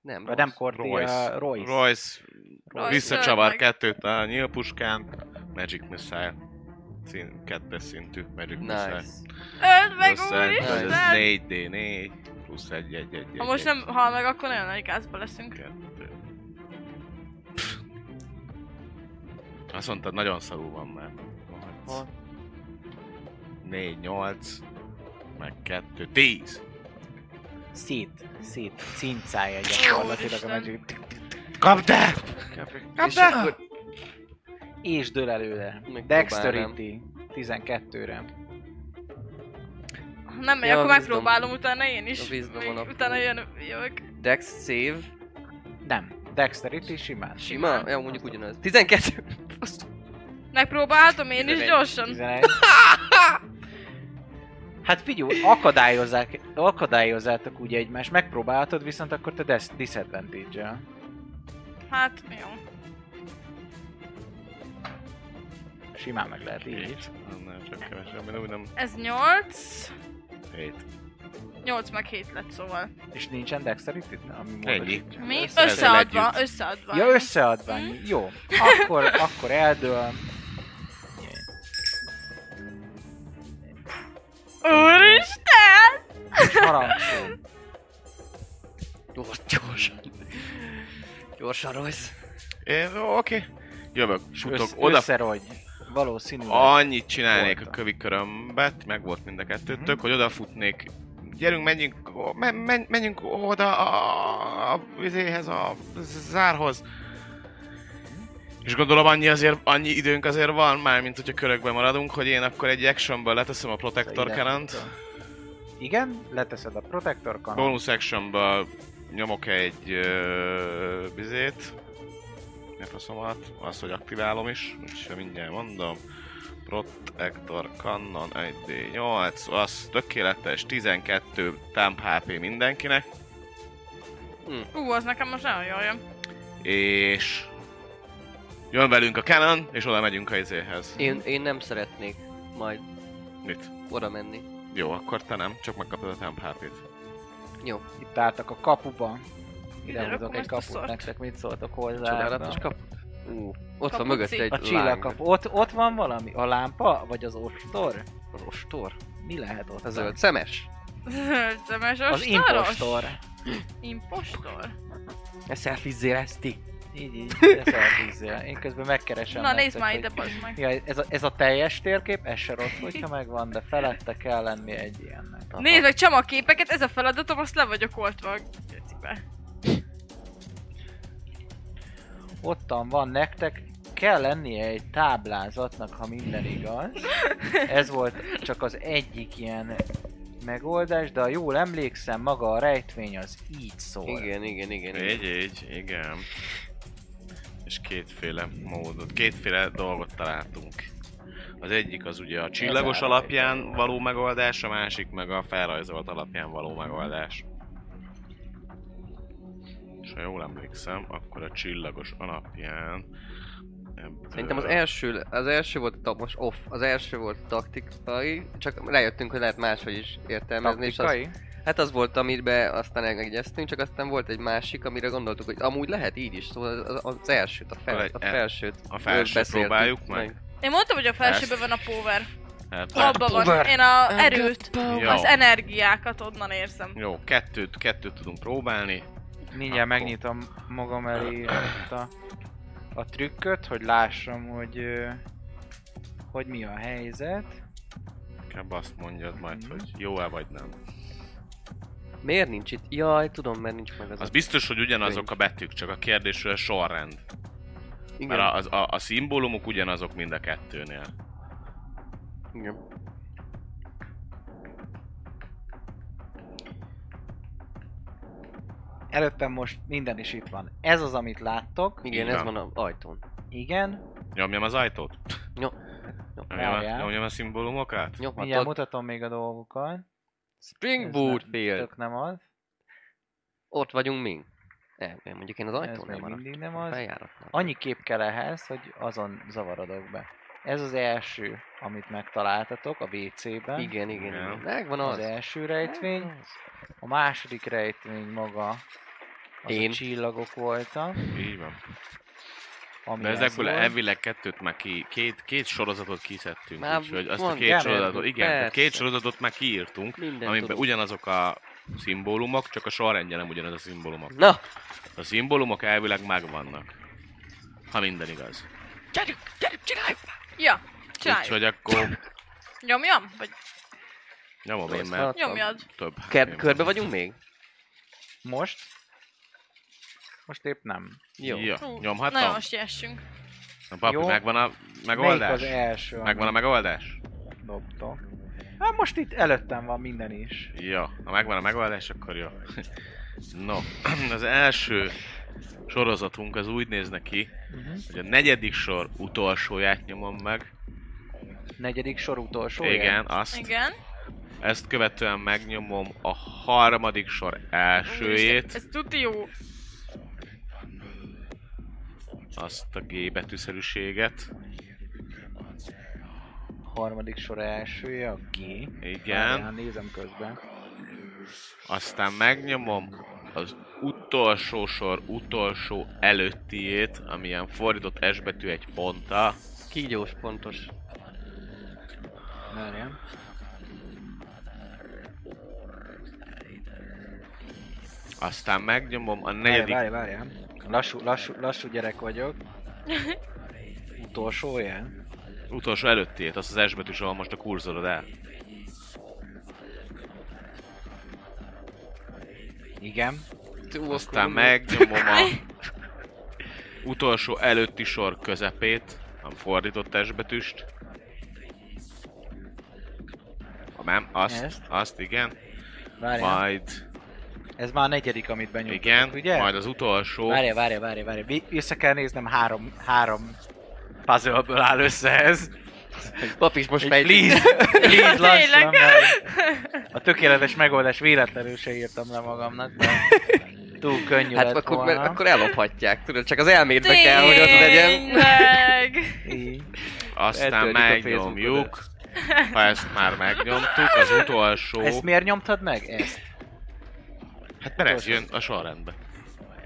[SPEAKER 3] Nem,
[SPEAKER 1] Vagy nem
[SPEAKER 3] rossz.
[SPEAKER 1] Korti,
[SPEAKER 4] Royce.
[SPEAKER 1] a Royce.
[SPEAKER 4] Royce.
[SPEAKER 2] Royce.
[SPEAKER 4] Visszacsavar
[SPEAKER 2] Royce.
[SPEAKER 4] kettőt a nyílpuskán. Magic Missile. Szín, kettes szintű Magic Missile.
[SPEAKER 3] Nice.
[SPEAKER 2] Öld meg,
[SPEAKER 4] Plusz egy, vagy hát ez
[SPEAKER 2] úristen!
[SPEAKER 4] 4D4, plusz 1, 1, 1,
[SPEAKER 2] Ha most nem hal meg, akkor nagyon nagy gázba leszünk.
[SPEAKER 4] Azt mondtad, nagyon szarú van már.
[SPEAKER 3] Hol?
[SPEAKER 4] 4, 8, meg 2, 10!
[SPEAKER 1] Szét, szét, cincálja gyakorlatilag a
[SPEAKER 2] Úristen.
[SPEAKER 1] Magic.
[SPEAKER 4] Kapd el!
[SPEAKER 3] És akkor
[SPEAKER 1] És dől előle.
[SPEAKER 3] Megpróbálnám.
[SPEAKER 1] Dexterity 12-re.
[SPEAKER 2] Ha Nem megy,
[SPEAKER 3] Ja,
[SPEAKER 2] akkor
[SPEAKER 3] wisdom.
[SPEAKER 2] megpróbálom utána én is.
[SPEAKER 3] A wisdom
[SPEAKER 2] Még
[SPEAKER 3] alapú.
[SPEAKER 2] Utána jön, jövök.
[SPEAKER 3] Dex save.
[SPEAKER 1] Nem. Dexterity simán.
[SPEAKER 3] Sima? Ja, mondjuk ugyanaz. 12. Azt-
[SPEAKER 2] Megpróbálhatom én is
[SPEAKER 3] Tizenegy.
[SPEAKER 2] gyorsan.
[SPEAKER 1] 11. Hát figyelj, akadályozzák, akadályozzátok ugye egymást, megpróbálhatod, viszont akkor te des- disadvantage
[SPEAKER 2] Hát, jó.
[SPEAKER 1] Simán meg lehet így is.
[SPEAKER 4] Annál csak kevesebb, mert úgy nem
[SPEAKER 2] Ez 8.
[SPEAKER 4] 7.
[SPEAKER 2] 8 meg 7 lett szóval.
[SPEAKER 1] És nincsen dexterity ami
[SPEAKER 4] Ennyi.
[SPEAKER 1] módosítja.
[SPEAKER 2] Mi?
[SPEAKER 4] Összeadva
[SPEAKER 2] Összeadva,
[SPEAKER 4] együtt.
[SPEAKER 2] összeadva.
[SPEAKER 1] Ja, összeadvány. Jó. Akkor, akkor eldől.
[SPEAKER 2] Úristen!
[SPEAKER 1] És harangszó.
[SPEAKER 3] Gyors, gyorsan. Gyorsan, Royce.
[SPEAKER 4] Én, ó, oké. Jövök, sutok
[SPEAKER 1] Össz,
[SPEAKER 4] oda.
[SPEAKER 1] Összerogy. Valószínűleg.
[SPEAKER 4] Annyit csinálnék a
[SPEAKER 1] Voltam.
[SPEAKER 4] kövi körömbet, meg volt mind a kettőtök,
[SPEAKER 1] Mhm.
[SPEAKER 4] hogy odafutnék. Gyerünk, menjünk, o- men, men, menjünk oda a, a vizéhez, a zárhoz. És gondolom annyi, azért, annyi időnk azért van már, mint hogyha körökben maradunk, hogy én akkor egy actionből leteszem a Protector
[SPEAKER 1] Ide.
[SPEAKER 4] cannon
[SPEAKER 1] Igen, leteszed a Protector Cannon.
[SPEAKER 4] Bonus actionből nyomok egy ö, bizét. Mi a faszomat? Azt, hogy aktiválom is, úgyhogy mindjárt mondom. Protector Cannon 1D8, az tökéletes, 12 temp HP mindenkinek,
[SPEAKER 3] Hm.
[SPEAKER 2] Ú, az nekem most nagyon jól jön.
[SPEAKER 4] és jön velünk a Canon, és oda megyünk a izéhez.
[SPEAKER 3] Én, én nem szeretnék majd
[SPEAKER 4] Mit?
[SPEAKER 3] oda menni.
[SPEAKER 4] Jó, akkor te nem, csak megkapod a temp HP-t.
[SPEAKER 3] Jó,
[SPEAKER 1] Itt álltak a kapuban.
[SPEAKER 2] Ide
[SPEAKER 1] Ide hozok
[SPEAKER 2] rakom
[SPEAKER 1] egy
[SPEAKER 2] ezt a
[SPEAKER 1] kaput
[SPEAKER 2] szart.
[SPEAKER 1] nektek, mit szóltok hozzá?
[SPEAKER 3] csodálatos kap. Ú, ott van
[SPEAKER 2] Kapuci.
[SPEAKER 3] mögött egy
[SPEAKER 1] A csillagkap. Ott, ott van valami? A lámpa? Vagy az ostor?
[SPEAKER 3] láng. Rostor?
[SPEAKER 1] Mi lehet ott?
[SPEAKER 3] A zöld szemes?
[SPEAKER 2] Zöld szemes
[SPEAKER 1] Az
[SPEAKER 2] ostoros?
[SPEAKER 1] impostor.
[SPEAKER 2] Impostor?
[SPEAKER 3] E szelfizzél ezt ti?
[SPEAKER 1] Így, így. Leszelfízzél. Én közben megkeresem.
[SPEAKER 2] Na
[SPEAKER 1] nektek,
[SPEAKER 2] nézd már
[SPEAKER 1] hogy-
[SPEAKER 2] ide, bazd meg.
[SPEAKER 1] Ja, ez a, ez a teljes térkép, ez se rossz, hogyha megvan, de felette kell lenni egy ilyennek. Aha.
[SPEAKER 2] Nézd meg csama a képeket, ez a feladatom, azt le vagyok oltva a gecibe.
[SPEAKER 1] Ottan van nektek, kell lennie egy táblázatnak, ha minden igaz. Ez volt csak az egyik ilyen megoldás, de ha jól emlékszem, maga a rejtvény az így szól.
[SPEAKER 3] Igen, igen, igen. igen.
[SPEAKER 4] Így, így, igen. És kétféle módot, kétféle dolgot találtunk. Az egyik az ugye a csillagos
[SPEAKER 1] áll.
[SPEAKER 4] alapján való megoldás, a másik meg a felrajzolt alapján való megoldás. És ha jól emlékszem, akkor a csillagos alapján... ebből- Hát,
[SPEAKER 3] Szerintem az első, az első volt a ta- most off, az első volt a taktikai, csak rájöttünk, hogy lehet máshogy is értelmezni, és az,
[SPEAKER 1] Taktikai?
[SPEAKER 3] hát az volt, amibe aztán elegyeztünk, csak aztán volt egy másik, amire gondoltuk, hogy amúgy lehet így is, szóval az, az elsőt, a, fel, a
[SPEAKER 4] Akkor egy-
[SPEAKER 3] felsőt.
[SPEAKER 4] e- A felsőt
[SPEAKER 3] beszéltük
[SPEAKER 4] próbáljuk meg?
[SPEAKER 2] Én mondtam, hogy a felsőben
[SPEAKER 4] Ezt.
[SPEAKER 2] van a power.
[SPEAKER 4] Hát-
[SPEAKER 2] Abban van. Én a erőt,
[SPEAKER 4] Jó.
[SPEAKER 2] az energiákat onnan érzem.
[SPEAKER 4] Jó, kettőt, kettőt tudunk próbálni.
[SPEAKER 1] Mindjárt
[SPEAKER 4] Akkor.
[SPEAKER 1] megnyitom magam elé itt a, a trükköt, hogy lássam, hogy ö, hogy mi a helyzet.
[SPEAKER 4] Inkább azt mondjad
[SPEAKER 3] Mhm.
[SPEAKER 4] majd, hogy jó-e vagy nem.
[SPEAKER 3] Miért nincs itt? Jaj, tudom, mert nincs meg az.
[SPEAKER 4] Az biztos, hogy ugyanazok a betűk, csak a kérdés, hogy a sorrend.
[SPEAKER 3] igen,
[SPEAKER 4] Mert a, az- a, a szimbólumok ugyanazok mind a kettőnél.
[SPEAKER 3] igen.
[SPEAKER 1] Előttem most minden is itt van. Ez az, amit láttok.
[SPEAKER 3] igen,
[SPEAKER 4] Így
[SPEAKER 3] ez
[SPEAKER 4] van.
[SPEAKER 3] van az ajtón.
[SPEAKER 1] Igen,
[SPEAKER 4] Nyomjam az ajtót? Nyomjam a,
[SPEAKER 1] Várjál.
[SPEAKER 4] nyomjam a szimbólumokat?
[SPEAKER 1] mindjárt
[SPEAKER 3] Nyomhatod.
[SPEAKER 1] mutatom még a dolgokat. Ez
[SPEAKER 3] Springboard
[SPEAKER 1] nem-
[SPEAKER 3] fél.
[SPEAKER 1] Tök nem az.
[SPEAKER 3] Ott vagyunk mi. Nem, nem, mondjuk én az
[SPEAKER 1] Ez
[SPEAKER 3] ajtón
[SPEAKER 1] még
[SPEAKER 3] nem maradtam.
[SPEAKER 1] mindig nem az.
[SPEAKER 3] Feljáratnál.
[SPEAKER 1] Annyi kép kell ehhez, hogy azon zavarodok be. Ez az első, amit megtaláltatok a WC-ben.
[SPEAKER 3] Igen, igen,
[SPEAKER 4] Igen.
[SPEAKER 3] igen. Megvan
[SPEAKER 1] Az,
[SPEAKER 3] az.
[SPEAKER 1] első rejtvény. A második rejtvény maga az
[SPEAKER 3] Én.
[SPEAKER 1] a csillagok voltak.
[SPEAKER 4] Így van.
[SPEAKER 1] Ami
[SPEAKER 4] De ezekből
[SPEAKER 1] ez volt.
[SPEAKER 4] elvileg kettőt már ki, két, két sorozatot kiszedtünk,
[SPEAKER 3] Már
[SPEAKER 4] úgyhogy azt a
[SPEAKER 3] van,
[SPEAKER 4] két
[SPEAKER 1] igen.
[SPEAKER 4] sorozatot, igen, tehát két
[SPEAKER 3] Persze.
[SPEAKER 4] sorozatot már kiírtunk,
[SPEAKER 3] Minden
[SPEAKER 4] amiben
[SPEAKER 3] Amiben
[SPEAKER 4] ugyanazok a szimbólumok, csak a sorrendje nem ugyanaz a szimbólumok.
[SPEAKER 3] Na!
[SPEAKER 4] A szimbólumok elvileg megvannak. Ha minden igaz.
[SPEAKER 3] Gyerünk, gyerünk, csináljuk!
[SPEAKER 2] Ja, csináljuk.
[SPEAKER 4] Úgyhogy akkor
[SPEAKER 2] Nyomjam? Vagy
[SPEAKER 4] nyomom én,
[SPEAKER 3] Rossz
[SPEAKER 4] mert
[SPEAKER 3] feladat.
[SPEAKER 2] nyomjad?
[SPEAKER 4] több.
[SPEAKER 3] Kör, körbe vagyunk még?
[SPEAKER 1] Most? Most épp nem.
[SPEAKER 3] Jó.
[SPEAKER 4] Ja,
[SPEAKER 2] Ú,
[SPEAKER 4] nyomhatom?
[SPEAKER 2] Nagyon siessünk.
[SPEAKER 4] Na, papi,
[SPEAKER 1] Jó.
[SPEAKER 4] megvan a
[SPEAKER 1] Melyik
[SPEAKER 4] megoldás?
[SPEAKER 1] az első,
[SPEAKER 4] Megvan a
[SPEAKER 1] amit
[SPEAKER 4] megoldás?
[SPEAKER 1] dobtok? Hát most itt előttem van minden is.
[SPEAKER 4] Jó, ha megvan a megoldás, akkor jó. No, az első sorozatunk az úgy néz neki,
[SPEAKER 3] Mhm.
[SPEAKER 1] Uh-huh.
[SPEAKER 4] hogy a negyedik sor utolsóját nyomom meg.
[SPEAKER 1] Negyedik sor utolsó.
[SPEAKER 4] Igen, azt.
[SPEAKER 2] Igen.
[SPEAKER 4] Ezt követően megnyomom a harmadik sor elsőjét,
[SPEAKER 2] Ez tuti jó.
[SPEAKER 4] azt a G betűszerűséget.
[SPEAKER 1] Harmadik sor elsője a G.
[SPEAKER 4] Igen.
[SPEAKER 1] Várjál, nézem közben.
[SPEAKER 4] Aztán megnyomom az utolsó sor utolsó előttiét, amilyen fordított S betű egy ponta.
[SPEAKER 3] Kígyós pontos.
[SPEAKER 1] Várjál.
[SPEAKER 4] Aztán megnyomom a
[SPEAKER 1] Várjál,
[SPEAKER 4] negyedik
[SPEAKER 1] várjál, várjál. Lassú, lassú, lassú gyerek vagyok. Utolsó ilyen.
[SPEAKER 4] Utolsó előttiét, azt az S betűs, ahol most a kurzorod el.
[SPEAKER 1] Igen.
[SPEAKER 3] Tú,
[SPEAKER 4] Aztán megnyomom a utolsó előtti sor közepét, a fordított testbetűst. Ha Nem, azt,
[SPEAKER 1] Ezt?
[SPEAKER 4] azt igen.
[SPEAKER 1] Várjál.
[SPEAKER 4] Majd,
[SPEAKER 1] Ez már a negyedik, amit benyomtunk,
[SPEAKER 4] igen,
[SPEAKER 1] ugye?
[SPEAKER 4] majd az utolsó.
[SPEAKER 1] Várjál, várjál, várjál, várjál. Vi- Vissza kell néznem három, három puzzle-ből áll össze ez.
[SPEAKER 3] Pap is most
[SPEAKER 1] Így
[SPEAKER 3] megy. Hát
[SPEAKER 1] please, please lassan,
[SPEAKER 2] Tényleg?
[SPEAKER 1] mert a tökéletes megoldás véletlenül se írtam le magamnak, mert túl könnyű hát
[SPEAKER 3] Hát
[SPEAKER 1] lett akkor,
[SPEAKER 3] akkor,
[SPEAKER 1] volna.
[SPEAKER 3] mert, akkor ellophatják, tudod, csak az elmédbe kell, hogy ott legyen.
[SPEAKER 2] Tényleg!
[SPEAKER 1] Így.
[SPEAKER 4] Aztán
[SPEAKER 3] eltörjük a
[SPEAKER 4] megnyomjuk. Ha ezt már megnyomtuk, az utolsó.
[SPEAKER 1] Ezt miért nyomtad meg? Ezt.
[SPEAKER 4] Hát mert ez jön a sorrendbe.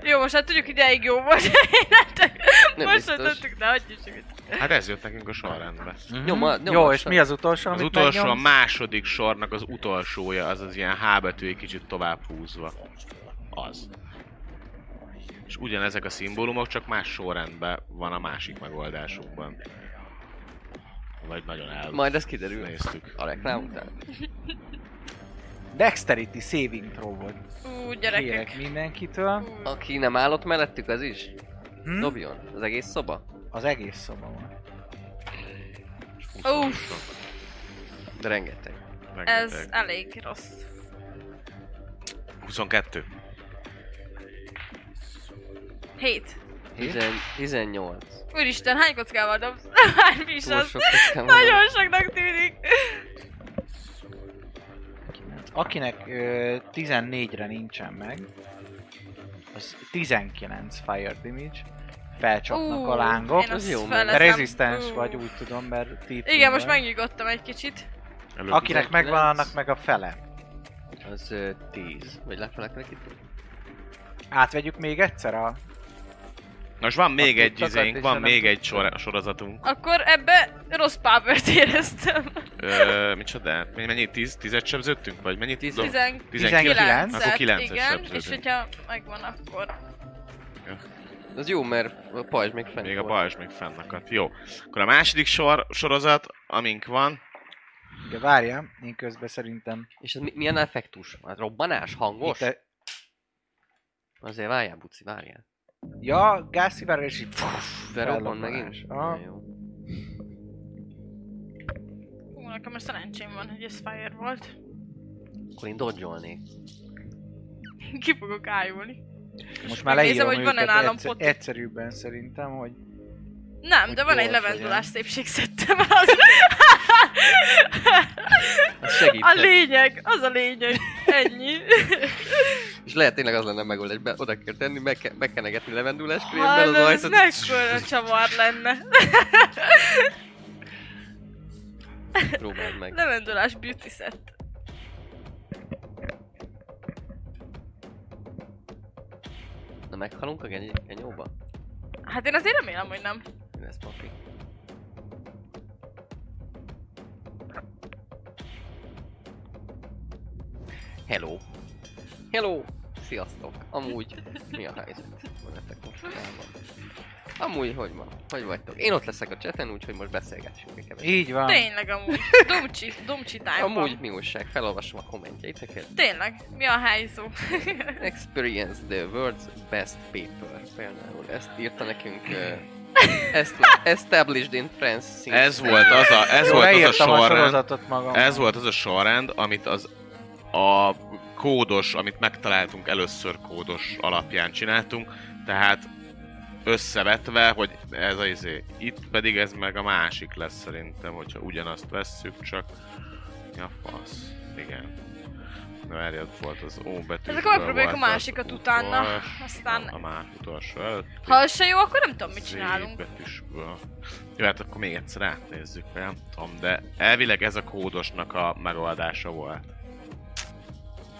[SPEAKER 2] Jó, most hát tudjuk ideig jó volt. Életek.
[SPEAKER 3] Nem
[SPEAKER 2] Most
[SPEAKER 3] biztos.
[SPEAKER 2] tudtuk, de hagyjuk csak.
[SPEAKER 4] Hát ez jött nekünk a sorrendbe.
[SPEAKER 1] Mhm.
[SPEAKER 3] Nyoma-
[SPEAKER 1] Jó, és
[SPEAKER 3] nyomassad.
[SPEAKER 1] mi az utolsó,
[SPEAKER 4] Az
[SPEAKER 1] amit
[SPEAKER 4] utolsó, a
[SPEAKER 1] megnyomsz?
[SPEAKER 4] második sornak az utolsója, az az ilyen H betű egy kicsit tovább húzva. Az. És ugyanezek a szimbólumok, csak más sorrendben van a másik megoldásukban. Vagy nagyon el...
[SPEAKER 3] Majd ez kiderül.
[SPEAKER 4] Néztük.
[SPEAKER 3] A reklám után.
[SPEAKER 1] Dexterity saving throw volt.
[SPEAKER 2] Ú,
[SPEAKER 1] Kérek
[SPEAKER 2] gyerekek.
[SPEAKER 1] mindenkitől.
[SPEAKER 2] Ú.
[SPEAKER 3] Aki nem állott mellettük, az is?
[SPEAKER 1] Hm?
[SPEAKER 3] Dobjon. Az egész szoba?
[SPEAKER 1] Az egész szoba van.
[SPEAKER 2] Uff,
[SPEAKER 3] De rengeteg.
[SPEAKER 4] Rengeteg.
[SPEAKER 2] ez elég rossz.
[SPEAKER 4] 22.
[SPEAKER 2] 7.
[SPEAKER 3] Tizen, 18.
[SPEAKER 2] Úristen, hány kockával dobsz? Bármi is
[SPEAKER 3] Túl
[SPEAKER 2] az.
[SPEAKER 3] sok kockám van.
[SPEAKER 2] Nagyon soknak tűnik.
[SPEAKER 1] Akinek ö, 14-re nincsen meg, az 19 fire damage. Felcsapnak
[SPEAKER 2] Ú,
[SPEAKER 1] a lángok.
[SPEAKER 2] én azt
[SPEAKER 3] az jó,
[SPEAKER 1] Te
[SPEAKER 3] mert
[SPEAKER 2] feleszem.
[SPEAKER 1] rezisztens
[SPEAKER 2] Ú.
[SPEAKER 1] vagy, úgy tudom, mert ti.
[SPEAKER 2] Igen, most megnyugodtam egy kicsit.
[SPEAKER 4] Előbb
[SPEAKER 1] Akinek megvan,
[SPEAKER 3] 19.
[SPEAKER 1] annak meg a fele.
[SPEAKER 3] Az ö, 10. Vagy lefele kell itt?
[SPEAKER 1] Átvegyük még egyszer a...
[SPEAKER 4] Most van még
[SPEAKER 1] Azt
[SPEAKER 4] egy
[SPEAKER 1] tudtakat,
[SPEAKER 4] izénk,
[SPEAKER 1] és
[SPEAKER 4] van
[SPEAKER 1] nem
[SPEAKER 4] még egy sor- sorozatunk.
[SPEAKER 2] Akkor ebbe rossz power éreztem.
[SPEAKER 4] Ö, micsoda? Mennyi? 10 10 sebződtünk? Vagy mennyit?
[SPEAKER 3] Tíz.
[SPEAKER 4] Tizen-
[SPEAKER 1] 19.
[SPEAKER 2] 19
[SPEAKER 4] Akkor 9
[SPEAKER 2] Igen, és hogyha megvan, akkor...
[SPEAKER 3] Az jó, mert a pajzs még fent
[SPEAKER 4] Még a
[SPEAKER 3] volt.
[SPEAKER 4] bajs még fennakadt. Jó. Akkor a második sor, sorozat, amink van,
[SPEAKER 1] Ja, várjál, én közben szerintem... e-
[SPEAKER 3] És ez mi, milyen effektus? Az robbanás? Hangos?
[SPEAKER 1] Itt a-
[SPEAKER 3] Azért várjál, Buci, várjál.
[SPEAKER 1] Ja, gázszivárgás és így...
[SPEAKER 3] De robban
[SPEAKER 1] Felrobbanás. Ah,
[SPEAKER 3] megint?
[SPEAKER 1] Aha.
[SPEAKER 3] Na, jó.
[SPEAKER 2] Ú, nekem most szerencsém van, hogy ez fire volt.
[SPEAKER 3] Akkor én dodgyolnék.
[SPEAKER 2] Ki fogok ájulni.
[SPEAKER 1] Most már
[SPEAKER 2] Megnézem,
[SPEAKER 1] leírom
[SPEAKER 2] hogy van-e
[SPEAKER 1] őket
[SPEAKER 2] nálam
[SPEAKER 1] egyszer,
[SPEAKER 2] pot.
[SPEAKER 1] egyszerűbben szerintem, hogy...
[SPEAKER 2] Nem, de
[SPEAKER 1] Hogy
[SPEAKER 2] van egy
[SPEAKER 1] gyors
[SPEAKER 2] levendulás
[SPEAKER 1] legyen.
[SPEAKER 2] szépségszettem az.
[SPEAKER 3] Ez segít.
[SPEAKER 2] A lényeg, az a lényeg. Ennyi.
[SPEAKER 3] És lehet tényleg az lenne a megoldás, be, oda kell tenni, meg, ke- megkenegetni levendulás krémmel az
[SPEAKER 2] Hallom, ez
[SPEAKER 3] ajtót.
[SPEAKER 2] mekkora csavar lenne.
[SPEAKER 3] Próbáld meg.
[SPEAKER 2] Levendulás beauty set.
[SPEAKER 3] Na meghalunk a geny genyóba?
[SPEAKER 2] Hát én azért remélem, hogy nem.
[SPEAKER 3] Mi lesz papi? Hello! Hello! Sziasztok! Amúgy mi a helyzet veletek mostanában? Amúgy hogy van? Hogy vagytok? Én ott leszek a cseten, úgyhogy most beszélgessünk egy keveset.
[SPEAKER 1] Így van.
[SPEAKER 2] Tényleg amúgy. Dumcsi, dumcsi time
[SPEAKER 3] Amúgy mi újság? Felolvasom a kommentjeiteket.
[SPEAKER 2] Tényleg, mi a helyzó?
[SPEAKER 3] Experience the world's best paper. Például ezt írta nekünk uh, est- Established in France since...
[SPEAKER 4] Ez volt az a, ez
[SPEAKER 1] Jó,
[SPEAKER 4] volt hát az a
[SPEAKER 1] leírtam a
[SPEAKER 4] sorrend,
[SPEAKER 1] sorozatot magam.
[SPEAKER 4] ez volt az a sorrend, amit az a kódos, amit megtaláltunk először kódos alapján csináltunk, tehát összevetve, hogy ez az izé. Itt pedig ez meg a másik lesz szerintem, hogyha ugyanazt vesszük, csak... Ja, fasz. Igen. Na, erre ott volt az O betű.
[SPEAKER 2] akkor megpróbáljuk a másikat utána, aztán-
[SPEAKER 4] A más utolsó előtt.
[SPEAKER 2] Ha az se jó, akkor nem tudom, mit csinálunk.
[SPEAKER 4] Z-betűsből. Jó, hát akkor még egyszer átnézzük, vagy nem tudom, de elvileg ez a kódosnak a megoldása volt.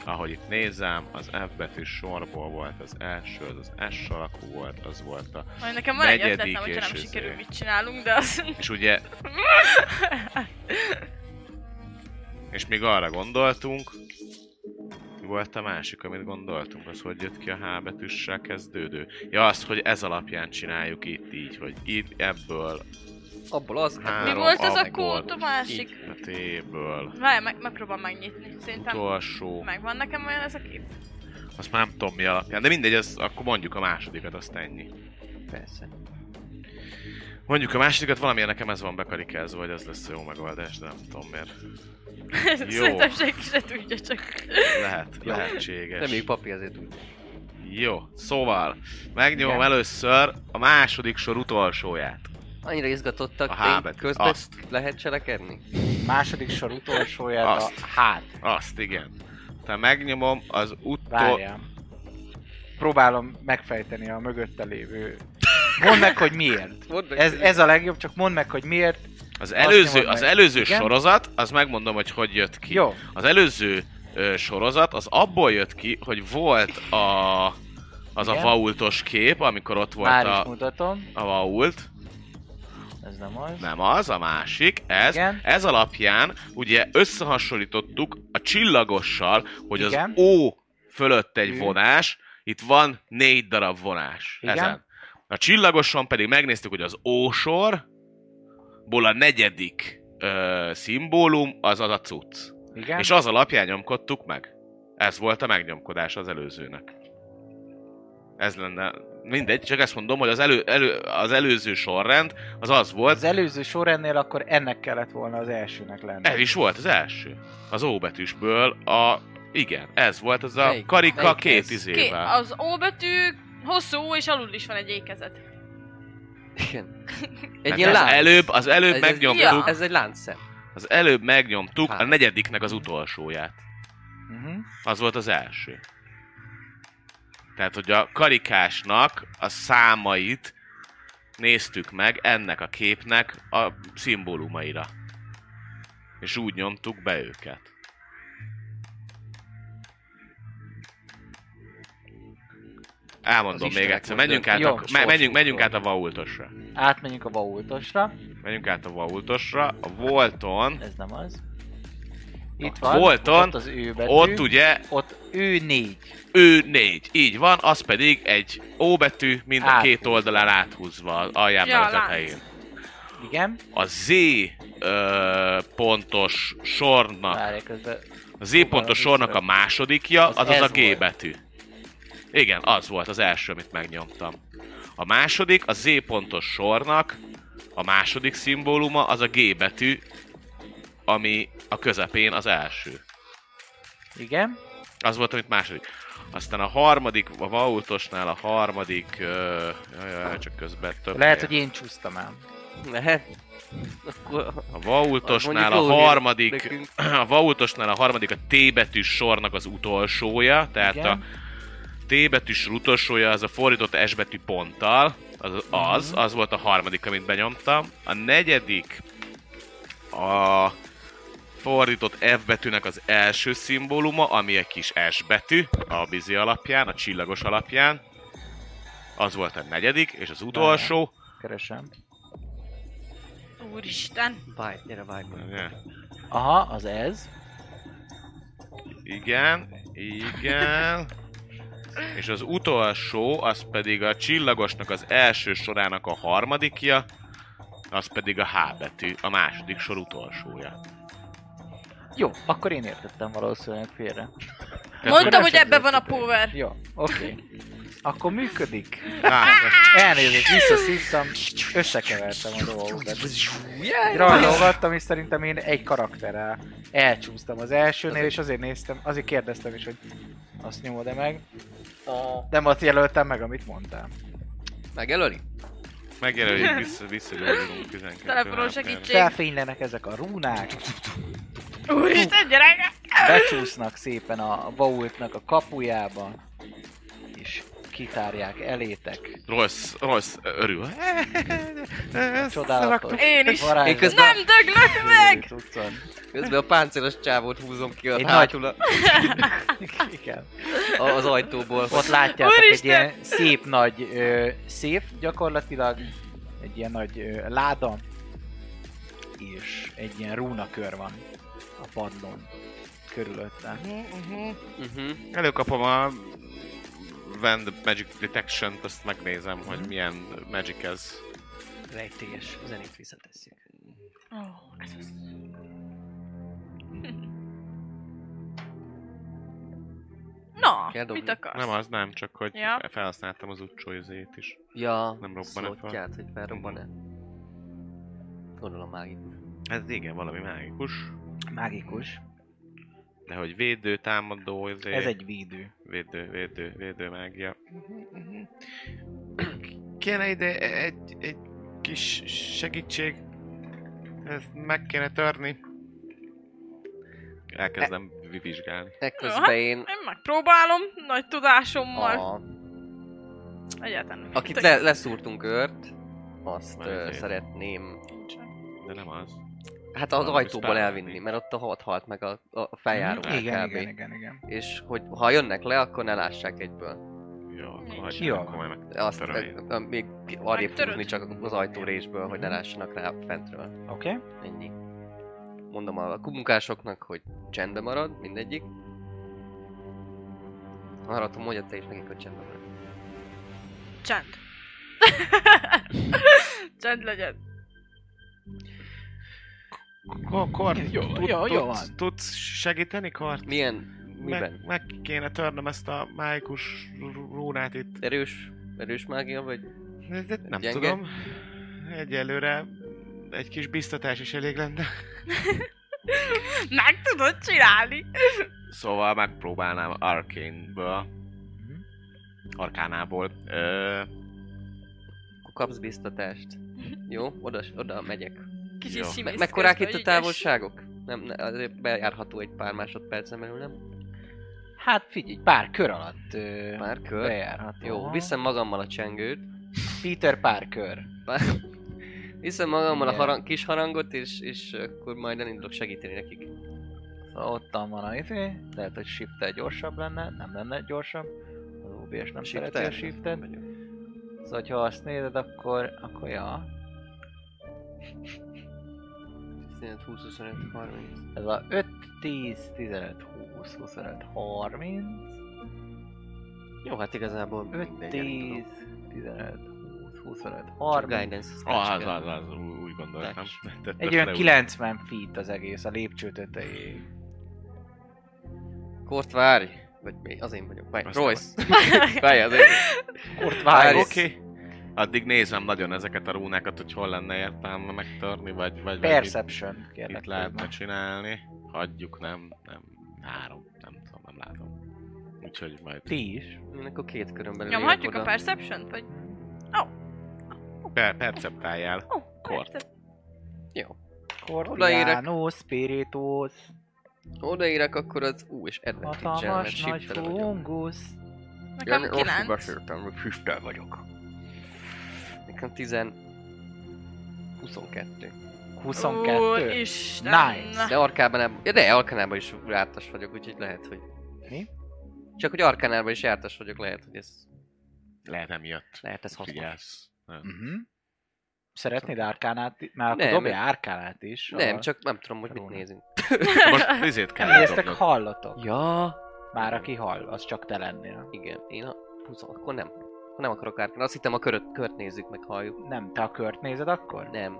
[SPEAKER 4] Ahogy itt nézem, az F betű sorból volt az első, az az S alakú volt, az volt a...
[SPEAKER 2] Majd nekem van egy
[SPEAKER 4] Negyedik
[SPEAKER 2] ötletem, hogyha nem
[SPEAKER 4] és
[SPEAKER 2] sikerül,
[SPEAKER 4] izé.
[SPEAKER 2] mit csinálunk, de az...
[SPEAKER 4] És ugye... És még arra gondoltunk... Mi volt a másik, amit gondoltunk? Az, hogy jött ki a H betűssel kezdődő? Ja, az, hogy ez alapján csináljuk itt így, hogy itt ebből,
[SPEAKER 3] Abból az,
[SPEAKER 4] Három
[SPEAKER 2] Mi volt az a
[SPEAKER 4] angol.
[SPEAKER 2] kód, a másik?
[SPEAKER 4] így a T-ből,
[SPEAKER 2] Várj, meg, megpróbálom megnyitni. Szerintem
[SPEAKER 4] utolsó...
[SPEAKER 2] megvan nekem olyan ez a kép.
[SPEAKER 4] Azt már nem tudom mi alapján, de mindegy, az, akkor mondjuk a másodikat, azt ennyi.
[SPEAKER 3] Persze.
[SPEAKER 4] Mondjuk a másodikat, valamilyen nekem ez van bekarikázva, hogy ez lesz a jó megoldás, de nem tudom miért.
[SPEAKER 2] Szerintem senki se tudja, csak...
[SPEAKER 4] Lehet,
[SPEAKER 3] Jó.
[SPEAKER 4] lehetséges.
[SPEAKER 3] Reméljük papír azért úgy.
[SPEAKER 4] Jó, szóval megnyomom
[SPEAKER 3] Igen.
[SPEAKER 4] először a második sor utolsóját.
[SPEAKER 3] Annyira izgatottak,
[SPEAKER 4] A
[SPEAKER 3] a
[SPEAKER 4] hábet.
[SPEAKER 3] közben
[SPEAKER 4] Azt.
[SPEAKER 3] lehet cselekedni?
[SPEAKER 1] Második sor utolsóját
[SPEAKER 4] Azt.
[SPEAKER 1] a hát.
[SPEAKER 4] Azt, igen. Tehát megnyomom az utol...
[SPEAKER 1] Várjál. Próbálom megfejteni a mögötte lévő... Mondd meg, hogy miért.
[SPEAKER 3] Mondd meg,
[SPEAKER 1] Ez,
[SPEAKER 3] hogy-
[SPEAKER 1] ez a legjobb, csak mondd meg, hogy miért. Azt
[SPEAKER 4] Az előző,
[SPEAKER 1] nyomod
[SPEAKER 4] az
[SPEAKER 1] meg.
[SPEAKER 4] előző
[SPEAKER 1] Igen?
[SPEAKER 4] sorozat, az megmondom, hogy hogy jött ki.
[SPEAKER 1] Jó.
[SPEAKER 4] Az előző ö, sorozat, az abból jött ki, hogy volt a... Az a
[SPEAKER 1] Igen.
[SPEAKER 4] vaultos kép, amikor ott volt
[SPEAKER 1] Már is
[SPEAKER 4] a,
[SPEAKER 1] mutatom.
[SPEAKER 4] a vault.
[SPEAKER 1] Ez nem az.
[SPEAKER 4] Nem az, a másik, ez.
[SPEAKER 1] Igen.
[SPEAKER 4] Ez alapján ugye összehasonlítottuk a csillagossal, hogy
[SPEAKER 1] Igen.
[SPEAKER 4] az O fölött egy
[SPEAKER 1] Ű.
[SPEAKER 4] vonás, itt van négy darab vonás.
[SPEAKER 1] Igen.
[SPEAKER 4] Ezen. A csillagoson pedig megnéztük, hogy az O-sorból a negyedik ö, szimbólum az az a cucc.
[SPEAKER 1] Igen?
[SPEAKER 4] És az alapján nyomkodtuk meg. Ez volt a megnyomkodás az előzőnek. Ez lenne... Mindegy, csak ezt mondom, hogy az, elő, elő, az előző sorrend az az volt,
[SPEAKER 1] Az előző sorrendnél akkor ennek kellett volna az elsőnek lenni.
[SPEAKER 4] Ez is volt az első. Az O betűsből a... Igen, ez volt az a
[SPEAKER 3] Melyik?
[SPEAKER 4] karika
[SPEAKER 3] Melyik
[SPEAKER 4] két
[SPEAKER 3] ez?
[SPEAKER 2] Ké,
[SPEAKER 4] izével. Hát
[SPEAKER 2] az O betű, hosszú ó, és alul is van egy ékezet.
[SPEAKER 3] Igen.
[SPEAKER 4] Nem,
[SPEAKER 3] Egy ilyen
[SPEAKER 4] az
[SPEAKER 3] lánc.
[SPEAKER 4] Hát előbb, az előbb
[SPEAKER 3] Ez-
[SPEAKER 4] megnyomtuk,
[SPEAKER 2] Ja.
[SPEAKER 4] az,
[SPEAKER 3] Ez egy láncszem.
[SPEAKER 4] előbb megnyomtuk a
[SPEAKER 3] Hát.
[SPEAKER 4] negyediknek az utolsóját.
[SPEAKER 1] Uh-huh.
[SPEAKER 4] Az volt az első. Tehát, hogy a karikásnak a számait néztük meg ennek a képnek a szimbólumaira. És úgy nyomtuk be őket.
[SPEAKER 3] Az
[SPEAKER 4] Elmondom még
[SPEAKER 3] Istenek
[SPEAKER 4] egyszer,
[SPEAKER 3] mondja.
[SPEAKER 4] menjünk át,
[SPEAKER 1] Jó,
[SPEAKER 4] a, me,
[SPEAKER 1] sors
[SPEAKER 4] menjünk, menjünk át
[SPEAKER 3] tudod.
[SPEAKER 4] a vaultosra.
[SPEAKER 1] Átmenjünk a vaultosra.
[SPEAKER 4] Menjünk át a vaultosra, a volton,
[SPEAKER 1] Ez nem az.
[SPEAKER 4] A
[SPEAKER 1] Itt van.
[SPEAKER 4] Volton,
[SPEAKER 1] Ott az ő betű.
[SPEAKER 4] ott ugye
[SPEAKER 1] Ott ő négy.
[SPEAKER 4] ő négy, így van, az pedig egy O betű, mind a két
[SPEAKER 1] Áthúzva.
[SPEAKER 4] oldalán áthúzva az alján
[SPEAKER 2] Ja,
[SPEAKER 4] ja, a
[SPEAKER 2] lánc.
[SPEAKER 4] tetején.
[SPEAKER 1] Igen.
[SPEAKER 4] A Z ö, pontos sornak,
[SPEAKER 1] Várj, közben
[SPEAKER 4] a Z pontos sornak a másodikja,
[SPEAKER 1] Az
[SPEAKER 4] az az,
[SPEAKER 1] ez
[SPEAKER 4] a G
[SPEAKER 1] volt.
[SPEAKER 4] betű. Igen, az volt az első, amit megnyomtam. A második, a Z pontos sornak a második szimbóluma, az a G betű, ami a közepén az első.
[SPEAKER 1] Igen.
[SPEAKER 4] Az volt, amit második. Aztán a harmadik, a Vaultosnál a harmadik... Ö, jaj, jaj, csak közben több
[SPEAKER 1] Lehet,
[SPEAKER 4] helyen.
[SPEAKER 1] hogy én csúsztam el.
[SPEAKER 3] Lehet. Akkor...
[SPEAKER 4] A Vaultosnál a
[SPEAKER 3] Mondjuk jó,
[SPEAKER 4] harmadik...
[SPEAKER 3] nekünk.
[SPEAKER 4] A Vaultosnál a harmadik a T betűs sornak az utolsója, tehát
[SPEAKER 1] Igen.
[SPEAKER 4] Hát a T betűs utolsója az a fordított S betű ponttal, az az, az volt a harmadik, amit benyomtam. A negyedik a fordított F betűnek az első szimbóluma, ami egy kis S betű, a bizi alapján, a csillagos alapján. Az volt a negyedik, és az utolsó...
[SPEAKER 1] Keresem.
[SPEAKER 2] Úristen.
[SPEAKER 3] Vágj, gyere, vágj.
[SPEAKER 1] Aha, az ez.
[SPEAKER 4] Igen, igen. És az utolsó, az pedig a csillagosnak az első sorának a harmadikja, az pedig a H betű, a második sor utolsója.
[SPEAKER 1] Jó, akkor én értettem valószínűleg félre.
[SPEAKER 2] Mondtam, hogy
[SPEAKER 1] sem
[SPEAKER 2] ebben van a
[SPEAKER 1] tudok.
[SPEAKER 2] power.
[SPEAKER 1] Jó, oké. Akkor működik.
[SPEAKER 4] Hát,
[SPEAKER 1] Elnézést, visszaszívtam, összekevertem a dolgokat.
[SPEAKER 3] Jaj,
[SPEAKER 1] Rajlógattam, és szerintem én egy karakterrel elcsúsztam az elsőnél, és azért néztem, azért kérdeztem is, hogy azt nyomod-e meg. Nem azt jelöltem meg, amit mondtam.
[SPEAKER 3] Megjelöli?
[SPEAKER 4] megjelöljük, vissza, visszagyógyulunk 12
[SPEAKER 2] Telefonon
[SPEAKER 4] percre.
[SPEAKER 2] segítség.
[SPEAKER 1] Felfénylenek ezek a rúnák,
[SPEAKER 2] Úristen, gyerek!
[SPEAKER 1] becsúsznak szépen a vaultnak a kapujába, és kitárják elétek.
[SPEAKER 4] Rossz, rossz, örül.
[SPEAKER 1] Csodálatos.
[SPEAKER 2] Én is.
[SPEAKER 1] varázs-
[SPEAKER 3] Én közben-
[SPEAKER 2] Nem döglök meg!
[SPEAKER 1] Cuccon.
[SPEAKER 3] Közben a páncélos csávót húzom ki
[SPEAKER 1] Egy
[SPEAKER 3] a
[SPEAKER 1] nagy-
[SPEAKER 3] hátul a-
[SPEAKER 1] Igen.
[SPEAKER 3] a- az ajtóból.
[SPEAKER 1] Ott látjátok egy
[SPEAKER 2] Úristen!
[SPEAKER 1] ilyen szép nagy ö, szép gyakorlatilag, egy ilyen nagy ö, láda, és egy ilyen rúnakör van a padlón körülötte.
[SPEAKER 3] Mhm.
[SPEAKER 4] Előkapom a Vend Magic Detection-t, azt megnézem, hogy milyen magic ez.
[SPEAKER 3] Rejtélyes zenét visszatesszük.
[SPEAKER 2] Ó, ez az. Na,
[SPEAKER 3] Kell dobni.
[SPEAKER 2] mit akarsz?
[SPEAKER 4] Nem az, nem, csak hogy
[SPEAKER 2] Ja.
[SPEAKER 4] felhasználtam az utcsóizét is.
[SPEAKER 3] Ja,
[SPEAKER 4] Nem robban-e fel?
[SPEAKER 3] szlotját, hogy felrobban-e. Gondolom mágikus.
[SPEAKER 4] Hát igen, valami mágikus.
[SPEAKER 1] Mágikus.
[SPEAKER 4] De hogy védő, támadó, izé,
[SPEAKER 1] Ez egy védő.
[SPEAKER 4] védő, védő, védő mágia. Kéne ide egy, egy kis segítség. Ezt meg kéne törni. Elkezdem vi- vizsgálni.
[SPEAKER 3] Ekközben én...
[SPEAKER 2] Én megpróbálom, nagy tudásommal.
[SPEAKER 3] A,
[SPEAKER 2] Egyáltalán nem
[SPEAKER 3] akit le,
[SPEAKER 2] értek.
[SPEAKER 3] leszúrtunk őrt, azt
[SPEAKER 4] Már
[SPEAKER 3] ö,
[SPEAKER 4] egy
[SPEAKER 3] szeretném...
[SPEAKER 4] De nem az.
[SPEAKER 3] Hát az
[SPEAKER 4] Valami
[SPEAKER 3] ajtóból
[SPEAKER 4] spell
[SPEAKER 3] elvinni,
[SPEAKER 4] venni.
[SPEAKER 3] mert ott a hat halt meg a,
[SPEAKER 4] Mhm.
[SPEAKER 3] a feljáró
[SPEAKER 1] igen, Mhm. igen,
[SPEAKER 3] kb.
[SPEAKER 1] igen, igen, igen.
[SPEAKER 3] És hogy ha jönnek le, akkor ne lássák egyből.
[SPEAKER 4] Jó, akkor
[SPEAKER 2] Nincs.
[SPEAKER 4] hagyjam,
[SPEAKER 1] Jó.
[SPEAKER 4] akkor majd meg
[SPEAKER 3] Azt
[SPEAKER 4] törölni.
[SPEAKER 3] ö, ö, még ki- arrébb
[SPEAKER 2] Megtöröd?
[SPEAKER 3] húzni csak az ajtórésből, hogy ne
[SPEAKER 1] Mhm.
[SPEAKER 3] lássanak rá fentről.
[SPEAKER 1] Oké? Okay?
[SPEAKER 3] Ennyi. Mondom a munkásoknak, hogy csendbe marad, mindegyik. Haratom, hogy te is nekik, hogy csendbe marad.
[SPEAKER 2] Csend. Csend legyen.
[SPEAKER 4] Ko- Kort,
[SPEAKER 1] Jó,
[SPEAKER 4] tud-
[SPEAKER 1] jó, jó
[SPEAKER 4] tudsz-
[SPEAKER 1] van.
[SPEAKER 4] Tudsz segíteni, Kort?
[SPEAKER 3] Milyen?
[SPEAKER 4] Meg,
[SPEAKER 3] Miben?
[SPEAKER 4] meg kéne törnöm ezt a mágikus rú- rúnát itt.
[SPEAKER 3] Erős? Erős mágia vagy?
[SPEAKER 4] De- de Nem
[SPEAKER 3] Gyenge?
[SPEAKER 4] tudom. Egyelőre egy kis biztatás is elég lenne.
[SPEAKER 2] Meg tudod csinálni.
[SPEAKER 4] Szóval megpróbálnám Arcane-ből,
[SPEAKER 1] Mhm.
[SPEAKER 4] Arkánából. Ö,
[SPEAKER 3] Akkor kapsz biztatást. Jó? Oda, oda megyek.
[SPEAKER 2] Kicsit
[SPEAKER 4] Jó.
[SPEAKER 2] simész
[SPEAKER 3] Me-
[SPEAKER 2] közben,
[SPEAKER 3] mekkorák itt a
[SPEAKER 2] ügyes.
[SPEAKER 3] távolságok? Nem, ne, azért bejárható egy pár másodpercen belül, nem?
[SPEAKER 1] Hát figyelj, pár kör alatt ö,
[SPEAKER 3] Pár kör.
[SPEAKER 1] bejárható.
[SPEAKER 3] Jó, viszem magammal a csengőt.
[SPEAKER 1] Peter pár kör.
[SPEAKER 3] Pár- Viszem magammal a
[SPEAKER 1] Igen.
[SPEAKER 3] harang, kis harangot, és, és akkor majd elindulok segíteni nekik.
[SPEAKER 1] Szóval ottan van a izé, lehet, hogy shift gyorsabb lenne, nem lenne gyorsabb. Az OBS nem
[SPEAKER 3] Shifter?
[SPEAKER 1] szereti a shiftet. Szóval, ha azt nézed, akkor, akkor ja,
[SPEAKER 3] 15, 20, 25, 30.
[SPEAKER 1] Ez a 5, 10, 15, 20, 25, 30,
[SPEAKER 3] Jó, hát igazából
[SPEAKER 1] 5,
[SPEAKER 3] mindegy,
[SPEAKER 1] 10,
[SPEAKER 3] elindulok.
[SPEAKER 1] 15, 20, 25,
[SPEAKER 3] Csak
[SPEAKER 1] 30.
[SPEAKER 3] guidance azt
[SPEAKER 4] ah, az,
[SPEAKER 3] kell.
[SPEAKER 4] az, az, ú- úgy gondoltam.
[SPEAKER 1] Egy olyan 90 feet az egész a lépcső tetejéig.
[SPEAKER 3] Kort várj! Vagy mi? Az én vagyok. Várj,
[SPEAKER 4] Azt
[SPEAKER 3] Royce! Várj, az én
[SPEAKER 1] Kort
[SPEAKER 3] várj,
[SPEAKER 1] várj,
[SPEAKER 4] Oké. Addig nézem nagyon ezeket a rúnákat, hogy hol lenne értelme megtörni, vagy, vagy, vagy mit,
[SPEAKER 1] Perception, kérlek.
[SPEAKER 4] mit lehetne
[SPEAKER 1] Kuzma.
[SPEAKER 4] csinálni. Hagyjuk, nem, nem, három, nem tudom, nem látom. Úgyhogy majd
[SPEAKER 1] Ti is.
[SPEAKER 3] Én akkor két körön belül
[SPEAKER 2] Nyomhatjuk a
[SPEAKER 3] érek
[SPEAKER 2] perception vagy...
[SPEAKER 4] per- perceptáljál.
[SPEAKER 2] Ó,
[SPEAKER 4] Kort.
[SPEAKER 2] percep-
[SPEAKER 3] Jó. Odaérek.
[SPEAKER 1] Cordiano, Spiritus,
[SPEAKER 3] Odaérek akkor az... Ú, és advantage-el, mert
[SPEAKER 1] hatalmas nagy
[SPEAKER 3] shifter vagyok.
[SPEAKER 1] fungus.
[SPEAKER 2] Nekem kilenc.
[SPEAKER 3] beszéltem, hogy shifter vagyok. Nekem 10... 22.
[SPEAKER 1] 22.
[SPEAKER 2] Úristen.
[SPEAKER 1] Nice.
[SPEAKER 3] De arkánában... Ja, de arkánában is jártas vagyok, úgyhogy lehet, hogy...
[SPEAKER 1] Mi?
[SPEAKER 3] Csak hogy arkánában is jártas vagyok, lehet, hogy ez...
[SPEAKER 4] Lehet nem jött.
[SPEAKER 3] Lehet ez hasznos.
[SPEAKER 4] Figyelsz. Nem.
[SPEAKER 1] Mhm. Szeretnéd árkánát is? Már akkor
[SPEAKER 3] Nem.
[SPEAKER 1] dobja árkánát is.
[SPEAKER 3] Nem,
[SPEAKER 1] a-
[SPEAKER 3] csak nem tudom, hogy mit
[SPEAKER 1] Róla.
[SPEAKER 3] nézünk.
[SPEAKER 4] Most vizét kell
[SPEAKER 1] Nem néztek,
[SPEAKER 4] dobnod.
[SPEAKER 1] hallotok.
[SPEAKER 3] Ja,
[SPEAKER 1] Már aki hall, az csak te lennél.
[SPEAKER 3] igen. Én a... Húzom, akkor nem. Akkor nem akarok árkán. Azt hittem a köröt, kört nézzük, meg halljuk.
[SPEAKER 1] Nem, te a kört nézed akkor?
[SPEAKER 3] Nem.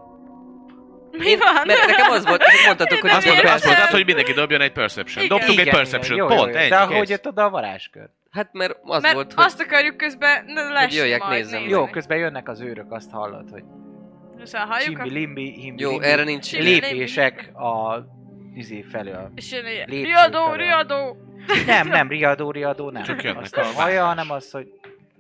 [SPEAKER 2] Mi van?
[SPEAKER 3] Mert nekem az volt, mondtatok, hogy
[SPEAKER 2] Nem
[SPEAKER 4] Azt mondtad, azt
[SPEAKER 2] értem.
[SPEAKER 4] mondtad, hogy mindenki dobjon egy perception.
[SPEAKER 2] Igen.
[SPEAKER 4] Dobtuk egy perception,
[SPEAKER 1] igen,
[SPEAKER 4] pont, ennyi,
[SPEAKER 1] De
[SPEAKER 4] kész.
[SPEAKER 1] ahogy jött oda a varázskör.
[SPEAKER 3] Hát mert az
[SPEAKER 2] Mert
[SPEAKER 3] volt, hogy...
[SPEAKER 2] azt akarjuk közben, ne lesz
[SPEAKER 3] jöjjek,
[SPEAKER 2] majd
[SPEAKER 3] nézzem.
[SPEAKER 1] Jó, közben jönnek az őrök, azt hallod, hogy
[SPEAKER 2] És Szóval halljuk,
[SPEAKER 1] csimbi
[SPEAKER 2] akkor-
[SPEAKER 1] limbi, himbi
[SPEAKER 3] Jó,
[SPEAKER 1] limbi,
[SPEAKER 3] erre nincs
[SPEAKER 2] Csilli-
[SPEAKER 3] idő.
[SPEAKER 1] lépések a izé felől.
[SPEAKER 2] és jön egy
[SPEAKER 1] lépcső
[SPEAKER 2] riadó,
[SPEAKER 1] felől.
[SPEAKER 2] riadó.
[SPEAKER 1] Nem, nem, riadó, riadó, nem.
[SPEAKER 4] Csak jönnek
[SPEAKER 1] Azt
[SPEAKER 4] a
[SPEAKER 1] a haja,
[SPEAKER 4] váltás.
[SPEAKER 1] hanem az, hogy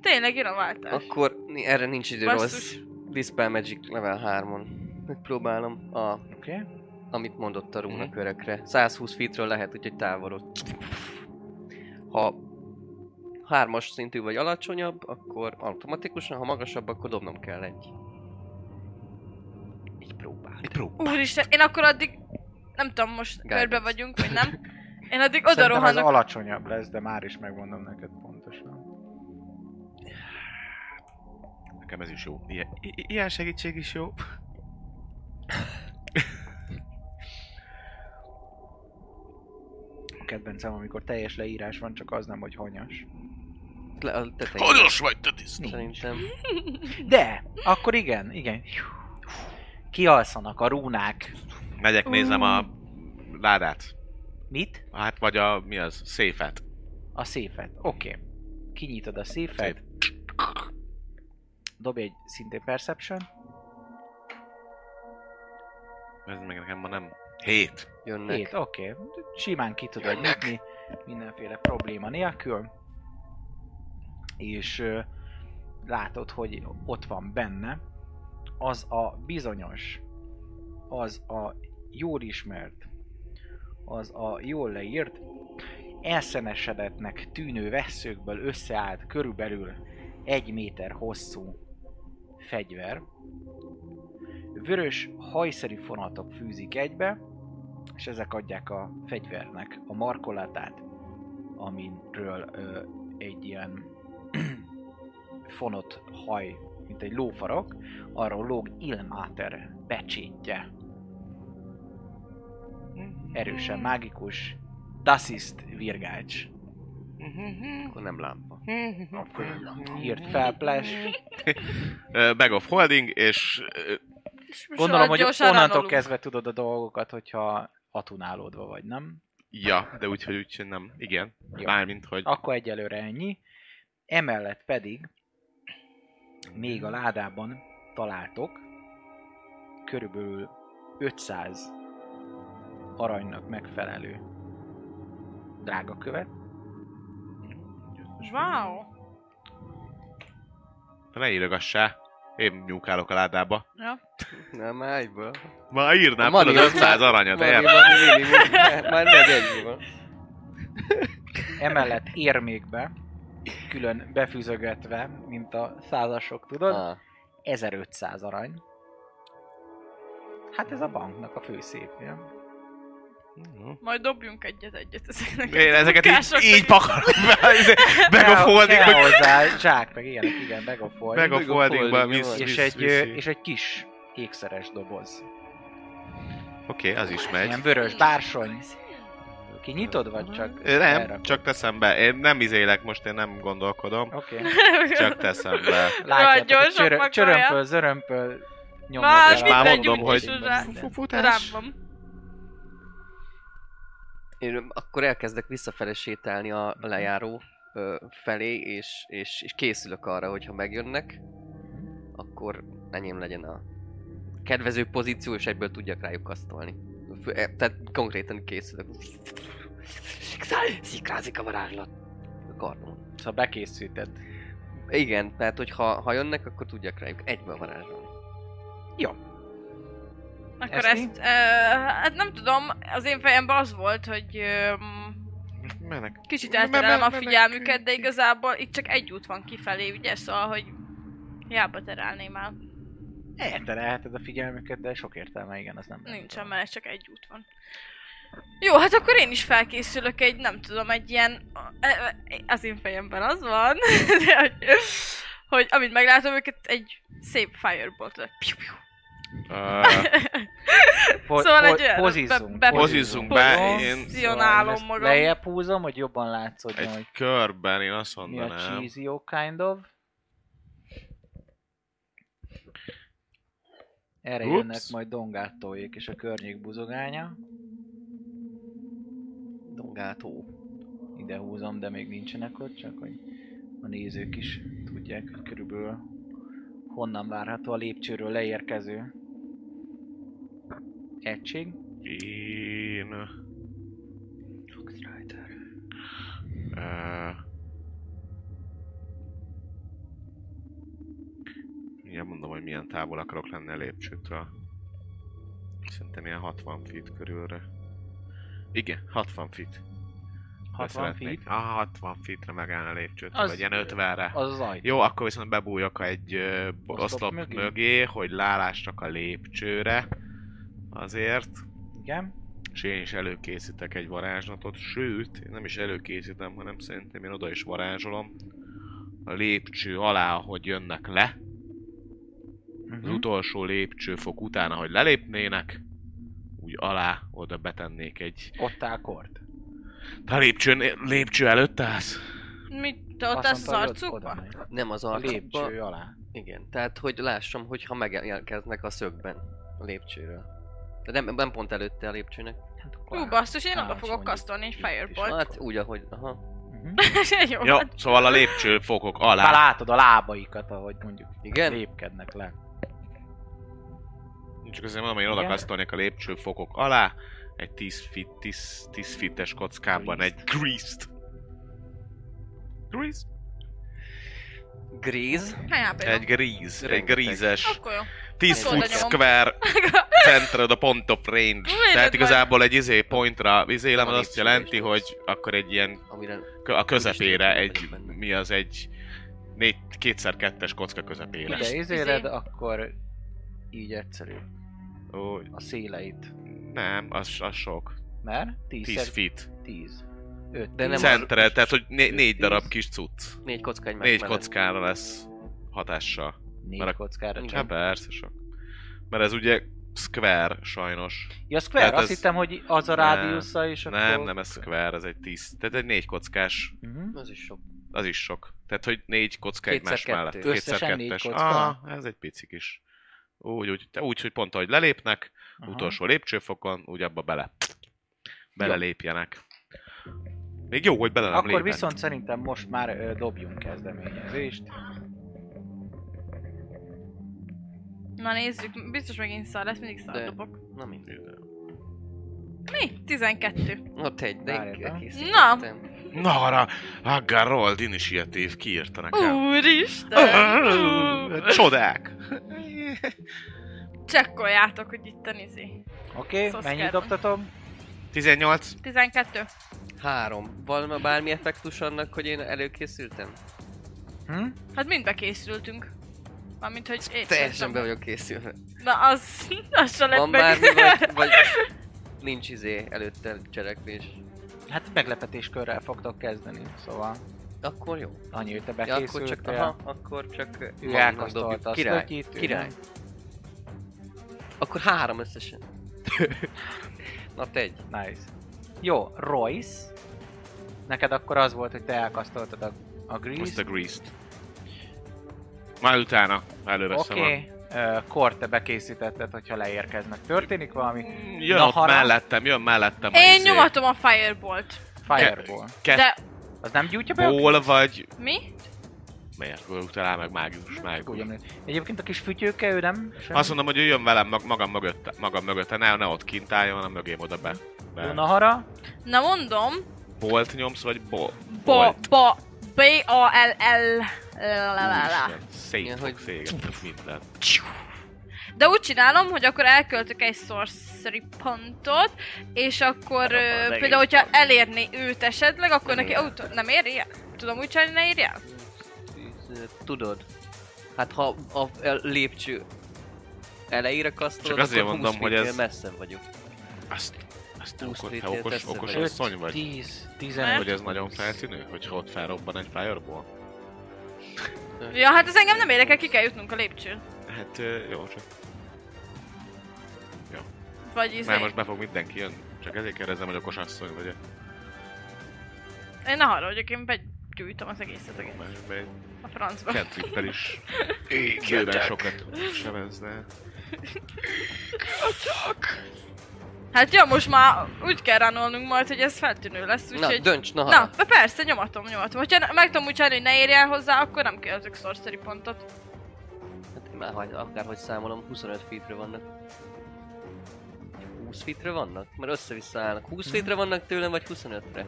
[SPEAKER 2] Tényleg jön a váltás.
[SPEAKER 3] Akkor ni- erre nincs idő rossz.
[SPEAKER 2] Basszus.
[SPEAKER 3] Dispel Magic level 3-on. Megpróbálom a,
[SPEAKER 1] oké. Okay.
[SPEAKER 3] amit mondott a rúnak
[SPEAKER 4] Mhm.
[SPEAKER 3] örökre. 120 feetről lehet, úgyhogy távolod. Ha, hármas szintű vagy alacsonyabb, akkor automatikusan, ha magasabb, akkor dobnom kell egy. Így próbál.
[SPEAKER 4] Egy prób.
[SPEAKER 2] Úristen, én akkor addig, nem tudom, most
[SPEAKER 3] Guidance.
[SPEAKER 2] körbe vagyunk, vagy nem. Én addig oda
[SPEAKER 1] Szerintem ez
[SPEAKER 2] rohanok.
[SPEAKER 1] alacsonyabb lesz, de már is megmondom neked pontosan.
[SPEAKER 4] Nekem ez is jó. Ilyen, i- ilyen segítség is jó.
[SPEAKER 1] A kedvencem, amikor teljes leírás van, csak az nem, hogy hanyas.
[SPEAKER 3] Le a tetején.
[SPEAKER 4] Hanyas vagy, te disznó!
[SPEAKER 3] Szerintem.
[SPEAKER 1] De, akkor igen, igen. Kialszanak a rúnák.
[SPEAKER 4] Megyek, nézem a ládát.
[SPEAKER 1] Mit?
[SPEAKER 4] Hát vagy a, mi az, széfet.
[SPEAKER 1] A széfet. Oké. Okay. Kinyitod a széfet.
[SPEAKER 4] Szép.
[SPEAKER 1] Dobj egy szintén Perception.
[SPEAKER 4] Ez meg nekem ma nem. Hét.
[SPEAKER 3] Jönnek.
[SPEAKER 1] Hét, oké. Okay. Simán ki tudod nyitni, mindenféle probléma nélkül. És ö, látod, hogy ott van benne az a bizonyos, az a jól ismert, az a jól leírt, elszenesedetnek tűnő vesszőkből összeállt körülbelül egy méter hosszú fegyver. Vörös hajszerű fonatok fűzik egybe, és ezek adják a fegyvernek a markolatát, amiről ö, egy ilyen fonott haj, mint egy lófarok, arról lóg Ilmáter becsétje. Mm-hmm. Erősen mágikus, Das ist Virgács.
[SPEAKER 3] Akkor nem lámpa.
[SPEAKER 1] Mm-hmm. Írt fel Plash.
[SPEAKER 4] Ö, Bag of holding, és ö,
[SPEAKER 2] És most
[SPEAKER 1] Gondolom,
[SPEAKER 2] olyan
[SPEAKER 1] hogy
[SPEAKER 2] gyorsan
[SPEAKER 1] onnantól
[SPEAKER 2] rávalunk.
[SPEAKER 1] kezdve tudod a dolgokat, hogyha atunálódva vagy, nem?
[SPEAKER 4] ja, de úgyhogy úgy nem. Igen.
[SPEAKER 1] Jó.
[SPEAKER 4] Mármint, hogy...
[SPEAKER 1] Akkor egyelőre ennyi. Emellett pedig még a ládában találtok körülbelül 500 aranynak megfelelő drága követ.
[SPEAKER 2] Wow.
[SPEAKER 4] Ne írogassá. Én nyúkálok a ládába.
[SPEAKER 2] Ja.
[SPEAKER 3] Nem, állj be.
[SPEAKER 4] Már írnám
[SPEAKER 3] A
[SPEAKER 4] fel az
[SPEAKER 3] Mari-
[SPEAKER 4] 500 aranyat,
[SPEAKER 3] Van,
[SPEAKER 4] el.
[SPEAKER 3] van, minimum. Már- Már nem egy van.
[SPEAKER 1] Emellett érmékbe, külön befűzögetve, mint a százasok, tudod,
[SPEAKER 3] Ah,
[SPEAKER 1] 1500 arany. Hát ez a banknak a főszépje.
[SPEAKER 2] Majd dobjunk egyet-egyet ezeknek.
[SPEAKER 4] Én ezeket így,
[SPEAKER 2] munkásoknak.
[SPEAKER 4] így pakolom fel, izé, Bag of
[SPEAKER 1] Kell-
[SPEAKER 4] holding,
[SPEAKER 1] kell
[SPEAKER 4] meg
[SPEAKER 1] hozzá, zsák, meg ilyenek, igen, meg a fold.
[SPEAKER 4] Meg a
[SPEAKER 3] Meg a
[SPEAKER 4] foldingba
[SPEAKER 3] foldingba
[SPEAKER 4] visz,
[SPEAKER 3] van.
[SPEAKER 1] és,
[SPEAKER 4] visz,
[SPEAKER 1] egy, ö,
[SPEAKER 4] viszi.
[SPEAKER 1] és egy kis ékszeres doboz.
[SPEAKER 4] Oké, az is
[SPEAKER 1] Ilyen
[SPEAKER 4] megy.
[SPEAKER 1] vörös bársony. Kinyitod, vagy csak?
[SPEAKER 4] Ö, Nem,
[SPEAKER 1] elrakod?
[SPEAKER 4] csak teszem be. Én nem izélek most, én nem gondolkodom.
[SPEAKER 1] Oké.
[SPEAKER 4] Csak teszem be.
[SPEAKER 2] Jaj,
[SPEAKER 1] Látjátok, hogy
[SPEAKER 2] gyorsan
[SPEAKER 1] csörö-
[SPEAKER 2] pakolja.
[SPEAKER 1] csörömpöl, zörömpöl, nyomnak
[SPEAKER 2] Már
[SPEAKER 1] el
[SPEAKER 4] És
[SPEAKER 1] a-
[SPEAKER 2] mit
[SPEAKER 4] már
[SPEAKER 2] tegyünk
[SPEAKER 4] mondom,
[SPEAKER 2] is
[SPEAKER 4] hogy...
[SPEAKER 2] hozzá?
[SPEAKER 4] Fu-
[SPEAKER 2] Rám
[SPEAKER 4] Futás.
[SPEAKER 2] van.
[SPEAKER 3] Én akkor elkezdek visszafele sétálni a lejáró ö, felé, és, és, és készülök arra, hogyha megjönnek, akkor enyém legyen a kedvező pozíció, és egyből tudjak rájuk kasztolni. Fő- e, Tehát konkrétan készülök. Szikrázik a varázslat. A kardon.
[SPEAKER 1] Szóval bekészíted.
[SPEAKER 3] Igen, tehát hogy ha, ha jönnek, akkor tudjak rájuk egyből varázsolni.
[SPEAKER 2] Akkor
[SPEAKER 1] Eszti?
[SPEAKER 2] ezt, ö, hát nem tudom, az én fejemben az volt, hogy ö, m,
[SPEAKER 4] Menek.
[SPEAKER 2] kicsit
[SPEAKER 4] Me- me-
[SPEAKER 2] elterelem a
[SPEAKER 4] me-
[SPEAKER 2] figyelmüket, de
[SPEAKER 4] menekülti.
[SPEAKER 2] igazából itt csak egy út van kifelé, ugye, szóval, hogy hiába terelném el.
[SPEAKER 1] Elterelheted a figyelmüket, de sok értelme, igen, az nem.
[SPEAKER 2] Nincsen, mert ez csak egy út van. Jó, hát akkor én is felkészülök egy, nem tudom, egy ilyen... e, Az én fejemben az van, de hogy, hogy amint meglátom őket, egy szép fireball tudod. Piu, piu.
[SPEAKER 1] Po-
[SPEAKER 2] Szóval
[SPEAKER 1] po-
[SPEAKER 2] egy olyan-
[SPEAKER 1] pozizzunk,
[SPEAKER 2] be- be-
[SPEAKER 4] Pozizzunk be,
[SPEAKER 1] Pozizzunk.
[SPEAKER 4] én
[SPEAKER 2] Pozicionálom
[SPEAKER 1] Szóval
[SPEAKER 2] magam.
[SPEAKER 1] ezt Lejjebb húzom, hogy jobban látszódjon,
[SPEAKER 4] egy
[SPEAKER 1] hogy
[SPEAKER 4] körben én azt
[SPEAKER 1] mi a
[SPEAKER 4] mondanám.
[SPEAKER 1] cheesy kind of. Erre
[SPEAKER 4] Ups.
[SPEAKER 1] jönnek majd dongátóik és a környék buzogánya.
[SPEAKER 3] Dongátó.
[SPEAKER 1] ide húzom, de még nincsenek ott, csak hogy a nézők is tudják, hogy körülbelül honnan várható a lépcsőről leérkező egység.
[SPEAKER 4] Én...
[SPEAKER 3] Rider.
[SPEAKER 4] Uh, igen, mondom, hogy milyen távol akarok lenni a lépcsőtől. Szerintem ilyen 60 feet körülre. Igen, 60 feet.
[SPEAKER 1] 60 feet?
[SPEAKER 4] Ah, 60 feetre megáll a lépcsőt,
[SPEAKER 1] Az-
[SPEAKER 4] vagy ilyen 50-re.
[SPEAKER 1] Az az ajtó.
[SPEAKER 4] Jó, akkor viszont bebújok egy ö, b-
[SPEAKER 1] Oszlop
[SPEAKER 4] oszlop
[SPEAKER 1] mögé?
[SPEAKER 4] mögé. hogy lálássak a lépcsőre. Azért.
[SPEAKER 1] Igen.
[SPEAKER 4] És én is előkészítek egy varázslatot, sőt, én nem is előkészítem, hanem szerintem én oda is varázsolom. A lépcső alá, hogy jönnek le, az
[SPEAKER 1] Uh-huh.
[SPEAKER 4] utolsó lépcsőfok után, ahogy lelépnének, úgy alá oda betennék egy...
[SPEAKER 1] Ott áll kort.
[SPEAKER 4] Te a lépcső, lépcső előtt állsz?
[SPEAKER 2] Mit, te ott állsz az
[SPEAKER 1] mondta, hogy ott- oda
[SPEAKER 2] arcukba?
[SPEAKER 1] megy.
[SPEAKER 3] Nem az
[SPEAKER 1] A
[SPEAKER 3] arcukba.
[SPEAKER 1] lépcső alá.
[SPEAKER 3] Igen, tehát hogy lássam, hogyha megjelkeznek a szögben a lépcsőről. De nem, nem pont előtte a lépcsőnek.
[SPEAKER 1] Hát akkor
[SPEAKER 2] Ú,
[SPEAKER 1] áll.
[SPEAKER 2] basszus, én oda
[SPEAKER 1] Állás
[SPEAKER 2] fogok
[SPEAKER 1] mondjuk
[SPEAKER 2] kasztolni egy
[SPEAKER 1] itt is.
[SPEAKER 2] firebolt.
[SPEAKER 3] Hát úgy, ahogy... Aha.
[SPEAKER 1] Mhm.
[SPEAKER 2] Jó,
[SPEAKER 4] Jó,
[SPEAKER 2] hát
[SPEAKER 4] szóval a lépcsőfokok
[SPEAKER 1] Már
[SPEAKER 4] alá.
[SPEAKER 1] látod a lábaikat, ahogy mondjuk
[SPEAKER 3] Igen?
[SPEAKER 1] lépkednek le.
[SPEAKER 4] Csak azért mondom, hogy én
[SPEAKER 1] Igen.
[SPEAKER 4] odakasztolnék a lépcsőfokok alá, egy 10 fit, 10, 10 fites kockában egy greased. Greased?
[SPEAKER 3] Gríz.
[SPEAKER 2] helyába
[SPEAKER 4] Egy
[SPEAKER 2] jó.
[SPEAKER 4] gríz, egy
[SPEAKER 3] Rengeteg.
[SPEAKER 4] grízes.
[SPEAKER 2] hát, Akkor jó.
[SPEAKER 4] 10
[SPEAKER 2] Akkor
[SPEAKER 4] foot
[SPEAKER 2] oda nyomom.
[SPEAKER 4] square centered a point of range.
[SPEAKER 2] Miért
[SPEAKER 4] Tehát
[SPEAKER 2] vagy?
[SPEAKER 4] igazából egy izé pointra vizélem, az
[SPEAKER 3] Van
[SPEAKER 4] azt
[SPEAKER 3] egy
[SPEAKER 4] jelenti,
[SPEAKER 3] szövés.
[SPEAKER 4] hogy akkor egy ilyen
[SPEAKER 3] Amire...
[SPEAKER 4] kö- a közepére
[SPEAKER 3] Úgyis
[SPEAKER 4] egy,
[SPEAKER 3] nincs benne.
[SPEAKER 4] mi az egy, négy, kétszer kettes kocka közepére.
[SPEAKER 1] Ide
[SPEAKER 2] Izé.
[SPEAKER 1] izéled, akkor így egyszerű.
[SPEAKER 4] Ó,
[SPEAKER 1] A széleit.
[SPEAKER 4] nem, az, az sok.
[SPEAKER 1] Mert 10
[SPEAKER 4] 10 feet.
[SPEAKER 1] 10. 5,
[SPEAKER 3] De nem az-
[SPEAKER 4] Centered, tehát hogy né- négy
[SPEAKER 3] Tíz.
[SPEAKER 4] darab kis cucc.
[SPEAKER 3] Négy kocka egymás
[SPEAKER 4] Négy
[SPEAKER 3] mellett.
[SPEAKER 4] kockára lesz hatással.
[SPEAKER 1] Négy
[SPEAKER 4] mert a-
[SPEAKER 1] kockára
[SPEAKER 3] Igen.
[SPEAKER 1] csak.
[SPEAKER 4] Hát persze sok. Mert ez ugye square sajnos.
[SPEAKER 1] Ja, Square,
[SPEAKER 4] Tehát
[SPEAKER 1] azt
[SPEAKER 4] ez-
[SPEAKER 1] hittem, hogy az a
[SPEAKER 4] Nem.
[SPEAKER 1] rádiusza, és akkor...
[SPEAKER 4] Nem, nem ez square, ez egy 10. Tehát egy négy kockás
[SPEAKER 1] Mhm.
[SPEAKER 3] Az is sok.
[SPEAKER 4] Az is sok. Tehát, hogy négy kocka
[SPEAKER 3] Kétszer
[SPEAKER 4] egymás
[SPEAKER 3] kettő.
[SPEAKER 4] mellett.
[SPEAKER 1] Összesen négy
[SPEAKER 4] kettes.
[SPEAKER 1] kocka?
[SPEAKER 4] Ah, ez egy pici kis. Úgy, úgy, te- úgy, hogy pont ahogy lelépnek,
[SPEAKER 1] Aha.
[SPEAKER 4] utolsó lépcsőfokon, úgy abba bele. Belelépjenek. Még jó, hogy bele nem
[SPEAKER 1] Akkor
[SPEAKER 4] lépnek.
[SPEAKER 1] viszont szerintem most már ö, dobjunk kezdeményezést.
[SPEAKER 2] Na nézzük, biztos megint szar lesz, mindig szar
[SPEAKER 3] De.
[SPEAKER 2] dobok.
[SPEAKER 3] Na mindegy.
[SPEAKER 2] Mi? 12.
[SPEAKER 3] Ott egy, de
[SPEAKER 1] Várj,
[SPEAKER 3] én
[SPEAKER 1] na.
[SPEAKER 3] készítettem.
[SPEAKER 4] Na, arra, aggar rolled initiatív, kiírta nekem.
[SPEAKER 2] Úristen!
[SPEAKER 4] Csodák!
[SPEAKER 2] Csekkoljátok, hogy itt a nizi.
[SPEAKER 1] Oké, okay,
[SPEAKER 2] Szosz
[SPEAKER 1] mennyit
[SPEAKER 2] kell.
[SPEAKER 1] dobtatom?
[SPEAKER 4] 18.
[SPEAKER 2] 12.
[SPEAKER 3] Három. Van bármi effektus annak, hogy én előkészültem?
[SPEAKER 1] Hm?
[SPEAKER 2] Hát mind bekészültünk. Mármint, hogy én
[SPEAKER 3] Teljesen be
[SPEAKER 2] tudtam.
[SPEAKER 3] vagyok készülve.
[SPEAKER 2] Na az, az se lett
[SPEAKER 3] Van
[SPEAKER 2] meg.
[SPEAKER 3] bármi, vagy, vagy nincs izé előtte cselekvés.
[SPEAKER 1] Hát meglepetéskörrel fogtok kezdeni, szóval
[SPEAKER 3] Akkor jó.
[SPEAKER 1] annyi, hogy te
[SPEAKER 3] Ja, akkor
[SPEAKER 1] bekészültél.
[SPEAKER 3] csak, aha, akkor csak ö,
[SPEAKER 1] Ő
[SPEAKER 3] hangnak
[SPEAKER 1] elkasztolta a
[SPEAKER 3] Király,
[SPEAKER 1] szlötyit, ő
[SPEAKER 3] király.
[SPEAKER 1] nem.
[SPEAKER 3] Akkor három összesen. Na te egy.
[SPEAKER 1] Nice. Jó, Royce. Neked akkor az volt, hogy te elkasztoltad a, a
[SPEAKER 4] Most a
[SPEAKER 1] grease
[SPEAKER 4] greased. Már utána előveszem okay. a...
[SPEAKER 1] Oké, okay. Kort, te bekészítetted, hogyha leérkeznek. Történik valami?
[SPEAKER 4] Jön
[SPEAKER 1] Na,
[SPEAKER 4] ott
[SPEAKER 1] harap.
[SPEAKER 4] mellettem, jön mellettem. a
[SPEAKER 2] Én
[SPEAKER 4] izé.
[SPEAKER 2] nyomatom a firebolt.
[SPEAKER 1] Fireball.
[SPEAKER 4] Kettő
[SPEAKER 2] De
[SPEAKER 1] Az nem gyújtja be? a-
[SPEAKER 4] Ból vagy
[SPEAKER 2] mi?
[SPEAKER 4] Miért? Utalál meg mágikus,
[SPEAKER 1] Csak úgy
[SPEAKER 4] mágikus.
[SPEAKER 1] emlékszem. Egyébként a kis fütyőke, ő nem? Semmi?
[SPEAKER 4] Azt mondom, hogy ő jön velem mag- magam mögött, magam mögött, ne, ne ott kint álljon, hanem mögém oda be. be.
[SPEAKER 1] Dunahara?
[SPEAKER 2] Na mondom,
[SPEAKER 4] Bolt nyomsz, vagy bo?
[SPEAKER 2] ba,
[SPEAKER 4] Bolt.
[SPEAKER 2] ba, B-A-L-L, la, la, la, la.
[SPEAKER 4] Úristen, Szét
[SPEAKER 3] Igen,
[SPEAKER 4] fog
[SPEAKER 3] hogy-
[SPEAKER 4] szégetni minden.
[SPEAKER 2] De úgy csinálom, hogy akkor elköltök egy sorcery pontot, és akkor
[SPEAKER 3] Abban Hát az
[SPEAKER 2] ö,
[SPEAKER 3] egész
[SPEAKER 2] például, hogyha elérni őt esetleg, akkor
[SPEAKER 3] Nem
[SPEAKER 2] neki
[SPEAKER 3] ér.
[SPEAKER 2] autó... Nem éri el? Tudom úgy csinálni, ne érje el?
[SPEAKER 3] Tudod. Hát ha a, a lépcső elejére kasztolod,
[SPEAKER 4] Csak azért
[SPEAKER 3] akkor
[SPEAKER 4] mondom,
[SPEAKER 3] 20
[SPEAKER 4] hogy
[SPEAKER 3] feet-nél
[SPEAKER 4] ez-
[SPEAKER 3] messze vagyok.
[SPEAKER 4] Azt, azt nem
[SPEAKER 3] Húsz
[SPEAKER 4] okos, te
[SPEAKER 3] lépjél
[SPEAKER 4] okos,
[SPEAKER 3] teszed
[SPEAKER 4] okos
[SPEAKER 3] vele.
[SPEAKER 4] asszony vagy?
[SPEAKER 1] 10,
[SPEAKER 2] Mert?
[SPEAKER 1] 15.
[SPEAKER 4] Hogy ez nagyon feltűnő, hogyha ott felrobban egy fireball?
[SPEAKER 2] Ja, hát ez engem nem érdekel, ki kell jutnunk a lépcsőn.
[SPEAKER 4] Hát ö, jó, csak
[SPEAKER 2] Vagy izé.
[SPEAKER 4] már most be fog mindenki jönni. Csak ezért kérdezem, hogy okos asszony vagy.
[SPEAKER 2] Én ne haragudjak, én begyújtom az egészet a-
[SPEAKER 4] Mert- mert egy
[SPEAKER 2] a francba.
[SPEAKER 4] Kentrippel is bőven sokat sebezne.
[SPEAKER 2] Hát ja, most már úgy kell ránolnunk majd, hogy ez feltűnő lesz,
[SPEAKER 3] Na,
[SPEAKER 2] úgyhogy...
[SPEAKER 3] dönts, na, hát
[SPEAKER 2] Na,
[SPEAKER 3] na.
[SPEAKER 2] de persze, nyomatom, nyomatom. Hogyha ne- meg tudom úgy csinálni, hogy ne érj el hozzá, akkor nem kell azok sorcery pontot.
[SPEAKER 3] Hát már hagy, akárhogy számolom, 25 feetre vannak. 20 feetre vannak? Mert össze-vissza állnak. 20 feetre vannak tőlem, vagy 25-re?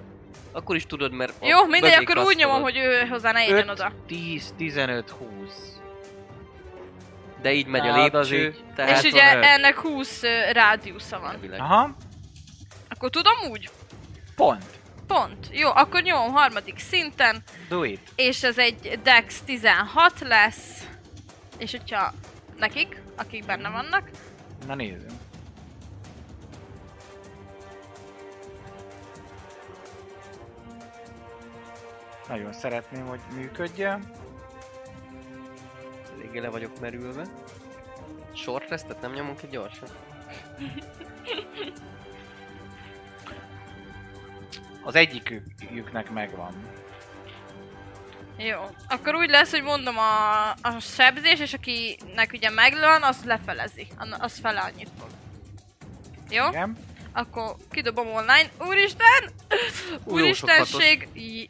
[SPEAKER 3] Akkor is tudod, mert... a
[SPEAKER 2] Jó, mindegy,
[SPEAKER 3] mögé
[SPEAKER 2] akkor úgy nyomom,
[SPEAKER 3] kasztolod.
[SPEAKER 2] hogy ő hozzá ne érjen oda.
[SPEAKER 1] 10, 15, 20.
[SPEAKER 3] De így megy a
[SPEAKER 1] Nálad az
[SPEAKER 3] lépcső,
[SPEAKER 1] így-
[SPEAKER 3] tehát...
[SPEAKER 2] És ugye
[SPEAKER 1] Eltoned.
[SPEAKER 2] ennek 20 rádiusza van.
[SPEAKER 3] Elvileg.
[SPEAKER 1] Aha,
[SPEAKER 2] Akkor tudom úgy?
[SPEAKER 1] pont.
[SPEAKER 2] Pont. Jó, akkor nyomom harmadik szinten,
[SPEAKER 1] Do it.
[SPEAKER 2] és ez egy Dex 16 lesz. És hogyha nekik, akik benne vannak,
[SPEAKER 1] Na nézzünk. Nagyon szeretném, hogy működjön.
[SPEAKER 3] Eléggé le vagyok merülve. Short restet nem nyomunk ki gyorsan?
[SPEAKER 1] Az egyiküknek megvan.
[SPEAKER 2] jó. Akkor úgy lesz, hogy mondom a, a sebzés, és akinek ugye meglőn, az lefelezi. Anna- Az fele annyit fog. Jó?
[SPEAKER 1] Igen?
[SPEAKER 2] Akkor kidobom online. Úristen!
[SPEAKER 3] Ú, jó, sok
[SPEAKER 2] Úristenség! J-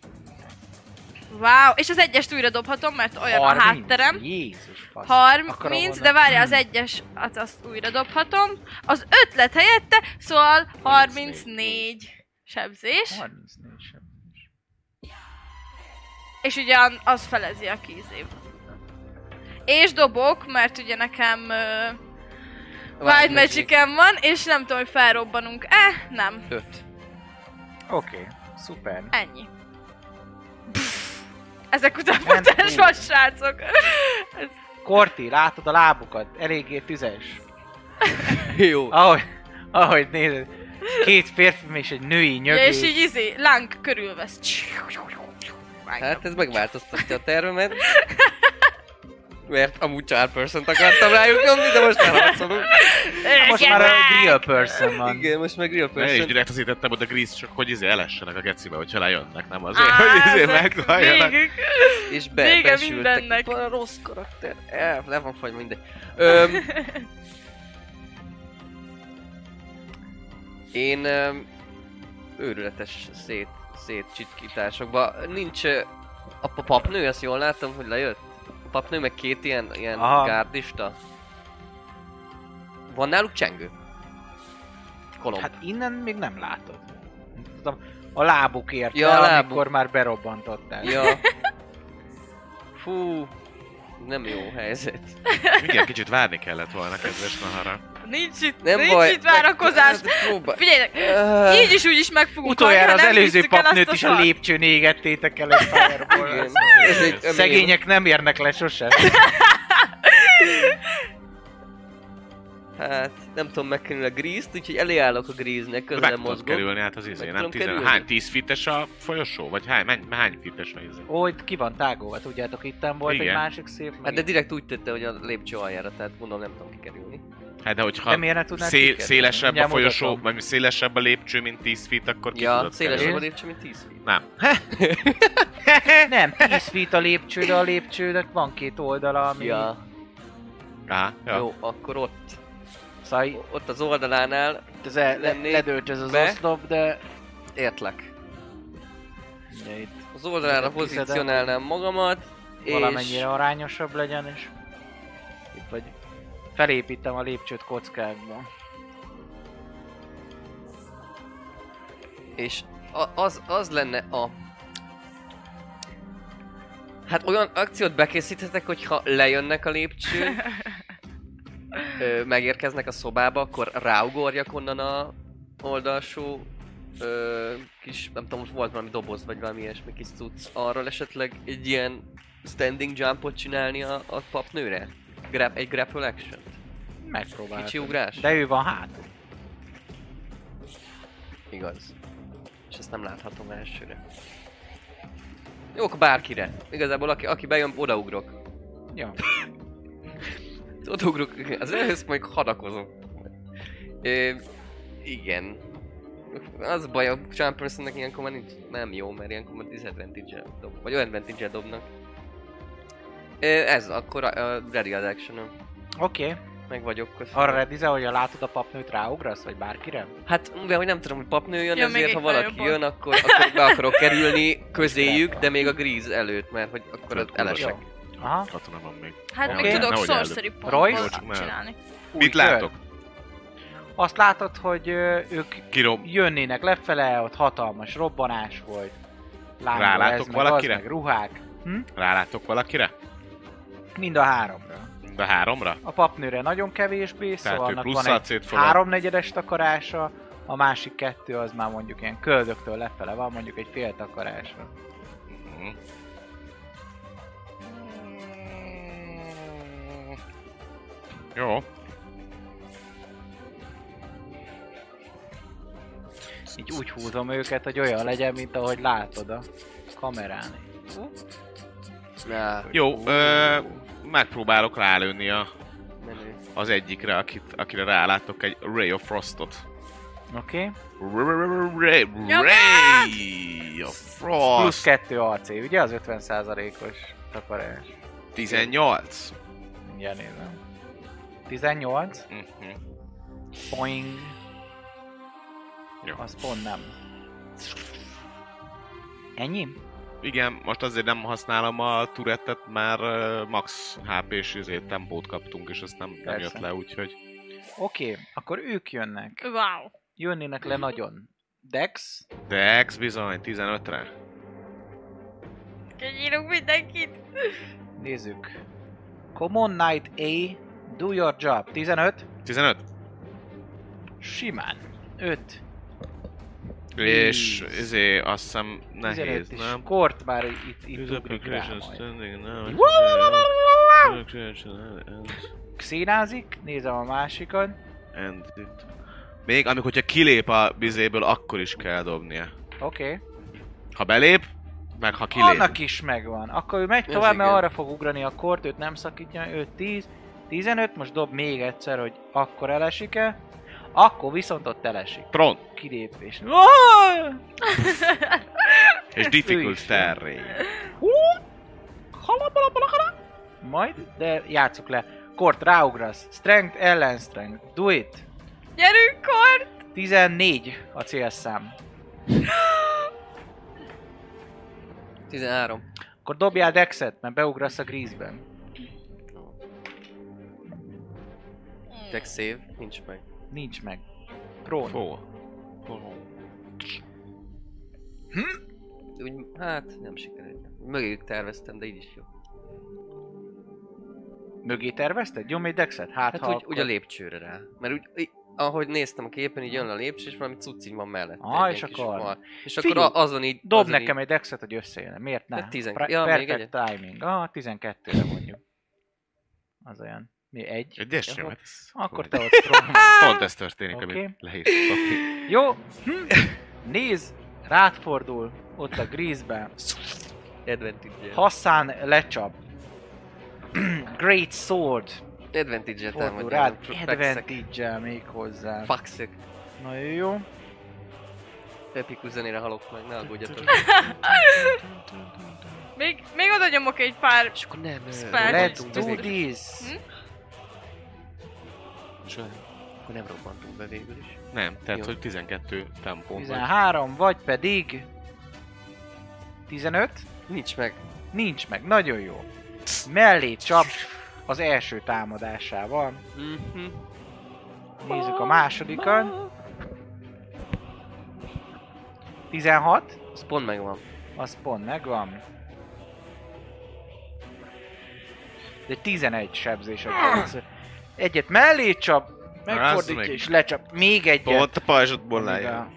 [SPEAKER 2] Wow, és az egyest újra dobhatom, mert olyan a
[SPEAKER 1] 30?
[SPEAKER 2] hátterem.
[SPEAKER 1] Jézus fasz. Akarom Hmm,
[SPEAKER 2] 30,
[SPEAKER 1] volna.
[SPEAKER 2] de várja, az egyes, hát azt újra dobhatom. Az ötlet helyette, szóval 34 sebzés.
[SPEAKER 1] 34 sem.
[SPEAKER 2] És ugye an- az felezi a kízév. És dobok, mert ugye nekem uh, Wild magic van, és nem tudom, hogy felrobbanunk-e, nem.
[SPEAKER 3] 5.
[SPEAKER 1] Oké, szuper.
[SPEAKER 2] Ennyi. Pff, Ezek után
[SPEAKER 1] Nem
[SPEAKER 2] potens
[SPEAKER 1] túl.
[SPEAKER 2] van, srácok. Ez,
[SPEAKER 1] Korti, látod a lábukat? Eléggé tüzes.
[SPEAKER 3] Jó.
[SPEAKER 1] Ahogy, ahogy nézed, két férfi és egy női
[SPEAKER 2] ja, és
[SPEAKER 1] nyögés.
[SPEAKER 2] így izé, láng körülvesz.
[SPEAKER 3] Hát ez megváltoztatja a tervemet. Mert amúgy char person akartam rájuk nyomni, de most már harcolunk.
[SPEAKER 1] Most már a real person van.
[SPEAKER 3] Igen, most meg real
[SPEAKER 4] Én is
[SPEAKER 3] person.
[SPEAKER 4] direkt azért tettem oda Grease, csak hogy izé elessenek a gecibe, hogyha lejönnek, nem azért, hogy izé meghalljanak.
[SPEAKER 3] És
[SPEAKER 2] Vége
[SPEAKER 3] be, besültek.
[SPEAKER 2] mindennek.
[SPEAKER 3] Bara rossz karakter. El, e, le van fagy mindegy. Öm, én öm, őrületes szét, szétcsitkításokba. Nincs... ö, A pa- papnő, ezt jól láttam, hogy lejött? A papnő meg két ilyen, ilyen
[SPEAKER 1] Aha.
[SPEAKER 3] gárdista. Van náluk csengő? Kolomb. Hát,
[SPEAKER 1] Hát innen még nem látod. Tudom, a lábukért,
[SPEAKER 3] Ja,
[SPEAKER 1] ja,
[SPEAKER 3] a
[SPEAKER 1] a
[SPEAKER 3] lábuk.
[SPEAKER 1] amikor már berobbantottál. Ja.
[SPEAKER 3] ja. Fú. Nem jó helyzet.
[SPEAKER 4] Mindjárt kicsit várni kellett volna, kedves Nahara.
[SPEAKER 2] Nincs itt,
[SPEAKER 3] Nem
[SPEAKER 2] nincs
[SPEAKER 3] baj. Hát,
[SPEAKER 2] itt várakozás.
[SPEAKER 3] Próbál.
[SPEAKER 2] Figyeljenek,
[SPEAKER 3] Öh.
[SPEAKER 2] így is úgy is meg fogunk
[SPEAKER 1] Utoljára az
[SPEAKER 2] halni, ha nem
[SPEAKER 1] előző
[SPEAKER 2] hiszük el
[SPEAKER 1] papnőt
[SPEAKER 2] azt
[SPEAKER 1] is a
[SPEAKER 2] szart.
[SPEAKER 1] lépcsőn égettétek el egy fireball
[SPEAKER 3] Igen. Ez egy ömém.
[SPEAKER 1] Szegények nem érnek le sose.
[SPEAKER 3] Hát nem tudom megkerülni a grízt, úgyhogy eléállok a gríznek,
[SPEAKER 4] De Meg
[SPEAKER 3] közel
[SPEAKER 4] tudod
[SPEAKER 3] mozgok.
[SPEAKER 4] kerülni, hát az izé,
[SPEAKER 3] Meg
[SPEAKER 4] nem
[SPEAKER 3] tudom
[SPEAKER 4] 10.
[SPEAKER 3] kerülni.
[SPEAKER 4] Hány, 10 fites a folyosó? Vagy hány, hány, hány fites a izé?
[SPEAKER 1] Ó, itt ki van tágolva, tudjátok, itten volt egy
[SPEAKER 4] Igen.
[SPEAKER 1] másik szép.
[SPEAKER 3] Hát
[SPEAKER 1] meg
[SPEAKER 3] de
[SPEAKER 1] itt-
[SPEAKER 3] direkt úgy tette, hogy a lépcső aljára, tehát mondom nem tudom kikerülni.
[SPEAKER 4] Hát de hogyha
[SPEAKER 1] Nem érne tudnád
[SPEAKER 4] szél,
[SPEAKER 1] kikerülni?
[SPEAKER 4] szélesebb a
[SPEAKER 1] Mindjárt
[SPEAKER 4] folyosó,
[SPEAKER 1] mutatom.
[SPEAKER 4] vagy szélesebb a lépcső, mint 10 feet, akkor ki
[SPEAKER 3] Ja,
[SPEAKER 4] tudod
[SPEAKER 3] szélesebb a
[SPEAKER 4] kerülni.
[SPEAKER 3] lépcső, mint 10 feet.
[SPEAKER 4] Nem.
[SPEAKER 1] Nem, 10 feet a lépcső, de a lépcsőnek van két oldala, ami... Ja.
[SPEAKER 3] Ja,
[SPEAKER 4] Á, ja.
[SPEAKER 3] jó, akkor ott.
[SPEAKER 1] Szóval így-
[SPEAKER 3] Ott az oldalánál
[SPEAKER 1] ez le, le,
[SPEAKER 3] Lennék
[SPEAKER 1] ledőlt ez az
[SPEAKER 3] be.
[SPEAKER 1] oszlop, de...
[SPEAKER 3] értlek.
[SPEAKER 1] Ugye itt
[SPEAKER 3] Az oldalára
[SPEAKER 1] Ezeket kiszedem.
[SPEAKER 3] pozícionálnám magamat, és
[SPEAKER 1] valamennyire arányosabb legyen, és... Itt vagy... Felépítem a lépcsőt kockákba.
[SPEAKER 3] És a- az, az lenne a... Hát olyan akciót bekészíthetek, hogyha lejönnek a lépcsőn, ö, megérkeznek a szobába, akkor ráugorjak onnan a oldalsó ö, kis, nem tudom, ott volt valami doboz, vagy valami ilyesmi kis cucc. Arról esetleg egy ilyen standing jumpot csinálni a, a papnőre? Grab, egy grapple action
[SPEAKER 1] Megpróbáltam.
[SPEAKER 3] Kicsi ugrás?
[SPEAKER 1] De ő van hátul.
[SPEAKER 3] Igaz. És ezt nem láthatom elsőre. Jó, akkor bárkire. Igazából aki, aki bejön, odaugrok.
[SPEAKER 1] Ja.
[SPEAKER 3] Odaugrok, az előhöz majd hadakozom. Ö, igen. Az a baj, a Charm Personnek ilyenkor már nincs, nem jó, mert ilyenkor már disadvantage dob, vagy olyan advantage dobnak. Ö, ez, akkor a, a ready az action
[SPEAKER 1] Oké,
[SPEAKER 3] Meg vagyok. köszönöm.
[SPEAKER 1] arra redizel, hogy látod a papnőt, ráugrasz, vagy bárkire?
[SPEAKER 3] Hát mivel hogy nem tudom, hogy papnő jön,
[SPEAKER 2] Ja, még
[SPEAKER 3] ezért
[SPEAKER 2] egy
[SPEAKER 3] ha valaki
[SPEAKER 2] feljobban.
[SPEAKER 3] jön, akkor, akkor be akarok kerülni közéjük, de még a gríz előtt, mert hogy akkor az elesek.
[SPEAKER 1] Jó. Aha.
[SPEAKER 4] Katona van még.
[SPEAKER 2] Hát
[SPEAKER 1] Oké.
[SPEAKER 2] még tudok
[SPEAKER 4] Nehogy előbb.
[SPEAKER 2] sorcery
[SPEAKER 1] Royce?
[SPEAKER 2] pontot
[SPEAKER 4] Csak ne.
[SPEAKER 2] csinálni.
[SPEAKER 4] Mit látok?
[SPEAKER 1] Azt látod, hogy ö, ők
[SPEAKER 4] Kirom,
[SPEAKER 1] jönnének lefele, ott hatalmas robbanás volt. Lángol
[SPEAKER 4] Rálátok
[SPEAKER 1] ez, meg az,
[SPEAKER 4] valakire?
[SPEAKER 1] meg ruhák. Hm?
[SPEAKER 4] rálátok valakire?
[SPEAKER 1] Mind a háromra.
[SPEAKER 4] Mind a háromra?
[SPEAKER 1] A papnőre nagyon kevésbé,
[SPEAKER 4] Tehát
[SPEAKER 1] szóval
[SPEAKER 4] ő
[SPEAKER 1] annak
[SPEAKER 4] plusz
[SPEAKER 1] van egy
[SPEAKER 4] AC-t fogad.
[SPEAKER 1] háromnegyedes takarása, a másik kettő az már mondjuk ilyen köldöktől lefele van, mondjuk egy fél takarásra.
[SPEAKER 4] Mhm. Jó.
[SPEAKER 1] Így úgy húzom őket, hogy olyan legyen, mint ahogy látod a kamerán.
[SPEAKER 3] Na,
[SPEAKER 4] Jó, ö, megpróbálok rálőni a,
[SPEAKER 3] menő.
[SPEAKER 4] az egyikre, akit, akire rálátok egy Ray of Frostot.
[SPEAKER 1] Oké? Okay?
[SPEAKER 4] Ray,
[SPEAKER 2] Nyomjad!
[SPEAKER 4] Ray
[SPEAKER 1] Plusz
[SPEAKER 4] of Frost.
[SPEAKER 1] kettő AC, ugye az 50%-os takarás.
[SPEAKER 4] 18.
[SPEAKER 1] Mindjárt nézem. 18,
[SPEAKER 4] Mhm.
[SPEAKER 1] poing.
[SPEAKER 4] Jó.
[SPEAKER 1] Az pont nem. Ennyi?
[SPEAKER 4] Igen, most azért nem használom a turettet, mert ö, max HP-s izé, tempót kaptunk, és ezt nem, nem
[SPEAKER 1] Persze.
[SPEAKER 4] jött le, úgyhogy...
[SPEAKER 1] Oké, okay, akkor ők jönnek.
[SPEAKER 2] Wow.
[SPEAKER 1] Jönnének
[SPEAKER 4] Mhm.
[SPEAKER 1] le nagyon. Dex,
[SPEAKER 4] Dex bizony, 15-re.
[SPEAKER 2] Kinyírunk mindenkit.
[SPEAKER 1] nézzük. Common Knight A, do your job. 15,
[SPEAKER 4] 15?
[SPEAKER 1] simán. 5,
[SPEAKER 4] És
[SPEAKER 1] Tíz.
[SPEAKER 4] izé, azt hiszem
[SPEAKER 1] 15
[SPEAKER 4] nehéz,
[SPEAKER 1] is.
[SPEAKER 4] nem?
[SPEAKER 1] Kort már itt, itt ugrik rá majd.
[SPEAKER 4] And
[SPEAKER 1] Xénázik, nézem a másikon.
[SPEAKER 4] it. Még amikor hogyha kilép a bizéből, akkor is kell dobnia.
[SPEAKER 1] Oké.
[SPEAKER 4] Ha belép, meg ha kilép.
[SPEAKER 1] Annak is megvan. Akkor ő megy
[SPEAKER 3] Ez
[SPEAKER 1] tovább, mert
[SPEAKER 3] igen.
[SPEAKER 1] arra fog ugrani a kort, őt nem szakítja, ő 10, 15, most dob még egyszer, hogy akkor elesik-e. Akkor viszont ott elesik.
[SPEAKER 4] Tron.
[SPEAKER 1] Kilépés.
[SPEAKER 4] És
[SPEAKER 1] Ő
[SPEAKER 4] difficult
[SPEAKER 1] is.
[SPEAKER 4] terré.
[SPEAKER 1] Majd, de játsszuk le. Kort, ráugrasz. Strength ellen strength. Do it.
[SPEAKER 2] Gyerünk, kor!
[SPEAKER 1] 14 a célszám.
[SPEAKER 3] 13.
[SPEAKER 1] Akkor dobjál dexet, mert beugrasz a grízben.
[SPEAKER 3] Tech save, nincs meg.
[SPEAKER 1] Nincs meg. Prón.
[SPEAKER 4] Fó.
[SPEAKER 3] Úgy, hát nem sikerült. Mögéjük terveztem, de így is jó.
[SPEAKER 1] Mögé tervezted? Nyomj egy dexet? Hát,
[SPEAKER 3] Hát
[SPEAKER 1] ha
[SPEAKER 3] úgy,
[SPEAKER 1] akkor-
[SPEAKER 3] úgy a lépcsőre rá. Mert úgy, így, ahogy néztem a képen, így jön a lépcső, és valami cucci van mellette.
[SPEAKER 1] Ah,
[SPEAKER 3] egy
[SPEAKER 1] és
[SPEAKER 3] ilyen kis
[SPEAKER 1] akkor-
[SPEAKER 3] fal. És
[SPEAKER 1] Figyelj,
[SPEAKER 3] akkor a- azon így...
[SPEAKER 1] Dob
[SPEAKER 3] azon
[SPEAKER 1] nekem
[SPEAKER 3] így,
[SPEAKER 1] egy dexet, hogy összejön. Miért ne?
[SPEAKER 3] Hát 12.
[SPEAKER 1] Pra-
[SPEAKER 3] Ja, még
[SPEAKER 1] perfect timing. Ah, 12-re mondjuk. Az olyan. Mi, egy?
[SPEAKER 4] Egyes
[SPEAKER 1] Jó.
[SPEAKER 4] jó. hát
[SPEAKER 1] Akkor
[SPEAKER 4] ez-
[SPEAKER 1] te ott próbálsz.
[SPEAKER 4] Pont ez történik,
[SPEAKER 1] Oké.
[SPEAKER 4] amit leírsz. papír.
[SPEAKER 1] Jó. Hm. Nézd, rád fordul ott a grízben.
[SPEAKER 3] Advantage-e.
[SPEAKER 1] Hassan lecsap. Great Sword.
[SPEAKER 3] Advantage-e
[SPEAKER 1] Fordul
[SPEAKER 3] támadja.
[SPEAKER 1] rád. Advantage-el még hozzá.
[SPEAKER 3] Faxek.
[SPEAKER 1] Nagyon jó.
[SPEAKER 3] Epikus zenére halok meg, ne aggódjatok.
[SPEAKER 2] Még, még oda nyomok egy pár...
[SPEAKER 3] És akkor nem, ö,
[SPEAKER 2] Spell.
[SPEAKER 1] Let's
[SPEAKER 3] robbantunk be
[SPEAKER 1] do
[SPEAKER 3] végül.
[SPEAKER 1] this.
[SPEAKER 2] Hm?
[SPEAKER 3] Akkor nem robbantunk be végül is.
[SPEAKER 4] Nem, tehát
[SPEAKER 3] Jó.
[SPEAKER 4] hogy 12 tempó.
[SPEAKER 1] 13, vagy pedig... 15.
[SPEAKER 3] Nincs meg.
[SPEAKER 1] Nincs meg, nagyon jó. Mellé csap az első támadásával.
[SPEAKER 3] Mhm.
[SPEAKER 1] Nézzük a másodikat. 16,
[SPEAKER 3] Az pont megvan.
[SPEAKER 1] az pont megvan. De 11 sebzés a kedvenc. Egyet mellé csap, megfordítja
[SPEAKER 4] meg.
[SPEAKER 1] és lecsap. Még egyet.
[SPEAKER 4] Ott a pajzsodból
[SPEAKER 1] amivel
[SPEAKER 4] lejön.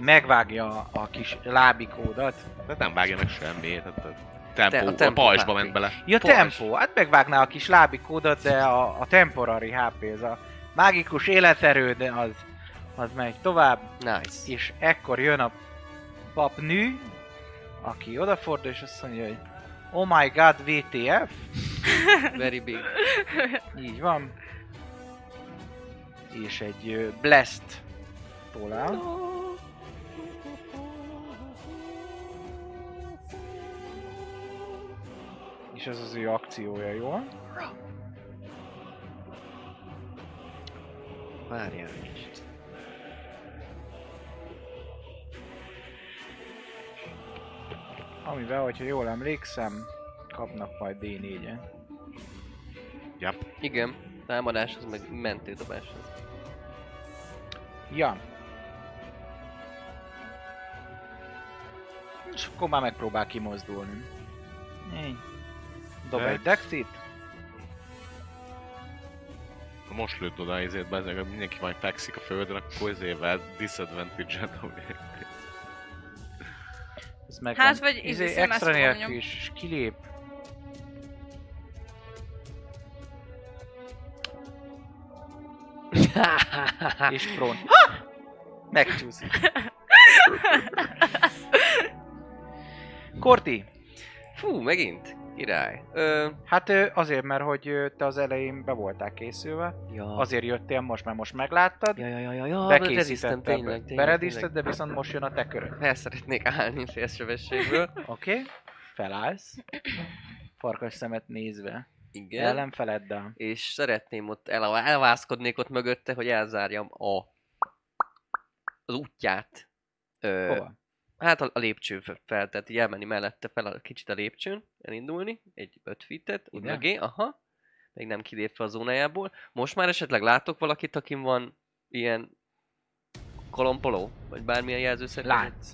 [SPEAKER 1] Megvágja a- a kis lábikódat.
[SPEAKER 4] De nem vágja meg semmi, tehát a tempó,
[SPEAKER 3] a
[SPEAKER 4] a,
[SPEAKER 3] tempó
[SPEAKER 4] pajzsba
[SPEAKER 3] vágja.
[SPEAKER 4] ment bele.
[SPEAKER 1] Ja,
[SPEAKER 3] Pajzs.
[SPEAKER 1] tempó. Hát megvágná a kis lábikódat, de a, a temporary HP, ez a mágikus életerőd, az, az megy tovább.
[SPEAKER 3] Nice.
[SPEAKER 1] És ekkor jön a papnő, aki odafordul, és azt mondja, hogy Oh my god, VTF.
[SPEAKER 3] Very big.
[SPEAKER 1] Így van. És egy ö, blessed tolál. És ez az ő akciója, jó?
[SPEAKER 3] Várjál egy kicsit.
[SPEAKER 1] Amivel, hogyha jól emlékszem, kapnak majd D4-en.
[SPEAKER 3] Igen, támadáshoz, meg mentődobáshoz.
[SPEAKER 1] Ja. És akkor már megpróbál kimozdulni. Így. Dob egy
[SPEAKER 4] Dex.
[SPEAKER 1] dexit.
[SPEAKER 4] most lőtt oda ezért be, ezért mindenki majd fekszik a földön, akkor ezével disadvantage-et dobják.
[SPEAKER 1] Ez meg
[SPEAKER 2] Hát, vagy izé, SMS
[SPEAKER 1] extra nélkül
[SPEAKER 2] tornyom.
[SPEAKER 1] is, és kilép. és prón. Megcsúszik. Korti,
[SPEAKER 3] Fú, megint? Király. Ö,
[SPEAKER 1] hát ö, azért, mert hogy ö, te az elején be voltál készülve,
[SPEAKER 3] ja.
[SPEAKER 1] azért jöttél most, mert most megláttad,
[SPEAKER 3] Ja, hát ja, ja, ja, ja, beredíztem, tényleg,
[SPEAKER 1] bekészítetted,
[SPEAKER 3] tényleg,
[SPEAKER 1] beredízted,
[SPEAKER 3] tényleg.
[SPEAKER 1] de viszont most jön a te köröd.
[SPEAKER 3] El szeretnék állni félsebességből.
[SPEAKER 1] Oké? Okay? Felállsz. Farkas szemet nézve.
[SPEAKER 3] Igen.
[SPEAKER 1] Yeah. Ellen feledd el.
[SPEAKER 3] És szeretném ott, el, elvászkodnék ott mögötte, hogy elzárjam a... az útját. Ö,
[SPEAKER 1] Hova?
[SPEAKER 3] Hát a, a lépcső f- fel, tehát így elmenni mellette fel a kicsit a lépcsőn, elindulni, egy öt fitet, úgy
[SPEAKER 1] Ide?
[SPEAKER 3] mögé, aha, még nem kilépve a zónájából. Most már esetleg látok valakit, akin van ilyen kolompoló, vagy bármilyen jelzőszerkezet?
[SPEAKER 1] Látsz.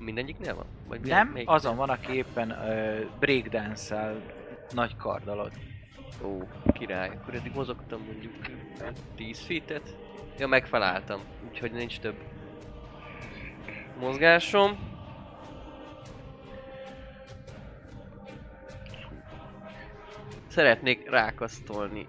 [SPEAKER 3] Mindegyiknél van? Vagy milyen-
[SPEAKER 1] Nem,
[SPEAKER 3] melyik?
[SPEAKER 1] azon van, aki éppen ö, breakdance-el nagy kardalod.
[SPEAKER 3] Ó, király, akkor eddig mozogtam mondjuk 10 feet-et. Ja, megfeláltam, úgyhogy nincs több mozgásom. Szeretnék rákasztolni.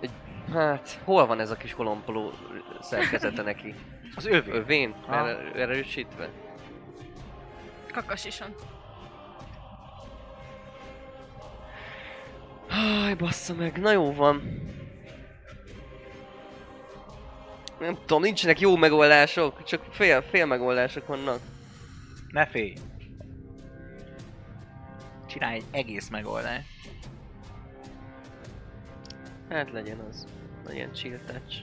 [SPEAKER 3] Egy, hát, hol van ez a kis kolompoló szerkezete neki?
[SPEAKER 1] Az övé.
[SPEAKER 3] Övén?
[SPEAKER 1] Ha.
[SPEAKER 3] Erre- Erősítve?
[SPEAKER 2] Kakasison.
[SPEAKER 3] Aj, bassza meg, na jó van. Nem tudom, nincsenek jó megoldások, csak fél, fél megoldások vannak.
[SPEAKER 1] Ne félj. Csinálj egy egész megoldást.
[SPEAKER 3] Hát legyen az. Legyen chill touch.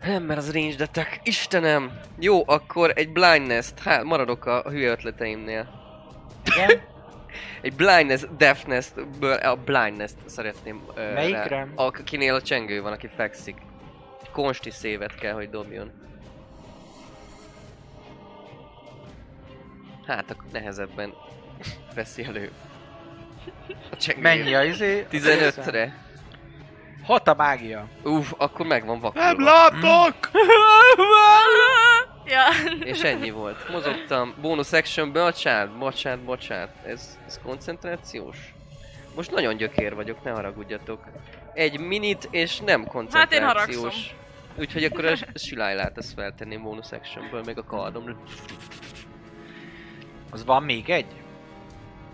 [SPEAKER 3] Nem, mert az range attack. Istenem! Jó, akkor egy blindness Hát, maradok a a hülye ötleteimnél.
[SPEAKER 1] Igen?
[SPEAKER 3] Egy blindness, deafness ből a blindness szeretném. ö,
[SPEAKER 1] Melyikre?
[SPEAKER 3] rá- Akinél a csengő van, aki fekszik. Egy konsti szévet kell, hogy dobjon. Hát, akkor nehezebben veszi elő. A csengő.
[SPEAKER 1] Mennyi a izé?
[SPEAKER 3] 15-re.
[SPEAKER 1] Hat a mágia.
[SPEAKER 3] Uff, akkor megvan
[SPEAKER 4] Nem
[SPEAKER 1] Hát,
[SPEAKER 3] vakulva.
[SPEAKER 4] látok!
[SPEAKER 2] ja.
[SPEAKER 3] És ennyi volt. Mozogtam. Bonus action, bocsánat, bocsánat, bocsánat. Ez, ez koncentrációs? Most nagyon gyökér vagyok, ne haragudjatok. Egy minit és nem
[SPEAKER 2] Hát én
[SPEAKER 3] koncentrációs.
[SPEAKER 2] haragszom.
[SPEAKER 3] Úgyhogy akkor a s- silájlát ezt feltenném bonus actionből, meg a kardom.
[SPEAKER 1] Hmm. Az van még egy?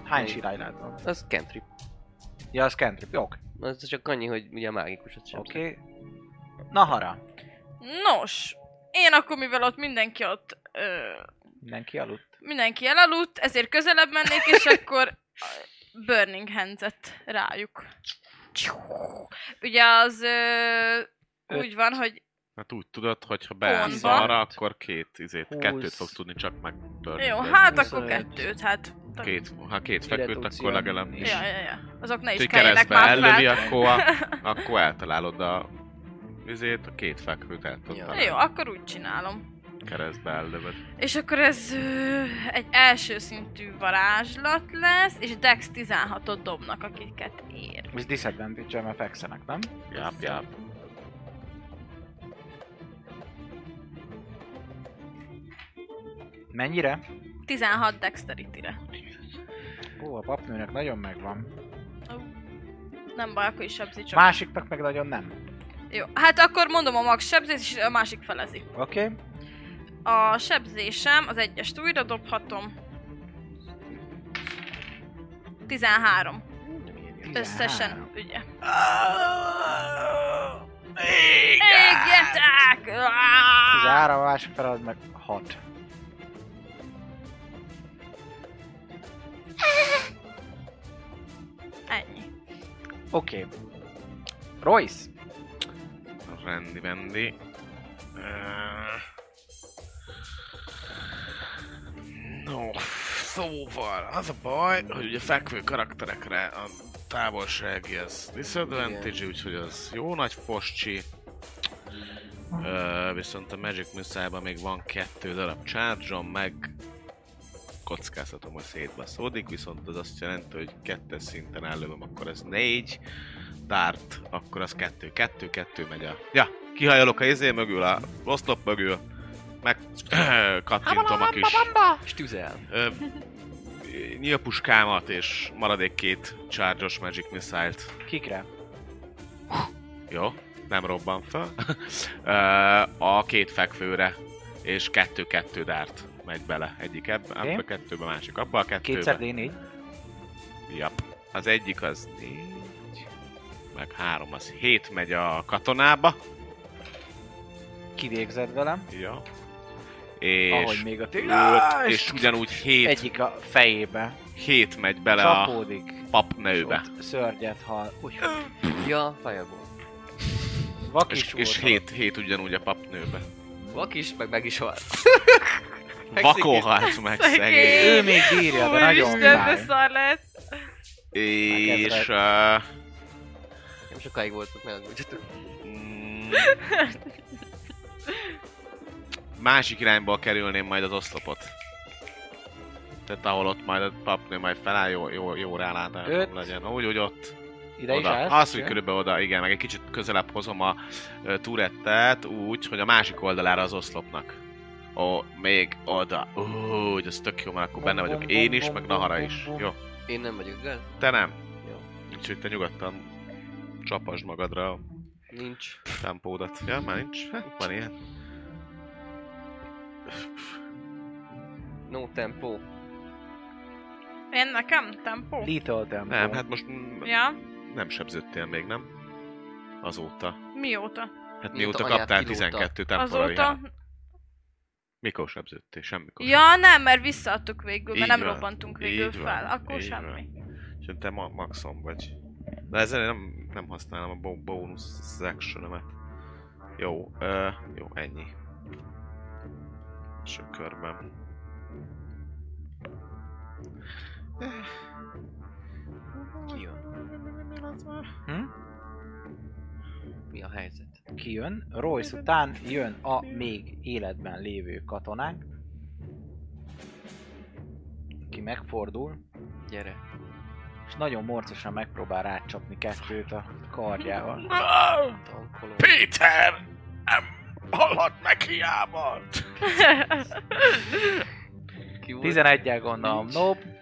[SPEAKER 1] Hány
[SPEAKER 3] Még.
[SPEAKER 1] sirálynád van?
[SPEAKER 3] Az cantrip.
[SPEAKER 1] Ja, az cantrip. Jó, oké.
[SPEAKER 3] Az csak annyi, hogy ugye mágikusat sem. tudok.
[SPEAKER 1] Okay. Nahara.
[SPEAKER 2] Nos, én akkor mivel ott mindenki ott ö,
[SPEAKER 1] Mindenki aludt.
[SPEAKER 2] mindenki elaludt, ezért közelebb mennék, és akkor Burning Hands-et rájuk. Ugye az ö, úgy van, hogy
[SPEAKER 4] Hát úgy tudod, hogy ha
[SPEAKER 2] Pont
[SPEAKER 4] beállsz
[SPEAKER 2] van.
[SPEAKER 4] arra, akkor két, izét,
[SPEAKER 3] Húsz.
[SPEAKER 4] kettőt fogsz tudni csak megtörni.
[SPEAKER 2] jó,
[SPEAKER 4] De
[SPEAKER 2] hát akkor
[SPEAKER 3] 25.
[SPEAKER 2] kettőt, hát.
[SPEAKER 4] Két, ha két feküdt,
[SPEAKER 3] Redukció.
[SPEAKER 4] akkor legalább is.
[SPEAKER 2] Ja, ja, ja. Azok ne is
[SPEAKER 4] Úgyhogy
[SPEAKER 2] keljenek
[SPEAKER 4] keresztbe
[SPEAKER 2] már
[SPEAKER 4] ellövi,
[SPEAKER 2] fel.
[SPEAKER 4] akkor, a- akkor eltalálod a vizét, a két fekvőt el tudod
[SPEAKER 3] Ja.
[SPEAKER 4] találni.
[SPEAKER 2] Jó, akkor úgy csinálom.
[SPEAKER 4] Keresztbe ellövöd.
[SPEAKER 2] És akkor ez ö, egy első szintű varázslat lesz, és Dex 16-ot dobnak, akiket ér.
[SPEAKER 1] Ez disadvantage mert fekszenek, nem?
[SPEAKER 4] Jáp, jáp.
[SPEAKER 1] Mennyire?
[SPEAKER 2] 16 Dexterity-re.
[SPEAKER 1] Ó, a papnőnek nagyon megvan.
[SPEAKER 2] Nem baj, akkor is sebzi csak.
[SPEAKER 1] Másiknak meg nagyon nem.
[SPEAKER 2] Jó, hát akkor mondom a max sebzés, és a másik felezi.
[SPEAKER 1] Oké? Okay?
[SPEAKER 2] A sebzésem, az egyest újra dobhatom. 13. Összesen, ugye. Égetek!
[SPEAKER 1] Az ára, a másik fel az meg 6.
[SPEAKER 2] Ennyi.
[SPEAKER 1] Oké. Okay. Royce.
[SPEAKER 4] Rendi, rendi. Öh. No, szóval az a baj, hogy ugye fekvő karakterekre a távolsági az disadvantage, úgyhogy az jó nagy foscsi. Ö, viszont a Magic Missile-ban még van kettő darab charge meg kockáztatom, hogy szétbaszódik, viszont az azt jelenti, hogy kettes szinten ellövöm, akkor ez négy dárt, akkor az kettő, kettő, kettő megy a... Ja, kihajolok a izé mögül, a oszlop mögül, meg kattintom a kis
[SPEAKER 3] Stüzel.
[SPEAKER 4] ö, nyílpuskámat és maradék két charge magic missile-t
[SPEAKER 1] Kikre?
[SPEAKER 4] jó, nem robban fel. Ö, a két fekvőre, és kettő-kettő dárt megy bele. Egyik ebbe,
[SPEAKER 1] Oké.
[SPEAKER 4] okay. a kettőbe, másik abba, a kettőbe.
[SPEAKER 1] Kétszer D4.
[SPEAKER 4] Jap. Az egyik az négy, meg három, az hét megy a katonába.
[SPEAKER 1] Kivégzed velem.
[SPEAKER 4] Ja.
[SPEAKER 1] Ahogy
[SPEAKER 4] És,
[SPEAKER 1] még a
[SPEAKER 4] öt,
[SPEAKER 1] tűz.
[SPEAKER 4] és ugyanúgy hét, Egy...
[SPEAKER 1] Egyik a fejébe.
[SPEAKER 4] hét megy bele a
[SPEAKER 1] Csapódik.
[SPEAKER 4] papnőbe.
[SPEAKER 1] Ott szörnyet hal. Úgy,
[SPEAKER 3] Ja, fireball.
[SPEAKER 1] vakis
[SPEAKER 4] És,
[SPEAKER 1] volt.
[SPEAKER 4] és hét, hét ugyanúgy a papnőbe.
[SPEAKER 3] Vak is, meg meg is hal.
[SPEAKER 4] Vakolhat meg
[SPEAKER 2] Szegény.
[SPEAKER 4] szegény.
[SPEAKER 1] Ő még bírja, de nagyon
[SPEAKER 2] Istenbe
[SPEAKER 1] fáj.
[SPEAKER 2] szar lesz.
[SPEAKER 4] És... Uh,
[SPEAKER 3] Nem sokáig voltak, ne aggódjatok.
[SPEAKER 4] Mm. Másik irányból kerülném majd az oszlopot. Tehát ahol ott majd a papnő majd feláll, jó, jó, jó rálátás
[SPEAKER 1] Öt.
[SPEAKER 4] legyen. Úgy, úgy ott,
[SPEAKER 1] Ide is
[SPEAKER 4] oda.
[SPEAKER 1] állsz?
[SPEAKER 4] Azt, hogy
[SPEAKER 1] Jó.
[SPEAKER 4] körülbelül oda, igen, meg egy kicsit közelebb hozom a ö, turettet úgy, hogy a másik oldalára az oszlopnak. Ó, még oda. Úgy, az tök jó, mert akkor benne vagyok én is, meg Nahara is. Jó,
[SPEAKER 3] Én nem vagyok, de
[SPEAKER 4] te nem.
[SPEAKER 3] Jó.
[SPEAKER 4] Úgyhogy te nyugodtan csapasd magadra a
[SPEAKER 3] nincs.
[SPEAKER 4] tempódat. Ja, már nincs. Hát, van ilyen.
[SPEAKER 3] No tempo.
[SPEAKER 2] Én nekem? Tempó?
[SPEAKER 1] Little Tempo.
[SPEAKER 4] Nem, hát most m-
[SPEAKER 2] Ja,
[SPEAKER 4] nem sebződtél még, nem? Azóta.
[SPEAKER 2] mióta?
[SPEAKER 4] Hát
[SPEAKER 3] Mióta
[SPEAKER 4] mióta
[SPEAKER 3] anyád
[SPEAKER 4] kaptál
[SPEAKER 3] kilóta.
[SPEAKER 4] 12 temporari
[SPEAKER 2] Azóta?
[SPEAKER 4] Azóta... Mikor sebződtél? Semmikor.
[SPEAKER 2] Ja, nem, mert visszaadtuk végül, mert
[SPEAKER 4] Így
[SPEAKER 2] nem
[SPEAKER 4] van,
[SPEAKER 2] robbantunk végül
[SPEAKER 4] így van,
[SPEAKER 2] fel. Akkor
[SPEAKER 4] így
[SPEAKER 2] semmi.
[SPEAKER 4] Sőt, te ma- maxon vagy. De ezzel én nem, nem használom a bo- bónusz action Jó, ö, jó, ennyi. Első körben.
[SPEAKER 3] Kijön.
[SPEAKER 1] Hm?
[SPEAKER 3] Mi a helyzet?
[SPEAKER 1] Kijön, Royce után jön a még életben lévő katonánk. Ki megfordul,
[SPEAKER 3] Gyere.
[SPEAKER 1] és nagyon morcosan megpróbál rácsapni kettőt a kardjával.
[SPEAKER 3] Tankolom.
[SPEAKER 4] Péter! Nem hallhat meg hiába!
[SPEAKER 3] Ki volt?
[SPEAKER 1] 11-el gondolom, nope.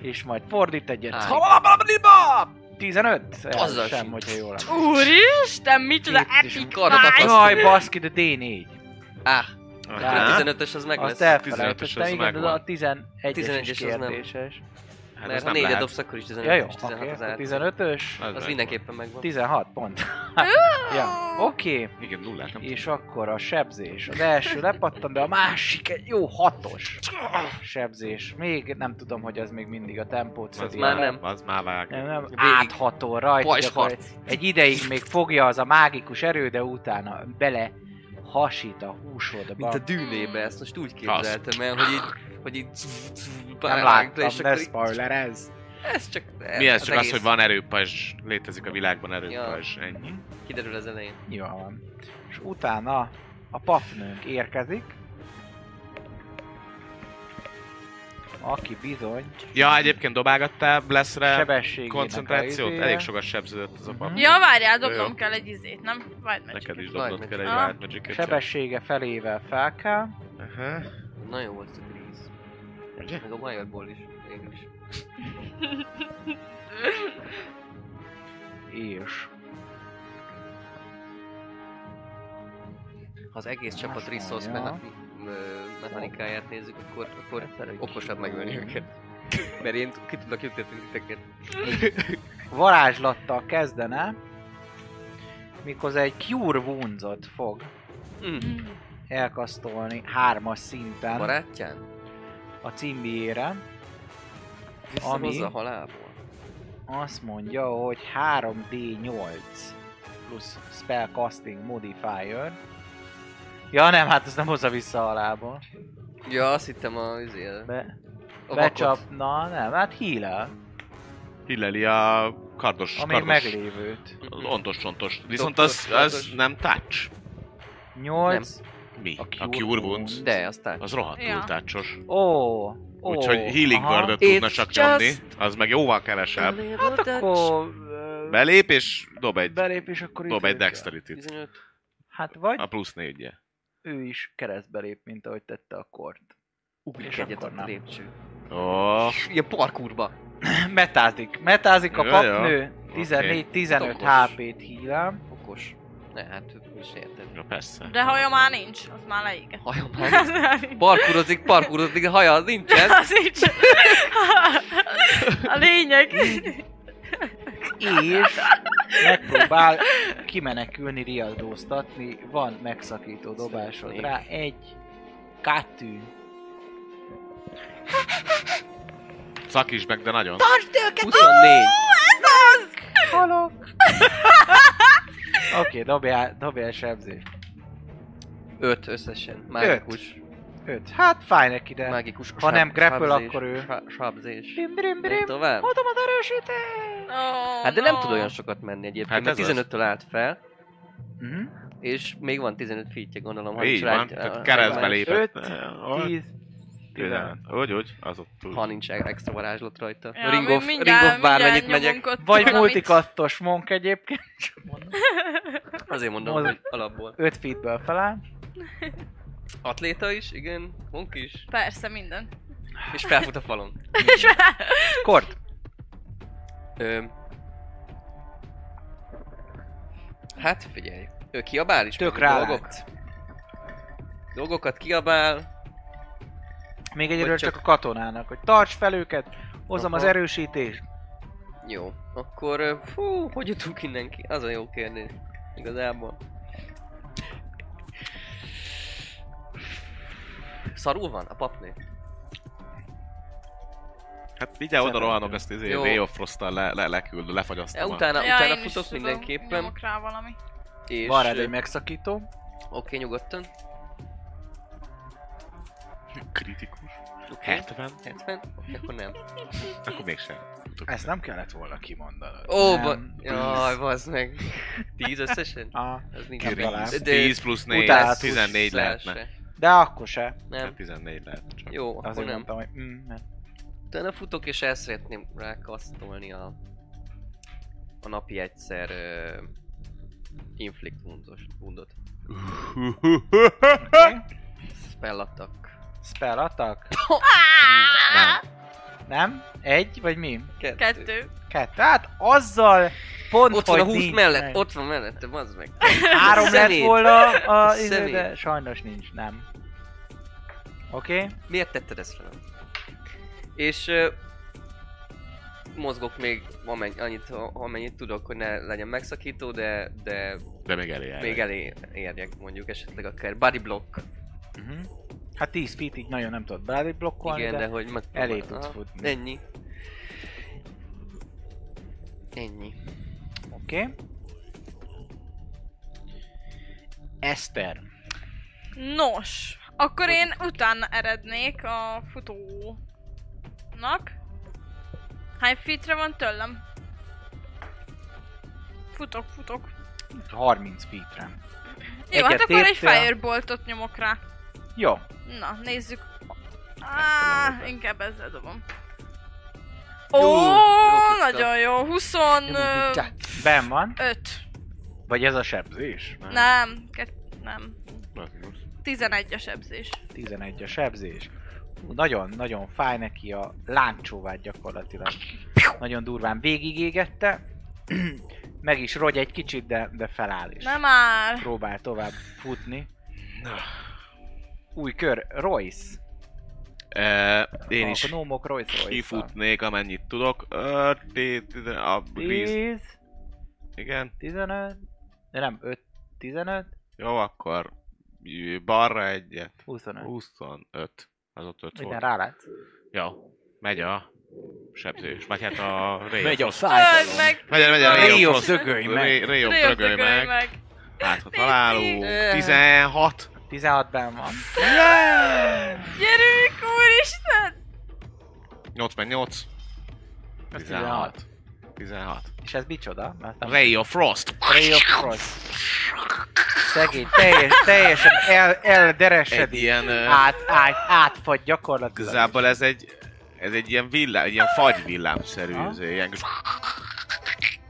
[SPEAKER 1] És majd fordít egyet.
[SPEAKER 3] Állj.
[SPEAKER 1] Szabadabadiba! 15?
[SPEAKER 3] Azzal
[SPEAKER 1] Ez sem,
[SPEAKER 3] sincs.
[SPEAKER 1] hogyha jól emlékszem.
[SPEAKER 2] Úristen, micsoda
[SPEAKER 1] Itt is
[SPEAKER 2] epic
[SPEAKER 3] kardokat
[SPEAKER 2] fáj!
[SPEAKER 3] akasztani.
[SPEAKER 1] Jaj, baszki, de D4.
[SPEAKER 3] Á,
[SPEAKER 1] Á.
[SPEAKER 3] hát a 15-ös az meg lesz.
[SPEAKER 1] Azt
[SPEAKER 4] tizenötös,
[SPEAKER 1] elfelejtettem,
[SPEAKER 4] az
[SPEAKER 1] igen, de
[SPEAKER 4] megvan.
[SPEAKER 1] a 11-es
[SPEAKER 3] 11-es
[SPEAKER 1] is
[SPEAKER 3] az nem.
[SPEAKER 1] kérdéses.
[SPEAKER 4] Hát
[SPEAKER 3] Mert
[SPEAKER 4] ez
[SPEAKER 3] ha
[SPEAKER 4] nem
[SPEAKER 3] 4
[SPEAKER 4] lehet.
[SPEAKER 3] dobsz, akkor is 15-ös,
[SPEAKER 1] Ja jó,
[SPEAKER 3] 16
[SPEAKER 1] oké,
[SPEAKER 3] az
[SPEAKER 1] a
[SPEAKER 3] át.
[SPEAKER 1] 15-ös,
[SPEAKER 4] megvan.
[SPEAKER 3] Az mindenképpen megvan.
[SPEAKER 1] 16 pont. ja, oké.
[SPEAKER 4] Igen, nullát nem
[SPEAKER 1] És akkor a sebzés. Az első lepattan, de a másik egy jó hatos sebzés. Még nem tudom, hogy az még mindig a tempót
[SPEAKER 4] Az
[SPEAKER 1] szedi. el.
[SPEAKER 4] már nem. Az már vág.
[SPEAKER 1] Nem, nem,
[SPEAKER 3] Végig.
[SPEAKER 1] áthatol rajta.
[SPEAKER 3] Pajsharc.
[SPEAKER 1] gyakorlatilag. Egy ideig még fogja az a mágikus erő, de utána bele hasít a húsodba.
[SPEAKER 3] Mint a dűnébe, ezt most úgy képzeltem el, hogy így, hogy így
[SPEAKER 1] nem
[SPEAKER 3] vágta,
[SPEAKER 1] láttam,
[SPEAKER 3] és
[SPEAKER 1] ne
[SPEAKER 3] akkor így-
[SPEAKER 1] spoilerezz.
[SPEAKER 3] ez csak...
[SPEAKER 4] Mi ez? Csak az,
[SPEAKER 3] egész
[SPEAKER 4] hogy van erőpajzs, létezik a világban erőpajzs, ennyi.
[SPEAKER 3] Kiderül az elején.
[SPEAKER 1] Jó van. És utána a papnőnk érkezik. Aki bizony
[SPEAKER 4] Ja, egyébként dobálgattál Blessre
[SPEAKER 1] sebességének izé. a
[SPEAKER 4] koncentrációt?
[SPEAKER 1] izéje.
[SPEAKER 4] Elég sokat sebződött az a
[SPEAKER 3] Hm?
[SPEAKER 4] pap.
[SPEAKER 2] Ja, várjál,
[SPEAKER 4] Jó,
[SPEAKER 2] dobnom
[SPEAKER 4] jó.
[SPEAKER 2] kell egy izét, nem? Várj meg.
[SPEAKER 4] Neked is
[SPEAKER 3] Nagy Ah.
[SPEAKER 4] dobnod kell egy
[SPEAKER 2] Aha.
[SPEAKER 4] Wild Magic-et.
[SPEAKER 1] Sebessége felével fel kell.
[SPEAKER 4] Aha.
[SPEAKER 3] Nagyon volt a Grease.
[SPEAKER 4] Ugye?
[SPEAKER 3] Meg a Wireball is. Én is.
[SPEAKER 1] És
[SPEAKER 3] Ha az egész csapat
[SPEAKER 1] Hasonló, ja.
[SPEAKER 3] resource meha- ö, mechanikáját nézzük, akkor, akkor okosabb megölni őket. Mert én ki tudnak juttatni titeket.
[SPEAKER 1] varázslattal kezdene. Mikor egy Cure Wounds-ot fog
[SPEAKER 3] Mm.
[SPEAKER 1] elkasztolni hármas szinten
[SPEAKER 3] Barátján?
[SPEAKER 1] a címbiére.
[SPEAKER 3] Visszahozza a halálból.
[SPEAKER 1] azt mondja, hogy 3D8 plusz spellcasting modifier. Ja nem, hát ez nem hozza vissza alából.
[SPEAKER 3] Ja, azt hittem a... Azért,
[SPEAKER 1] Be,
[SPEAKER 3] a vakot.
[SPEAKER 1] becsapna, nem, hát hílel,
[SPEAKER 4] Hilleli a kardos,
[SPEAKER 1] a még
[SPEAKER 4] kardos,
[SPEAKER 1] meglévőt.
[SPEAKER 4] az ontos csontos. Viszont
[SPEAKER 3] Doktor
[SPEAKER 4] az, az
[SPEAKER 3] Kardos.
[SPEAKER 4] nem touch.
[SPEAKER 1] 8
[SPEAKER 4] Mi?
[SPEAKER 3] A
[SPEAKER 4] A
[SPEAKER 3] Cure
[SPEAKER 4] Cure, Wounds?
[SPEAKER 3] De, aztán...
[SPEAKER 4] Az rohadtul
[SPEAKER 2] Ja.
[SPEAKER 4] ja. tácsos.
[SPEAKER 1] Ó, ó.
[SPEAKER 4] Úgyhogy healing
[SPEAKER 1] aha.
[SPEAKER 4] guardot tudna
[SPEAKER 3] It's
[SPEAKER 4] csak
[SPEAKER 3] just
[SPEAKER 4] nyomni. Az meg jóval kevesebb.
[SPEAKER 1] Hát akkor... ö,
[SPEAKER 4] Belép és dob egy,
[SPEAKER 1] Belép, és akkor
[SPEAKER 4] dob egy
[SPEAKER 1] ütőt.
[SPEAKER 4] dexterity
[SPEAKER 3] 15.
[SPEAKER 1] Hát vagy
[SPEAKER 4] A plusz négyje.
[SPEAKER 1] ő is keresztbe lép, mint ahogy tette a kort.
[SPEAKER 3] Ugrik
[SPEAKER 1] És
[SPEAKER 3] egyet
[SPEAKER 1] akkor
[SPEAKER 3] a
[SPEAKER 1] nem.
[SPEAKER 3] lépcső.
[SPEAKER 4] Ó,
[SPEAKER 3] Ilyen parkurba.
[SPEAKER 1] Metázik. Metázik a
[SPEAKER 4] Jó,
[SPEAKER 1] papnő.
[SPEAKER 4] jó.
[SPEAKER 1] 14-15
[SPEAKER 3] Oké.
[SPEAKER 1] HP-t hílám.
[SPEAKER 3] Okos. Ne, hát is érted.
[SPEAKER 4] ja, persze.
[SPEAKER 2] De haja már nincs, az már leégett.
[SPEAKER 3] Haja
[SPEAKER 2] Az
[SPEAKER 3] már...
[SPEAKER 2] már nincs.
[SPEAKER 3] Parkurozik, parkurozik, de haja nincsen.
[SPEAKER 2] Az nincs. A lényeg.
[SPEAKER 1] És megpróbál kimenekülni, riadóztatni. Van megszakító dobásod
[SPEAKER 3] Szeretnék.
[SPEAKER 1] rá. Egy, kettő.
[SPEAKER 4] Szakíts meg, de nagyon.
[SPEAKER 3] 24.
[SPEAKER 1] Halok! Oké, okay, dobjál, dobjál sebzést.
[SPEAKER 3] 5 összesen. Mágikus.
[SPEAKER 1] Öt. Hát fáj neki, de...
[SPEAKER 3] Mágikus.
[SPEAKER 1] Ha nem
[SPEAKER 3] sab-
[SPEAKER 1] grapple,
[SPEAKER 3] sabzés,
[SPEAKER 1] akkor ő-
[SPEAKER 3] sa- Sabzés.
[SPEAKER 1] Brim, brim,
[SPEAKER 3] Menj
[SPEAKER 1] brim.
[SPEAKER 3] tovább.
[SPEAKER 1] Hatalmat erősítés!
[SPEAKER 2] Oh,
[SPEAKER 3] Hát de nem
[SPEAKER 2] no.
[SPEAKER 3] tud olyan sokat menni egyébként,
[SPEAKER 4] Hát
[SPEAKER 3] mert
[SPEAKER 4] ez az.
[SPEAKER 3] 15-től állt fel,
[SPEAKER 1] Mhm.
[SPEAKER 3] és még van 15 feetje, gondolom. ha
[SPEAKER 4] Így
[SPEAKER 3] nincs rá
[SPEAKER 4] van,
[SPEAKER 3] egy-
[SPEAKER 4] tehát
[SPEAKER 3] a-
[SPEAKER 4] keresztbe
[SPEAKER 1] Öt,
[SPEAKER 4] lépett.
[SPEAKER 1] Tíz. tizenöt.
[SPEAKER 4] Úgy, úgy, az ott túl.
[SPEAKER 3] Ha nincs extra varázslat rajta.
[SPEAKER 2] Ja,
[SPEAKER 3] ring
[SPEAKER 2] mi
[SPEAKER 3] of, ring
[SPEAKER 2] mindjárt-
[SPEAKER 3] of bármennyit
[SPEAKER 2] mindjárt
[SPEAKER 3] megyek.
[SPEAKER 2] nyomunk ott
[SPEAKER 1] Vagy
[SPEAKER 2] valamit.
[SPEAKER 1] multikattos monk egyébként. Csak mondom.
[SPEAKER 3] Azért mondom,
[SPEAKER 1] Mozog.
[SPEAKER 3] hogy alapból.
[SPEAKER 1] 5 feetből feláll.
[SPEAKER 3] Atléta is, igen, monk is,
[SPEAKER 2] Persze, minden.
[SPEAKER 3] és felfut a falon.
[SPEAKER 2] És már-
[SPEAKER 1] Kord.
[SPEAKER 3] Ö... Hát figyelj, ő kiabál is.
[SPEAKER 1] Tök
[SPEAKER 3] mondjuk
[SPEAKER 1] rá
[SPEAKER 3] dolgok. Dolgokat kiabál,
[SPEAKER 1] Még egyről
[SPEAKER 3] Vagy
[SPEAKER 1] csak...
[SPEAKER 3] csak-
[SPEAKER 1] csak a katonának, hogy tarts fel őket, hozom az
[SPEAKER 3] Aha.
[SPEAKER 1] erősítést.
[SPEAKER 3] jó. Akkor, ö, fú, hogy jutunk innen ki? Az a jó kérdés. Igazából. Szarul van a papnő?
[SPEAKER 4] Hát mindjárt oda
[SPEAKER 3] Szerintem.
[SPEAKER 4] rohanok, ezt izé
[SPEAKER 3] Jó.
[SPEAKER 4] Ray of Frost-tal le, le, leküld,
[SPEAKER 3] Ja,
[SPEAKER 4] lefagyasztom. a-
[SPEAKER 3] utána,
[SPEAKER 2] Ja,
[SPEAKER 3] utána
[SPEAKER 2] én is
[SPEAKER 3] futok
[SPEAKER 2] tudom,
[SPEAKER 3] mindenképpen.
[SPEAKER 2] Nyomok rá valami.
[SPEAKER 3] És,
[SPEAKER 1] Van rád
[SPEAKER 3] ö,
[SPEAKER 1] egy megszakító.
[SPEAKER 3] Oké, nyugodtan.
[SPEAKER 4] Kritikus.
[SPEAKER 3] Oké.
[SPEAKER 4] 70?
[SPEAKER 3] 70? Oké, akkor nem.
[SPEAKER 4] Akkor mégsem.
[SPEAKER 1] Ezt nem kellett volna kimondanod.
[SPEAKER 3] Ó,
[SPEAKER 1] Nem,
[SPEAKER 3] ba...
[SPEAKER 1] tíz.
[SPEAKER 3] Jaj, bazd meg. 10 összesen?
[SPEAKER 1] Ah,
[SPEAKER 3] Ez nincs.
[SPEAKER 1] Kérem,
[SPEAKER 3] De-
[SPEAKER 1] talán.
[SPEAKER 3] de-
[SPEAKER 4] 10 plusz 4,
[SPEAKER 1] utána
[SPEAKER 4] ez
[SPEAKER 1] plusz
[SPEAKER 4] 14 lehetne.
[SPEAKER 3] se.
[SPEAKER 1] De akkor se.
[SPEAKER 3] Nem,
[SPEAKER 4] 14 lehet csak.
[SPEAKER 3] jó, akkor
[SPEAKER 1] Azért
[SPEAKER 3] nem.
[SPEAKER 1] mondtam, hogy mm, nem.
[SPEAKER 3] Utána futok és el szeretném rákasztolni a, a napi egyszer uh, inflict woundos, woundot.
[SPEAKER 1] Okay.
[SPEAKER 3] Spell attack.
[SPEAKER 1] Spell attack?
[SPEAKER 2] Á,
[SPEAKER 1] Nem? Egy, vagy mi?
[SPEAKER 3] Kettő.
[SPEAKER 2] Kettő.
[SPEAKER 1] Kettő. Hát azzal pont,
[SPEAKER 3] Ott van a
[SPEAKER 1] hogy
[SPEAKER 3] 20
[SPEAKER 1] nincs
[SPEAKER 3] mellett,
[SPEAKER 1] meg.
[SPEAKER 3] ott van mellette, az meg.
[SPEAKER 1] Három lett
[SPEAKER 3] Szemét.
[SPEAKER 1] volna a izé,
[SPEAKER 3] Szemét.
[SPEAKER 1] de sajnos nincs, nem. Oké? Okay.
[SPEAKER 3] Miért tetted ezt velem? És uh, mozgok még amennyit, annyit, amennyit tudok, hogy ne legyen megszakító, de, de
[SPEAKER 4] De még elé
[SPEAKER 3] még elé érjek mondjuk esetleg akár body block.
[SPEAKER 1] Uh-huh. Hát 10 feet így nagyon nem tudod body blokkolni,
[SPEAKER 3] Mhm. Igen, de,
[SPEAKER 1] de...
[SPEAKER 3] hogy meg...
[SPEAKER 1] elé tudsz
[SPEAKER 3] Aha,
[SPEAKER 1] futni.
[SPEAKER 3] Ennyi. Ennyi.
[SPEAKER 1] Oké. Okay. Eszter.
[SPEAKER 2] Nos, akkor én utána erednék a futónak. Hány feetre van tőlem? Futok, futok.
[SPEAKER 1] 30 feetre.
[SPEAKER 2] Jó, hát
[SPEAKER 1] Egyet
[SPEAKER 2] akkor egy
[SPEAKER 1] értél.
[SPEAKER 2] fireboltot nyomok rá.
[SPEAKER 1] Jó.
[SPEAKER 2] Na, nézzük.
[SPEAKER 4] tudom,
[SPEAKER 2] Á,
[SPEAKER 4] hogy-
[SPEAKER 2] inkább ezzel dobom. Ó,
[SPEAKER 3] Jó, jó tiszta.
[SPEAKER 2] nagyon jó. 25.
[SPEAKER 1] Ben van. Vagy ez a sebzés?
[SPEAKER 2] Nem, kett, nem. 11 a sebzés.
[SPEAKER 1] 11 a sebzés. Hú, Nagyon-nagyon fáj neki a láncsóvát gyakorlatilag. Nagyon durván végigégette. Meg is rogy egy kicsit, de, de feláll is.
[SPEAKER 2] Nem már.
[SPEAKER 1] Próbál tovább futni. Új kör, Royce.
[SPEAKER 4] E, én
[SPEAKER 1] A
[SPEAKER 4] is
[SPEAKER 1] Gnómok Royce Royce.
[SPEAKER 4] kifutnék, amennyit tudok. Ö, ti- ti- A Grease,
[SPEAKER 1] 10,
[SPEAKER 4] igen.
[SPEAKER 1] 15, de nem, 5, 15,
[SPEAKER 4] Jó, akkor j- balra egyet.
[SPEAKER 1] 25.
[SPEAKER 4] 25. Az ott 5
[SPEAKER 1] Minden
[SPEAKER 4] volt.
[SPEAKER 1] rálátsz.
[SPEAKER 4] Jó, megy a sebzés. Vagy hát a Ray
[SPEAKER 1] Megy a
[SPEAKER 4] of Frost.
[SPEAKER 2] Öld meg.
[SPEAKER 4] Megy, megy a
[SPEAKER 2] Ray
[SPEAKER 4] Ray
[SPEAKER 1] of
[SPEAKER 4] of Frost.
[SPEAKER 1] dögölj meg.
[SPEAKER 4] Ray- Ray of
[SPEAKER 2] Rajog,
[SPEAKER 4] dögölj
[SPEAKER 2] dögölj
[SPEAKER 4] meg.
[SPEAKER 2] meg.
[SPEAKER 4] Hát, ha
[SPEAKER 2] Pici.
[SPEAKER 4] találunk. 16.
[SPEAKER 1] 16-ben van.
[SPEAKER 2] Gyerünk, úristen!
[SPEAKER 4] 88.
[SPEAKER 1] Az
[SPEAKER 4] 16. 16.
[SPEAKER 1] És ez micsoda? Mert a
[SPEAKER 4] Ray of Frost.
[SPEAKER 1] Ray of Frost. Szegény, teljes, teljesen el,
[SPEAKER 4] Egy
[SPEAKER 1] elderesedik.
[SPEAKER 4] ilyen... ö,
[SPEAKER 1] Át, át, átfagy gyakorlatilag.
[SPEAKER 4] Igazából ez egy, ez egy ilyen villám, egy ilyen fagyvillámszerű,
[SPEAKER 1] Aha.
[SPEAKER 4] ez ilyen...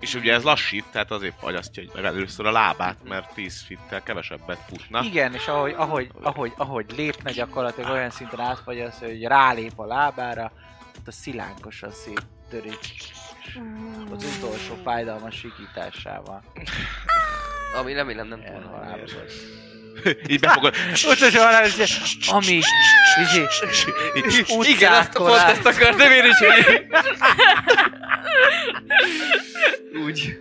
[SPEAKER 4] És ugye ez lassít, tehát azért fagyasztja hogy meg először a lábát, mert 10 fittel kevesebbet futna.
[SPEAKER 1] Igen, és ahogy, ahogy, ahogy, ahogy lépne gyakorlatilag olyan szinten átfagy az, hogy rálép a lábára, ott a szilánkosan széttörik az utolsó fájdalmas sikításával.
[SPEAKER 3] Ami remélem nem túl halálos.
[SPEAKER 1] Elhalálozod.
[SPEAKER 4] Így befogod.
[SPEAKER 1] Utolsó
[SPEAKER 4] hát
[SPEAKER 1] halálos, ami, izé,
[SPEAKER 4] Így-
[SPEAKER 3] Igen, azt a pont ezt akartam én is, hogy... Úgy.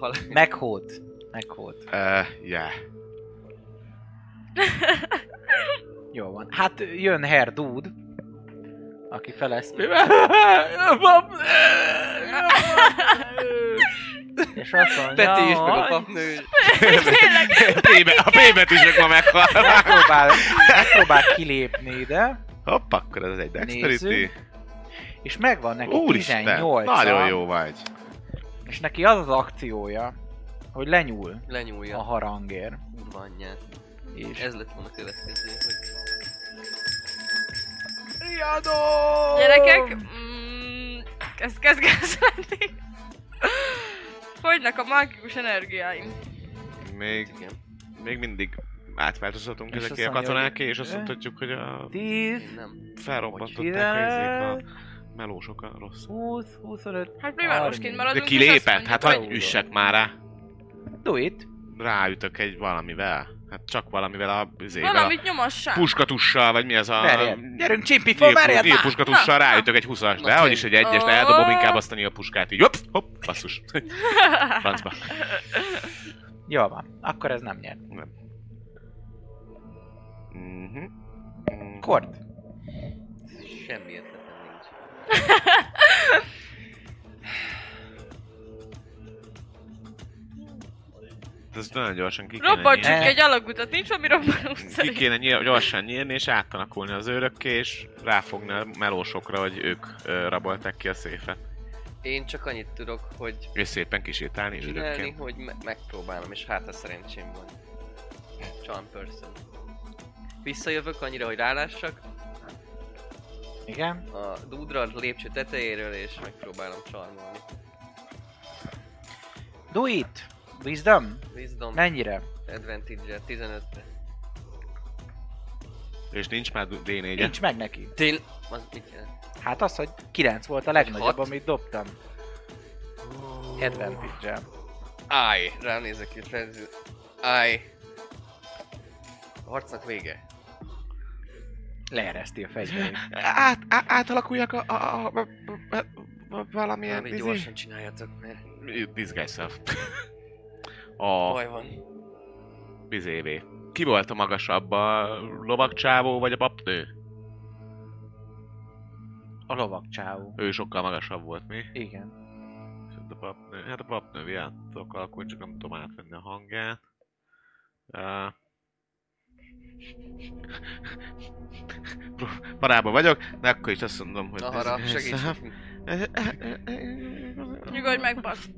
[SPEAKER 3] Hal...
[SPEAKER 1] meghód. Meghód.
[SPEAKER 4] Ö, yeah.
[SPEAKER 1] Jó van. Hát jön Herr Dude, aki feleszpő, és azt mondja,
[SPEAKER 3] Peti is, meg a
[SPEAKER 1] hogy
[SPEAKER 3] papnő.
[SPEAKER 4] A pébe- A pébet is ők ma meghal.
[SPEAKER 1] megpróbál, megpróbál kilépni ide,
[SPEAKER 4] Hopp, akkor ez egy dexterity.
[SPEAKER 1] Nézzük. és megvan neki
[SPEAKER 4] Úristen,
[SPEAKER 1] 18
[SPEAKER 4] nagyon jó vagy.
[SPEAKER 1] És neki az az akciója, hogy lenyúl a
[SPEAKER 3] Lenyúlja.
[SPEAKER 1] harangér,
[SPEAKER 3] Kurva anyját.
[SPEAKER 1] és
[SPEAKER 3] Ez lett volna a következő, hogy...
[SPEAKER 1] Riadó!
[SPEAKER 2] Gyerekek, mm, kezd kezd kezd lenni. Fogynak a mágikus energiáim.
[SPEAKER 4] Még,
[SPEAKER 3] Igen.
[SPEAKER 4] még mindig átváltozhatunk
[SPEAKER 1] És
[SPEAKER 4] ezeké a
[SPEAKER 1] azt mondja,
[SPEAKER 4] katonáké,
[SPEAKER 1] hogy-
[SPEAKER 4] és azt mondhatjuk, hogy a
[SPEAKER 1] 10,
[SPEAKER 3] Én nem.
[SPEAKER 4] felrobbantották a izék,
[SPEAKER 1] 15,
[SPEAKER 4] a melósok a rossz.
[SPEAKER 1] 20, 25,
[SPEAKER 2] Hát mi már most kint
[SPEAKER 4] De
[SPEAKER 2] maradunk, és azt
[SPEAKER 4] kilépett,
[SPEAKER 2] mondjuk,
[SPEAKER 4] hát
[SPEAKER 2] hogy
[SPEAKER 4] hagyj üssek már rá.
[SPEAKER 1] hát do it.
[SPEAKER 4] Ráütök egy valamivel. Hát csak valamivel a izével.
[SPEAKER 2] Valamit
[SPEAKER 4] A
[SPEAKER 2] nyomassák.
[SPEAKER 4] puskatussal, vagy mi ez a...
[SPEAKER 1] Verjen. Gyerünk, csimpi, fel, verjen
[SPEAKER 4] Gyilpus,
[SPEAKER 1] már!
[SPEAKER 4] puskatussal
[SPEAKER 2] Na,
[SPEAKER 4] ráütök egy 20-as, de
[SPEAKER 3] Na,
[SPEAKER 4] hogy is egy egyes, de eldobom
[SPEAKER 2] Ó.
[SPEAKER 4] inkább azt a nyilpuskát, így hopp, hopp, basszus. Francba.
[SPEAKER 1] Jól van, akkor ez nem nyer.
[SPEAKER 4] Mhm. Mhm.
[SPEAKER 1] Kort.
[SPEAKER 3] Semmi ötletem nincs.
[SPEAKER 4] Ez nagyon gyorsan ki kéne
[SPEAKER 2] Robbantsuk
[SPEAKER 1] Ne.
[SPEAKER 4] nyírni.
[SPEAKER 2] egy alagutat, nincs valami robbanunk
[SPEAKER 4] Ki
[SPEAKER 2] szerint.
[SPEAKER 4] kéne nyíl, gyorsan nyírni, és átalakulni az őrökké, és ráfogni a melósokra, hogy ők ö, rabolták ki a széfet.
[SPEAKER 3] Én csak annyit tudok, hogy
[SPEAKER 4] És szépen kisétálni
[SPEAKER 3] csinálni,
[SPEAKER 4] őrökként.
[SPEAKER 3] hogy me- megpróbálom, és hát a szerencsém van. Charm person. Visszajövök annyira, hogy rálássak
[SPEAKER 1] Igen.
[SPEAKER 3] a dúdra a lépcső tetejéről, és megpróbálom csarmolni.
[SPEAKER 1] Do it. Wisdom.
[SPEAKER 3] Wisdom,
[SPEAKER 1] Mennyire?
[SPEAKER 3] advantage-re, 15-re.
[SPEAKER 4] És nincs már D4-e.
[SPEAKER 1] Nincs meg neki.
[SPEAKER 3] Tél... Az mit jelent?
[SPEAKER 1] Hát az, hogy 9 volt a legnagyobb,
[SPEAKER 3] Hat.
[SPEAKER 1] amit dobtam. Advantage-el.
[SPEAKER 3] Áj! Ránézek itt, rendzi... Áj! A harcnak vége.
[SPEAKER 1] Leereszti a fegyverét.
[SPEAKER 4] Át, á, átalakuljak a, a, a, a, a, a valamilyen izé?
[SPEAKER 3] Valami gyorsan csináljatok, mert
[SPEAKER 4] Disguise self. A
[SPEAKER 3] baj van.
[SPEAKER 4] bizévé. Ki volt a magasabb, a lovagcsávó vagy a papnő?
[SPEAKER 1] A lovak csáó.
[SPEAKER 4] Ő sokkal magasabb volt, mi?
[SPEAKER 1] Igen.
[SPEAKER 4] A papnő, hát a papnő ilyen tudok alakulni, csak nem tudom átvenni a hangját. Uh, parában vagyok, de akkor is azt mondom, hogy...
[SPEAKER 3] Nahara, segíts nekünk.
[SPEAKER 2] Nyugodj meg, basz.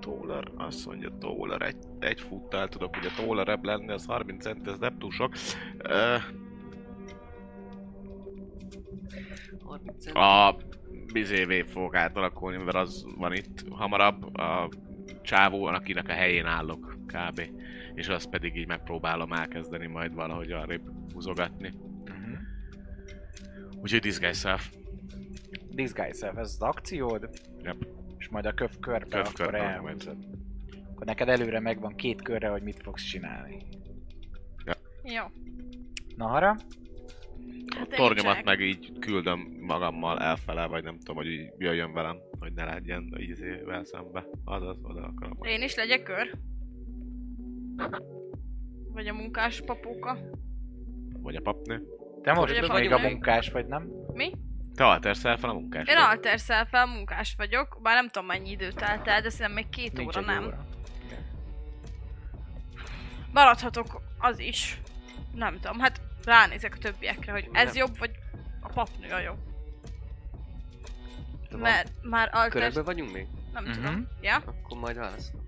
[SPEAKER 4] Tólar, azt mondja, tólar, egy, egy futtal tudok, ugye tólarebb lenni, az 30 cent, ez nem túl sok. Ö,
[SPEAKER 3] 30
[SPEAKER 4] A bizévé fog átalakulni, mert az van itt hamarabb, a csávó, akinek a helyén állok kb. És azt pedig így megpróbálom elkezdeni majd valahogy arrébb húzogatni. Mhm.
[SPEAKER 1] Uh-huh.
[SPEAKER 4] Úgyhogy disguise self.
[SPEAKER 1] Disguise self, ez az akciód.
[SPEAKER 4] Yep.
[SPEAKER 1] És majd a köv körbe,
[SPEAKER 4] Köv
[SPEAKER 1] akkor
[SPEAKER 4] körbe,
[SPEAKER 1] elhúzod. Akkor neked előre megvan két körre, hogy mit fogsz csinálni.
[SPEAKER 2] Jó.
[SPEAKER 1] Nahara,
[SPEAKER 4] A
[SPEAKER 2] Hát én
[SPEAKER 4] tornyomat
[SPEAKER 2] csak.
[SPEAKER 4] meg így küldöm magammal elfele, vagy nem tudom, hogy így jöjjön velem, hogy ne legyen ízével szembe. Azaz, oda akarom.
[SPEAKER 2] Én is legyek kör. Vagy a munkás papóka.
[SPEAKER 4] Vagy a papnő.
[SPEAKER 1] te most
[SPEAKER 2] Ugye
[SPEAKER 1] még a
[SPEAKER 2] vagyunk.
[SPEAKER 1] munkás vagy, nem?
[SPEAKER 2] Mi?
[SPEAKER 4] Te alter self a munkás.
[SPEAKER 2] Én alter self munkás vagyok, bár nem tudom mennyi időt telt el, de szerintem még két
[SPEAKER 1] Nincs
[SPEAKER 2] óra
[SPEAKER 1] egy
[SPEAKER 2] nem.
[SPEAKER 1] óra.
[SPEAKER 2] Maradhatok az is. Nem tudom, hát ránézek a többiekre, hogy ez
[SPEAKER 3] Nem.
[SPEAKER 2] jobb, vagy a papnő a jobb.
[SPEAKER 1] van.
[SPEAKER 2] Mert már altest...
[SPEAKER 3] Körökbe vagyunk még?
[SPEAKER 2] Nem
[SPEAKER 1] Mhm.
[SPEAKER 2] tudom. Ja?
[SPEAKER 3] Akkor majd válaszolom.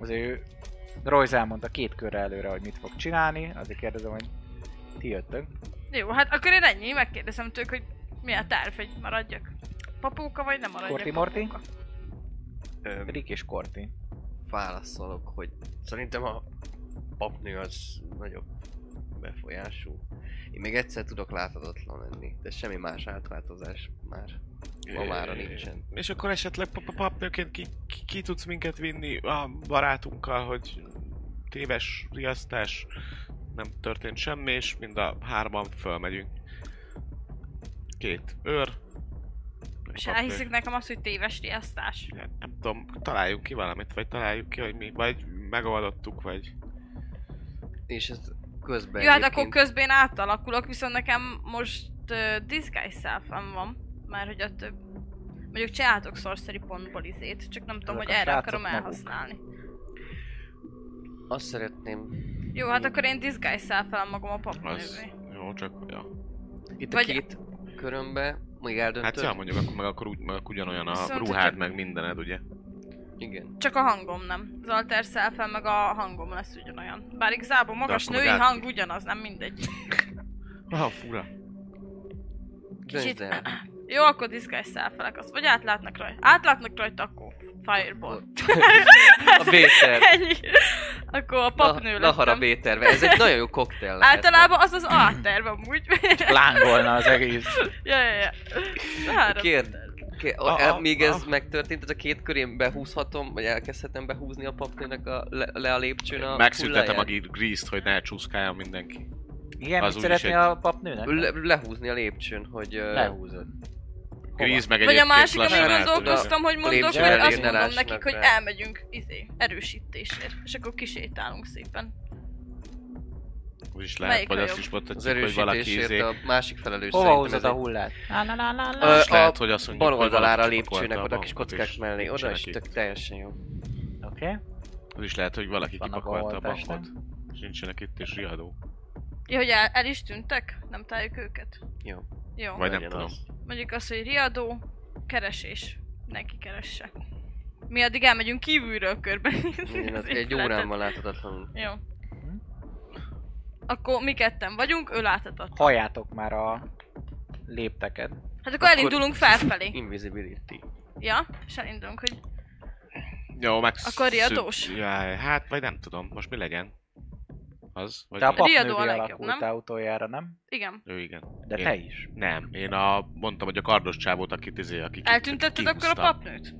[SPEAKER 1] Az ő... Royce elmondta két körre előre, hogy mit fog csinálni, azért kérdezem, hogy ti jöttök.
[SPEAKER 2] Jó, hát akkor én ennyi, megkérdezem tőlük, hogy mi a terv, hogy maradjak. Papóka vagy nem maradjak?
[SPEAKER 1] Korti Morti?
[SPEAKER 2] papóka?
[SPEAKER 3] Öm,
[SPEAKER 1] Rick és Korti.
[SPEAKER 3] válaszolok, hogy szerintem a papnő az nagyobb befolyású. Én még egyszer tudok láthatatlan lenni, de semmi más átváltozás már ma mára nincsen.
[SPEAKER 4] És akkor esetleg pa- pa- papnőként ki, ki, ki tudsz minket vinni a barátunkkal, hogy téves riasztás, nem történt semmi, és mind a hárman fölmegyünk. Két őr. egy
[SPEAKER 2] És
[SPEAKER 4] papnő.
[SPEAKER 2] elhiszik nekem azt, hogy téves riasztás.
[SPEAKER 4] Hát Nem tudom, találjuk ki valamit, vagy találjuk ki, hogy mi, vagy megoldottuk, vagy...
[SPEAKER 3] És ez közben
[SPEAKER 2] Jó, hát
[SPEAKER 3] egyébként
[SPEAKER 2] akkor közben én átalakulok, viszont nekem most uh, disguise self van, mert hogy a több... Mondjuk csináltok sorcery pontból izét, csak nem tudom,
[SPEAKER 1] Ezek
[SPEAKER 2] hogy
[SPEAKER 1] a
[SPEAKER 2] erre
[SPEAKER 1] srácok
[SPEAKER 2] akarom
[SPEAKER 1] maguk.
[SPEAKER 2] elhasználni.
[SPEAKER 3] Azt szeretném...
[SPEAKER 2] Jó, hát akkor én disguise self magam a
[SPEAKER 4] Az...
[SPEAKER 2] papnővé.
[SPEAKER 4] Jó, csak... Ja.
[SPEAKER 3] Itt
[SPEAKER 2] Vagy-
[SPEAKER 3] a két körömbe még eldöntöd?
[SPEAKER 4] Hát ja, mondjuk, akkor meg, akkor, úgy, meg akkor ugyanolyan a
[SPEAKER 2] Viszont,
[SPEAKER 4] ruhád,
[SPEAKER 2] hogyha-
[SPEAKER 4] meg mindened, ugye?
[SPEAKER 3] Igen.
[SPEAKER 2] Csak a hangom nem. Az alter self meg a hangom lesz ugyanolyan. Bár igazából magas
[SPEAKER 4] akkor meg
[SPEAKER 2] női
[SPEAKER 4] át-
[SPEAKER 2] hang ugyanaz, nem mindegy.
[SPEAKER 4] Ah, fura.
[SPEAKER 3] Döntsd el.
[SPEAKER 2] Jó, akkor disguise self azt. Vagy átlátnak rajta. Átlátnak rajta, akkor fireball.
[SPEAKER 3] A B-terv.
[SPEAKER 2] Ennyi. Akkor a papnő
[SPEAKER 3] La, Lahara
[SPEAKER 2] lettem.
[SPEAKER 3] B-terve. Ez egy nagyon jó koktél lehet.
[SPEAKER 2] Általában az az A terv amúgy.
[SPEAKER 1] Lángolna az egész.
[SPEAKER 2] ja, ja, ja. Három.
[SPEAKER 3] Kérd, Ké- a,
[SPEAKER 4] A-
[SPEAKER 3] a,
[SPEAKER 4] a-
[SPEAKER 3] míg
[SPEAKER 4] a-
[SPEAKER 3] ez megtörtént, ez a két körén behúzhatom, vagy elkezdhetem behúzni a papnőnek a, le, le a lépcsőn a
[SPEAKER 4] Megszüntetem a
[SPEAKER 3] hulláját?
[SPEAKER 4] gí- grízt, hogy ne csúszkáljon mindenki.
[SPEAKER 1] Igen,
[SPEAKER 4] Az
[SPEAKER 1] mit
[SPEAKER 4] úgyis
[SPEAKER 1] szeretné
[SPEAKER 4] egy-
[SPEAKER 1] a papnőnek?
[SPEAKER 3] Le, lehúzni a lépcsőn, hogy... ö,
[SPEAKER 1] Lehúzod.
[SPEAKER 4] Gríz meg
[SPEAKER 2] Vagy a
[SPEAKER 4] egyébként
[SPEAKER 2] másik, amin
[SPEAKER 4] lassan eltűnt.
[SPEAKER 2] gondolkoztam, hogy mondok,
[SPEAKER 3] Lépcsőn
[SPEAKER 2] hogy
[SPEAKER 1] elé
[SPEAKER 2] azt
[SPEAKER 1] ne
[SPEAKER 2] mondom
[SPEAKER 3] lássanak
[SPEAKER 2] nekik, hogy
[SPEAKER 3] rá.
[SPEAKER 2] elmegyünk izé, erősítésért. És akkor kisétálunk szépen.
[SPEAKER 4] Úgy is
[SPEAKER 2] Melyik
[SPEAKER 4] lehet, vagy
[SPEAKER 2] a
[SPEAKER 4] azt
[SPEAKER 2] jobb?
[SPEAKER 4] is
[SPEAKER 3] Az
[SPEAKER 4] mondhatjuk, hogy valaki
[SPEAKER 3] erősítésért
[SPEAKER 4] izé...
[SPEAKER 3] a másik felelős
[SPEAKER 1] Hova
[SPEAKER 3] szerintem
[SPEAKER 1] húzod
[SPEAKER 3] ez
[SPEAKER 1] a
[SPEAKER 3] egy-
[SPEAKER 1] hullát?
[SPEAKER 3] Ö,
[SPEAKER 4] Most lehet,
[SPEAKER 3] a
[SPEAKER 4] hogy azt mondjuk,
[SPEAKER 3] bal
[SPEAKER 4] hogy
[SPEAKER 3] oldalára
[SPEAKER 4] valaki
[SPEAKER 3] lépcsőnek,
[SPEAKER 4] pakolta
[SPEAKER 3] oda a kis
[SPEAKER 4] bankot,
[SPEAKER 3] kockák
[SPEAKER 4] és
[SPEAKER 3] mellé, oda is
[SPEAKER 4] nincsenek
[SPEAKER 3] tök
[SPEAKER 4] itt.
[SPEAKER 3] teljesen jó.
[SPEAKER 1] Oké.
[SPEAKER 4] Az is lehet, hogy valaki
[SPEAKER 1] Vannak
[SPEAKER 4] kipakolta a
[SPEAKER 1] baholtásnak.
[SPEAKER 4] bankot. És nincsenek itt, és riadó.
[SPEAKER 2] Ja, hogy el, el is tűntek? Nem találjuk őket?
[SPEAKER 3] Jó.
[SPEAKER 2] Jó.
[SPEAKER 4] Vagy nem
[SPEAKER 3] Legyen
[SPEAKER 4] tudom.
[SPEAKER 3] az.
[SPEAKER 2] Mondjuk azt, hogy riadó, keresés. Neki keresse. Mi addig elmegyünk kívülről körben.
[SPEAKER 3] Én az
[SPEAKER 2] az
[SPEAKER 3] egy
[SPEAKER 2] épületet.
[SPEAKER 3] órán van láthatatlanul.
[SPEAKER 2] Jó. Akkor mi ketten vagyunk, ő láthatatlan.
[SPEAKER 1] Halljátok már a lépteket.
[SPEAKER 2] Hát akkor elindulunk felfelé.
[SPEAKER 3] Invisibility.
[SPEAKER 2] Ja, és elindulunk, hogy
[SPEAKER 4] Jó, meg...
[SPEAKER 2] Akkor riadós?
[SPEAKER 4] Jaj, hát, vagy nem tudom. Most mi legyen? Az? Vagy
[SPEAKER 1] Te a
[SPEAKER 4] mi?
[SPEAKER 2] Riadó a
[SPEAKER 1] papnővé
[SPEAKER 2] legjobb,
[SPEAKER 1] alakultál utoljára, nem?
[SPEAKER 2] igen.
[SPEAKER 4] Ő igen.
[SPEAKER 1] De
[SPEAKER 4] Én-
[SPEAKER 1] te is.
[SPEAKER 4] Nem, én a, mondtam, hogy a kardos csávót, akit izé, aki
[SPEAKER 2] Eltüntetted akkor a
[SPEAKER 4] kihúztam.
[SPEAKER 2] papnőt?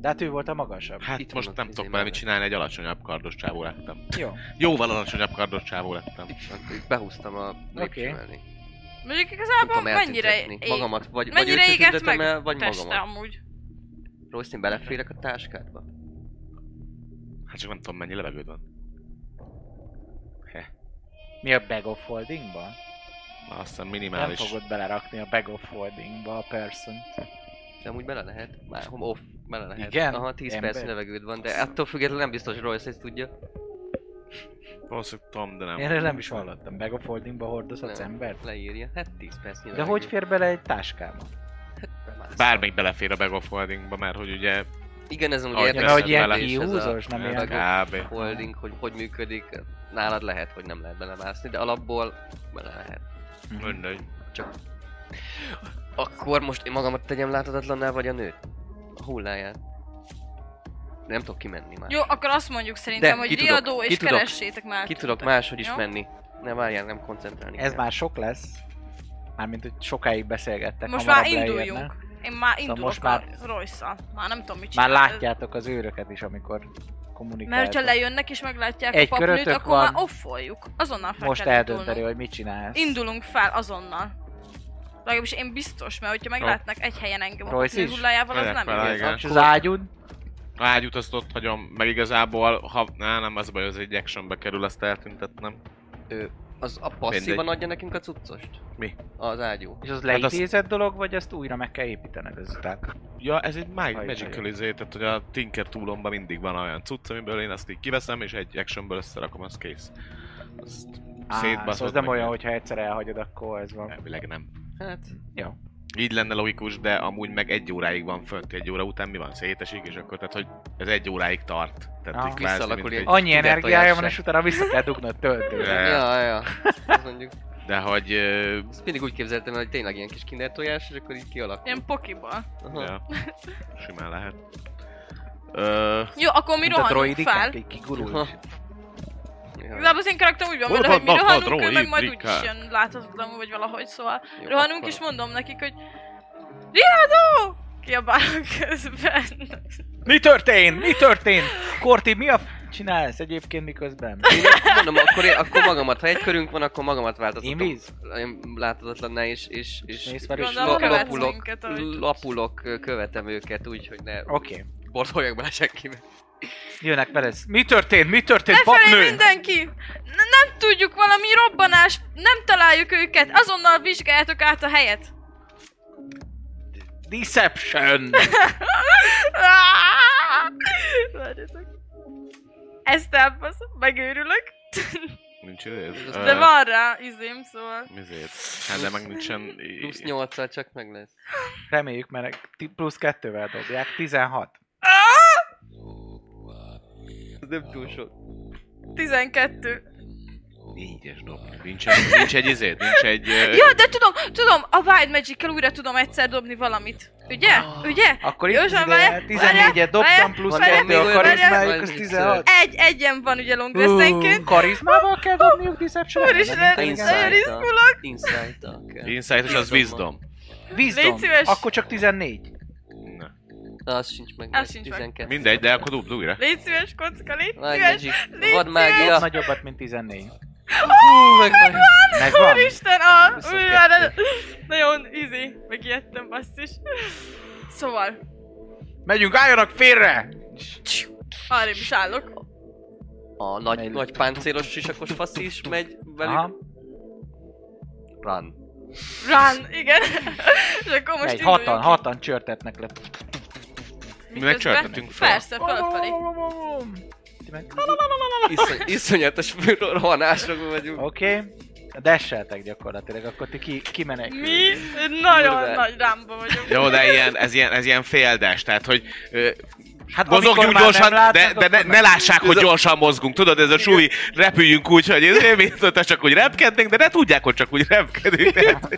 [SPEAKER 1] De hát ő volt a magasabb.
[SPEAKER 4] Hát
[SPEAKER 3] Itt
[SPEAKER 4] itt most
[SPEAKER 3] vannak
[SPEAKER 4] nem
[SPEAKER 3] izé
[SPEAKER 4] tudok vele mit
[SPEAKER 3] mellett.
[SPEAKER 4] csinálni, egy alacsonyabb kardos csávó lettem.
[SPEAKER 1] Jó.
[SPEAKER 4] Jóval alacsonyabb kardos csávó lettem.
[SPEAKER 3] Akkor itt behúztam a lépcső
[SPEAKER 1] Oké.
[SPEAKER 3] mellé.
[SPEAKER 2] Mondjuk
[SPEAKER 3] Nem
[SPEAKER 2] igazából
[SPEAKER 3] tudom
[SPEAKER 2] mennyire
[SPEAKER 3] eltüntetni.
[SPEAKER 2] ég,
[SPEAKER 3] Magamat, vagy, vagy
[SPEAKER 2] mennyire
[SPEAKER 3] őt
[SPEAKER 2] égett meg
[SPEAKER 3] tüntetem el, vagy
[SPEAKER 2] teste
[SPEAKER 3] magamat.
[SPEAKER 2] amúgy.
[SPEAKER 3] Rossz, én beleférek a táskádba?
[SPEAKER 4] Hát csak nem tudom, mennyi levegőd van.
[SPEAKER 1] Mi a bag of holdingba?
[SPEAKER 4] Na, Azt hiszem
[SPEAKER 1] Nem
[SPEAKER 4] minimális.
[SPEAKER 1] fogod belerakni a bag of holdingba a person.
[SPEAKER 3] De amúgy bele lehet, már home off, bele lehet.
[SPEAKER 1] Igen?
[SPEAKER 3] Aha, 10
[SPEAKER 1] Ember.
[SPEAKER 3] perc levegőd van, de attól függetlenül nem biztos, hogy Royce ezt tudja.
[SPEAKER 4] Valószínűleg tudom, de nem.
[SPEAKER 1] Én erről nem is hallottam. Bag of holdingba hordozhatsz
[SPEAKER 3] Nem.
[SPEAKER 1] embert?
[SPEAKER 3] Leírja, hát 10 perc
[SPEAKER 1] De hogy fér bele egy táskába?
[SPEAKER 4] Bármelyik belefér a bag of holdingba, mert hogy ugye
[SPEAKER 3] Igen, ez amúgy
[SPEAKER 4] Ahogy
[SPEAKER 1] Ja,
[SPEAKER 4] persze,
[SPEAKER 1] mert hogy ilyen
[SPEAKER 4] bele-
[SPEAKER 1] kihúzós, nem
[SPEAKER 4] Ilyen
[SPEAKER 1] ilyen...
[SPEAKER 4] kb.
[SPEAKER 3] holding, hogy hogy működik, nálad lehet, hogy nem lehet belemászni, de alapból bele lehet.
[SPEAKER 1] Mhm.
[SPEAKER 4] mindegy.
[SPEAKER 3] Csak... Akkor most én magamat tegyem láthatatlanná, vagy a nőt? A hulláját. Nem tudok kimenni már.
[SPEAKER 2] Jó, akkor azt mondjuk szerintem,
[SPEAKER 3] De,
[SPEAKER 2] hogy
[SPEAKER 3] ki tudok,
[SPEAKER 2] riadó
[SPEAKER 3] ki
[SPEAKER 2] és
[SPEAKER 3] tudok.
[SPEAKER 2] keressétek már.
[SPEAKER 3] Ki tudok
[SPEAKER 2] tüntetni.
[SPEAKER 3] máshogy is
[SPEAKER 2] Jó?
[SPEAKER 3] menni. Nem várjál, nem koncentrálni
[SPEAKER 1] Ez
[SPEAKER 3] kell.
[SPEAKER 1] már sok lesz. Mármint, hogy sokáig beszélgettek.
[SPEAKER 2] Most
[SPEAKER 1] hamarabb
[SPEAKER 2] már induljunk.
[SPEAKER 1] leérne.
[SPEAKER 2] Én már indulok
[SPEAKER 1] most
[SPEAKER 2] most
[SPEAKER 1] már-
[SPEAKER 2] már... a royce Már nem tudom, mit
[SPEAKER 1] Már
[SPEAKER 2] csinál.
[SPEAKER 1] látjátok az őröket is, amikor kommunikáltak.
[SPEAKER 2] Mert hogyha lejönnek és meglátják
[SPEAKER 1] Egy
[SPEAKER 2] a papnőt,
[SPEAKER 1] körötök
[SPEAKER 2] akkor
[SPEAKER 1] van.
[SPEAKER 2] már offoljuk. Azonnal fel
[SPEAKER 1] Most
[SPEAKER 2] kell
[SPEAKER 1] eldönteni,
[SPEAKER 2] indulnunk.
[SPEAKER 1] hogy mit csinálsz.
[SPEAKER 2] Indulunk fel azonnal. Legalábbis én biztos, mert hogyha meglátnak egy helyen engem a
[SPEAKER 1] Royce
[SPEAKER 2] papnő
[SPEAKER 1] is?
[SPEAKER 2] hullájával, az nem
[SPEAKER 4] Megyek fel,
[SPEAKER 2] igaz.
[SPEAKER 4] igen.
[SPEAKER 1] És az ágyud,
[SPEAKER 4] A ágyút azt ott hagyom, meg igazából, ha á, nem az a baj, az egy actionbe kerül, azt eltüntetnem.
[SPEAKER 3] Az a passzívan
[SPEAKER 4] Mindegy.
[SPEAKER 3] adja nekünk a cuccost?
[SPEAKER 4] Mi?
[SPEAKER 3] Az ágyú.
[SPEAKER 1] és az Hát,
[SPEAKER 4] Hát az-
[SPEAKER 1] leintézett dolog, vagy ezt újra meg kell építened ezután?
[SPEAKER 4] Ja, ez egy mag-
[SPEAKER 1] Hajj,
[SPEAKER 4] magical
[SPEAKER 1] hajj.
[SPEAKER 4] izé, tehát hogy a Tinker túlomban mindig van olyan cucc, amiből én azt így kiveszem, és egy actionből összerakom, az kész. Azt
[SPEAKER 1] Á, szóval
[SPEAKER 4] szétbaszod
[SPEAKER 1] ez nem
[SPEAKER 4] meg.
[SPEAKER 1] olyan, hogyha egyszer elhagyod, akkor ez van.
[SPEAKER 4] Elvileg nem.
[SPEAKER 3] Hát...
[SPEAKER 1] Jó.
[SPEAKER 4] így lenne logikus, de amúgy meg egy óráig van fönt, egy óra után mi van, szétesik, és akkor tehát, hogy ez egy óráig tart. Tehát
[SPEAKER 1] Ah.
[SPEAKER 4] így kvázi,
[SPEAKER 3] Visszalakul
[SPEAKER 4] mint
[SPEAKER 3] ilyen-
[SPEAKER 4] egy-
[SPEAKER 1] Annyi
[SPEAKER 3] Tudod,
[SPEAKER 1] energiája van,
[SPEAKER 3] tojás
[SPEAKER 1] és utána vissza kell dugnod töltőre.
[SPEAKER 4] Ja.
[SPEAKER 3] Ja, ja. Ez mondjuk,
[SPEAKER 4] De hogy... ö,
[SPEAKER 3] ezt mindig úgy képzeltem, el, hogy tényleg ilyen kis kinder tojás, és akkor így kialakul.
[SPEAKER 2] Ilyen pokiba.
[SPEAKER 3] Aha.
[SPEAKER 4] Ja, simán lehet. Ö,
[SPEAKER 2] Jó, akkor mi
[SPEAKER 1] Mint a
[SPEAKER 2] rohanunk fel.
[SPEAKER 1] droidikák, így kigurul. és-
[SPEAKER 3] Ja.
[SPEAKER 2] Igazából az én karakterem úgy van
[SPEAKER 4] Hol
[SPEAKER 2] vele, hogy mi
[SPEAKER 4] vannak a
[SPEAKER 2] rohanunk, ő meg majd
[SPEAKER 4] droidikák?
[SPEAKER 2] úgyis jön láthatatlanul, vagy valahogy, szóval
[SPEAKER 3] Jó,
[SPEAKER 2] rohanunk,
[SPEAKER 3] akkor-
[SPEAKER 2] és mondom nekik, hogy Riadó! Kiabálok közben.
[SPEAKER 1] Mi történt? Mi történt? Korti, mi a f- csinálsz egyébként miközben?
[SPEAKER 3] Én azt mondom, akkor, én, akkor magamat, ha egy körünk van, akkor magamat
[SPEAKER 1] Én
[SPEAKER 3] változtatom.
[SPEAKER 1] víz?
[SPEAKER 3] Én láthatatlanná is, és, és,
[SPEAKER 1] Mész
[SPEAKER 3] és
[SPEAKER 1] velük?
[SPEAKER 2] Gondolom,
[SPEAKER 1] Lopulok.
[SPEAKER 2] követsz
[SPEAKER 3] lapulok,
[SPEAKER 2] minket, ahogy
[SPEAKER 3] lapulok, követem őket úgy, hogy ne
[SPEAKER 1] Oké.
[SPEAKER 3] borzoljak bele senkibe.
[SPEAKER 1] Jönnek veled. Mi történt? Mi történt,
[SPEAKER 2] Lefelé
[SPEAKER 1] papnő?
[SPEAKER 2] mindenki! N- nem tudjuk, valami robbanás, nem találjuk őket, azonnal vizsgáljátok át a helyet!
[SPEAKER 1] Deception!
[SPEAKER 2] Várjatok. Ezt elbaszom, megőrülök.
[SPEAKER 4] nincs idéz?
[SPEAKER 3] De
[SPEAKER 2] De van rá izém, szóval...
[SPEAKER 4] Mizét. Hát de meg nincsen... i-
[SPEAKER 3] Plusz 8 csak meg lesz.
[SPEAKER 1] Reméljük, mert ti- plusz kettővel dobják. 16.
[SPEAKER 3] Ez nem túl sok.
[SPEAKER 2] 12.
[SPEAKER 4] Négyes dob. Nincs, nincs egy izét, nincs egy... ö,
[SPEAKER 2] Ja, de tudom, tudom, a Wild magic újra tudom egyszer dobni valamit. Ugye? Ugye?
[SPEAKER 1] Akkor itt
[SPEAKER 2] József, várjál,
[SPEAKER 1] 14-et dobtam,
[SPEAKER 2] várjál,
[SPEAKER 1] plusz
[SPEAKER 2] várjál,
[SPEAKER 1] 2 a
[SPEAKER 3] várjál,
[SPEAKER 1] karizmájuk,
[SPEAKER 3] várjál.
[SPEAKER 1] az 16.
[SPEAKER 2] Egy, egyen van ugye long restenként.
[SPEAKER 1] Karizmával kell dobniuk deception
[SPEAKER 2] Úristen,
[SPEAKER 3] Insight-a.
[SPEAKER 2] nagyon izgulok.
[SPEAKER 3] Insight-a kell.
[SPEAKER 4] Insight és az wisdom.
[SPEAKER 1] Wisdom.
[SPEAKER 2] Légy szíves.
[SPEAKER 1] Akkor csak 14.
[SPEAKER 4] Na.
[SPEAKER 3] Na, az sincs meg.
[SPEAKER 2] Az
[SPEAKER 3] meg.
[SPEAKER 2] sincs meg.
[SPEAKER 3] 12.
[SPEAKER 4] Mindegy, de akkor dugd újra.
[SPEAKER 2] Légy szíves, kocka, légy
[SPEAKER 3] Vagy
[SPEAKER 2] szíves.
[SPEAKER 3] magic,
[SPEAKER 2] Légy
[SPEAKER 3] vad mágia.
[SPEAKER 1] Nagyobbat, mint 14.
[SPEAKER 3] Hú, meg van.
[SPEAKER 1] Megvan?
[SPEAKER 2] Úristen, a,
[SPEAKER 1] 22.
[SPEAKER 2] új, már nagyon- nagyon izé, megijedtem basszus. Szóval,
[SPEAKER 1] Megyünk, álljanak félre!
[SPEAKER 2] arrébb is állok.
[SPEAKER 3] A nagy,
[SPEAKER 1] Megy.
[SPEAKER 3] nagy páncélos sisakos fasz is megy velük.
[SPEAKER 1] Aha,
[SPEAKER 3] Run.
[SPEAKER 2] Run, igen. És akkor most
[SPEAKER 1] megy,
[SPEAKER 2] induljunk.
[SPEAKER 1] hatan, hatan csörtetnek le.
[SPEAKER 2] Miközben-
[SPEAKER 4] megcsörtetünk fel.
[SPEAKER 2] Persze, fölfelé.
[SPEAKER 1] Oh. Ti meg-
[SPEAKER 3] Iszony, iszonyatos rohanásokban vagyunk.
[SPEAKER 1] Oké. Okay. Desseltek gyakorlatilag, akkor ti ki, kimenek.
[SPEAKER 2] Mi nagyon
[SPEAKER 3] Durván.
[SPEAKER 2] nagy rámba vagyunk.
[SPEAKER 4] Jó, de ilyen, ez ilyen, ez ilyen féldes, tehát hogy ö,
[SPEAKER 1] Hát amikor
[SPEAKER 4] mozogjuk
[SPEAKER 1] már
[SPEAKER 4] gyorsan,
[SPEAKER 1] nem
[SPEAKER 4] de,
[SPEAKER 1] látod,
[SPEAKER 4] de ne,
[SPEAKER 1] akkor
[SPEAKER 4] ne lássák, hogy gyorsan mozgunk. Tudod, ez a súly, repüljünk úgy, hogy ez mint csak úgy repkednénk, de ne tudják, hogy csak úgy repkedünk. Tehát,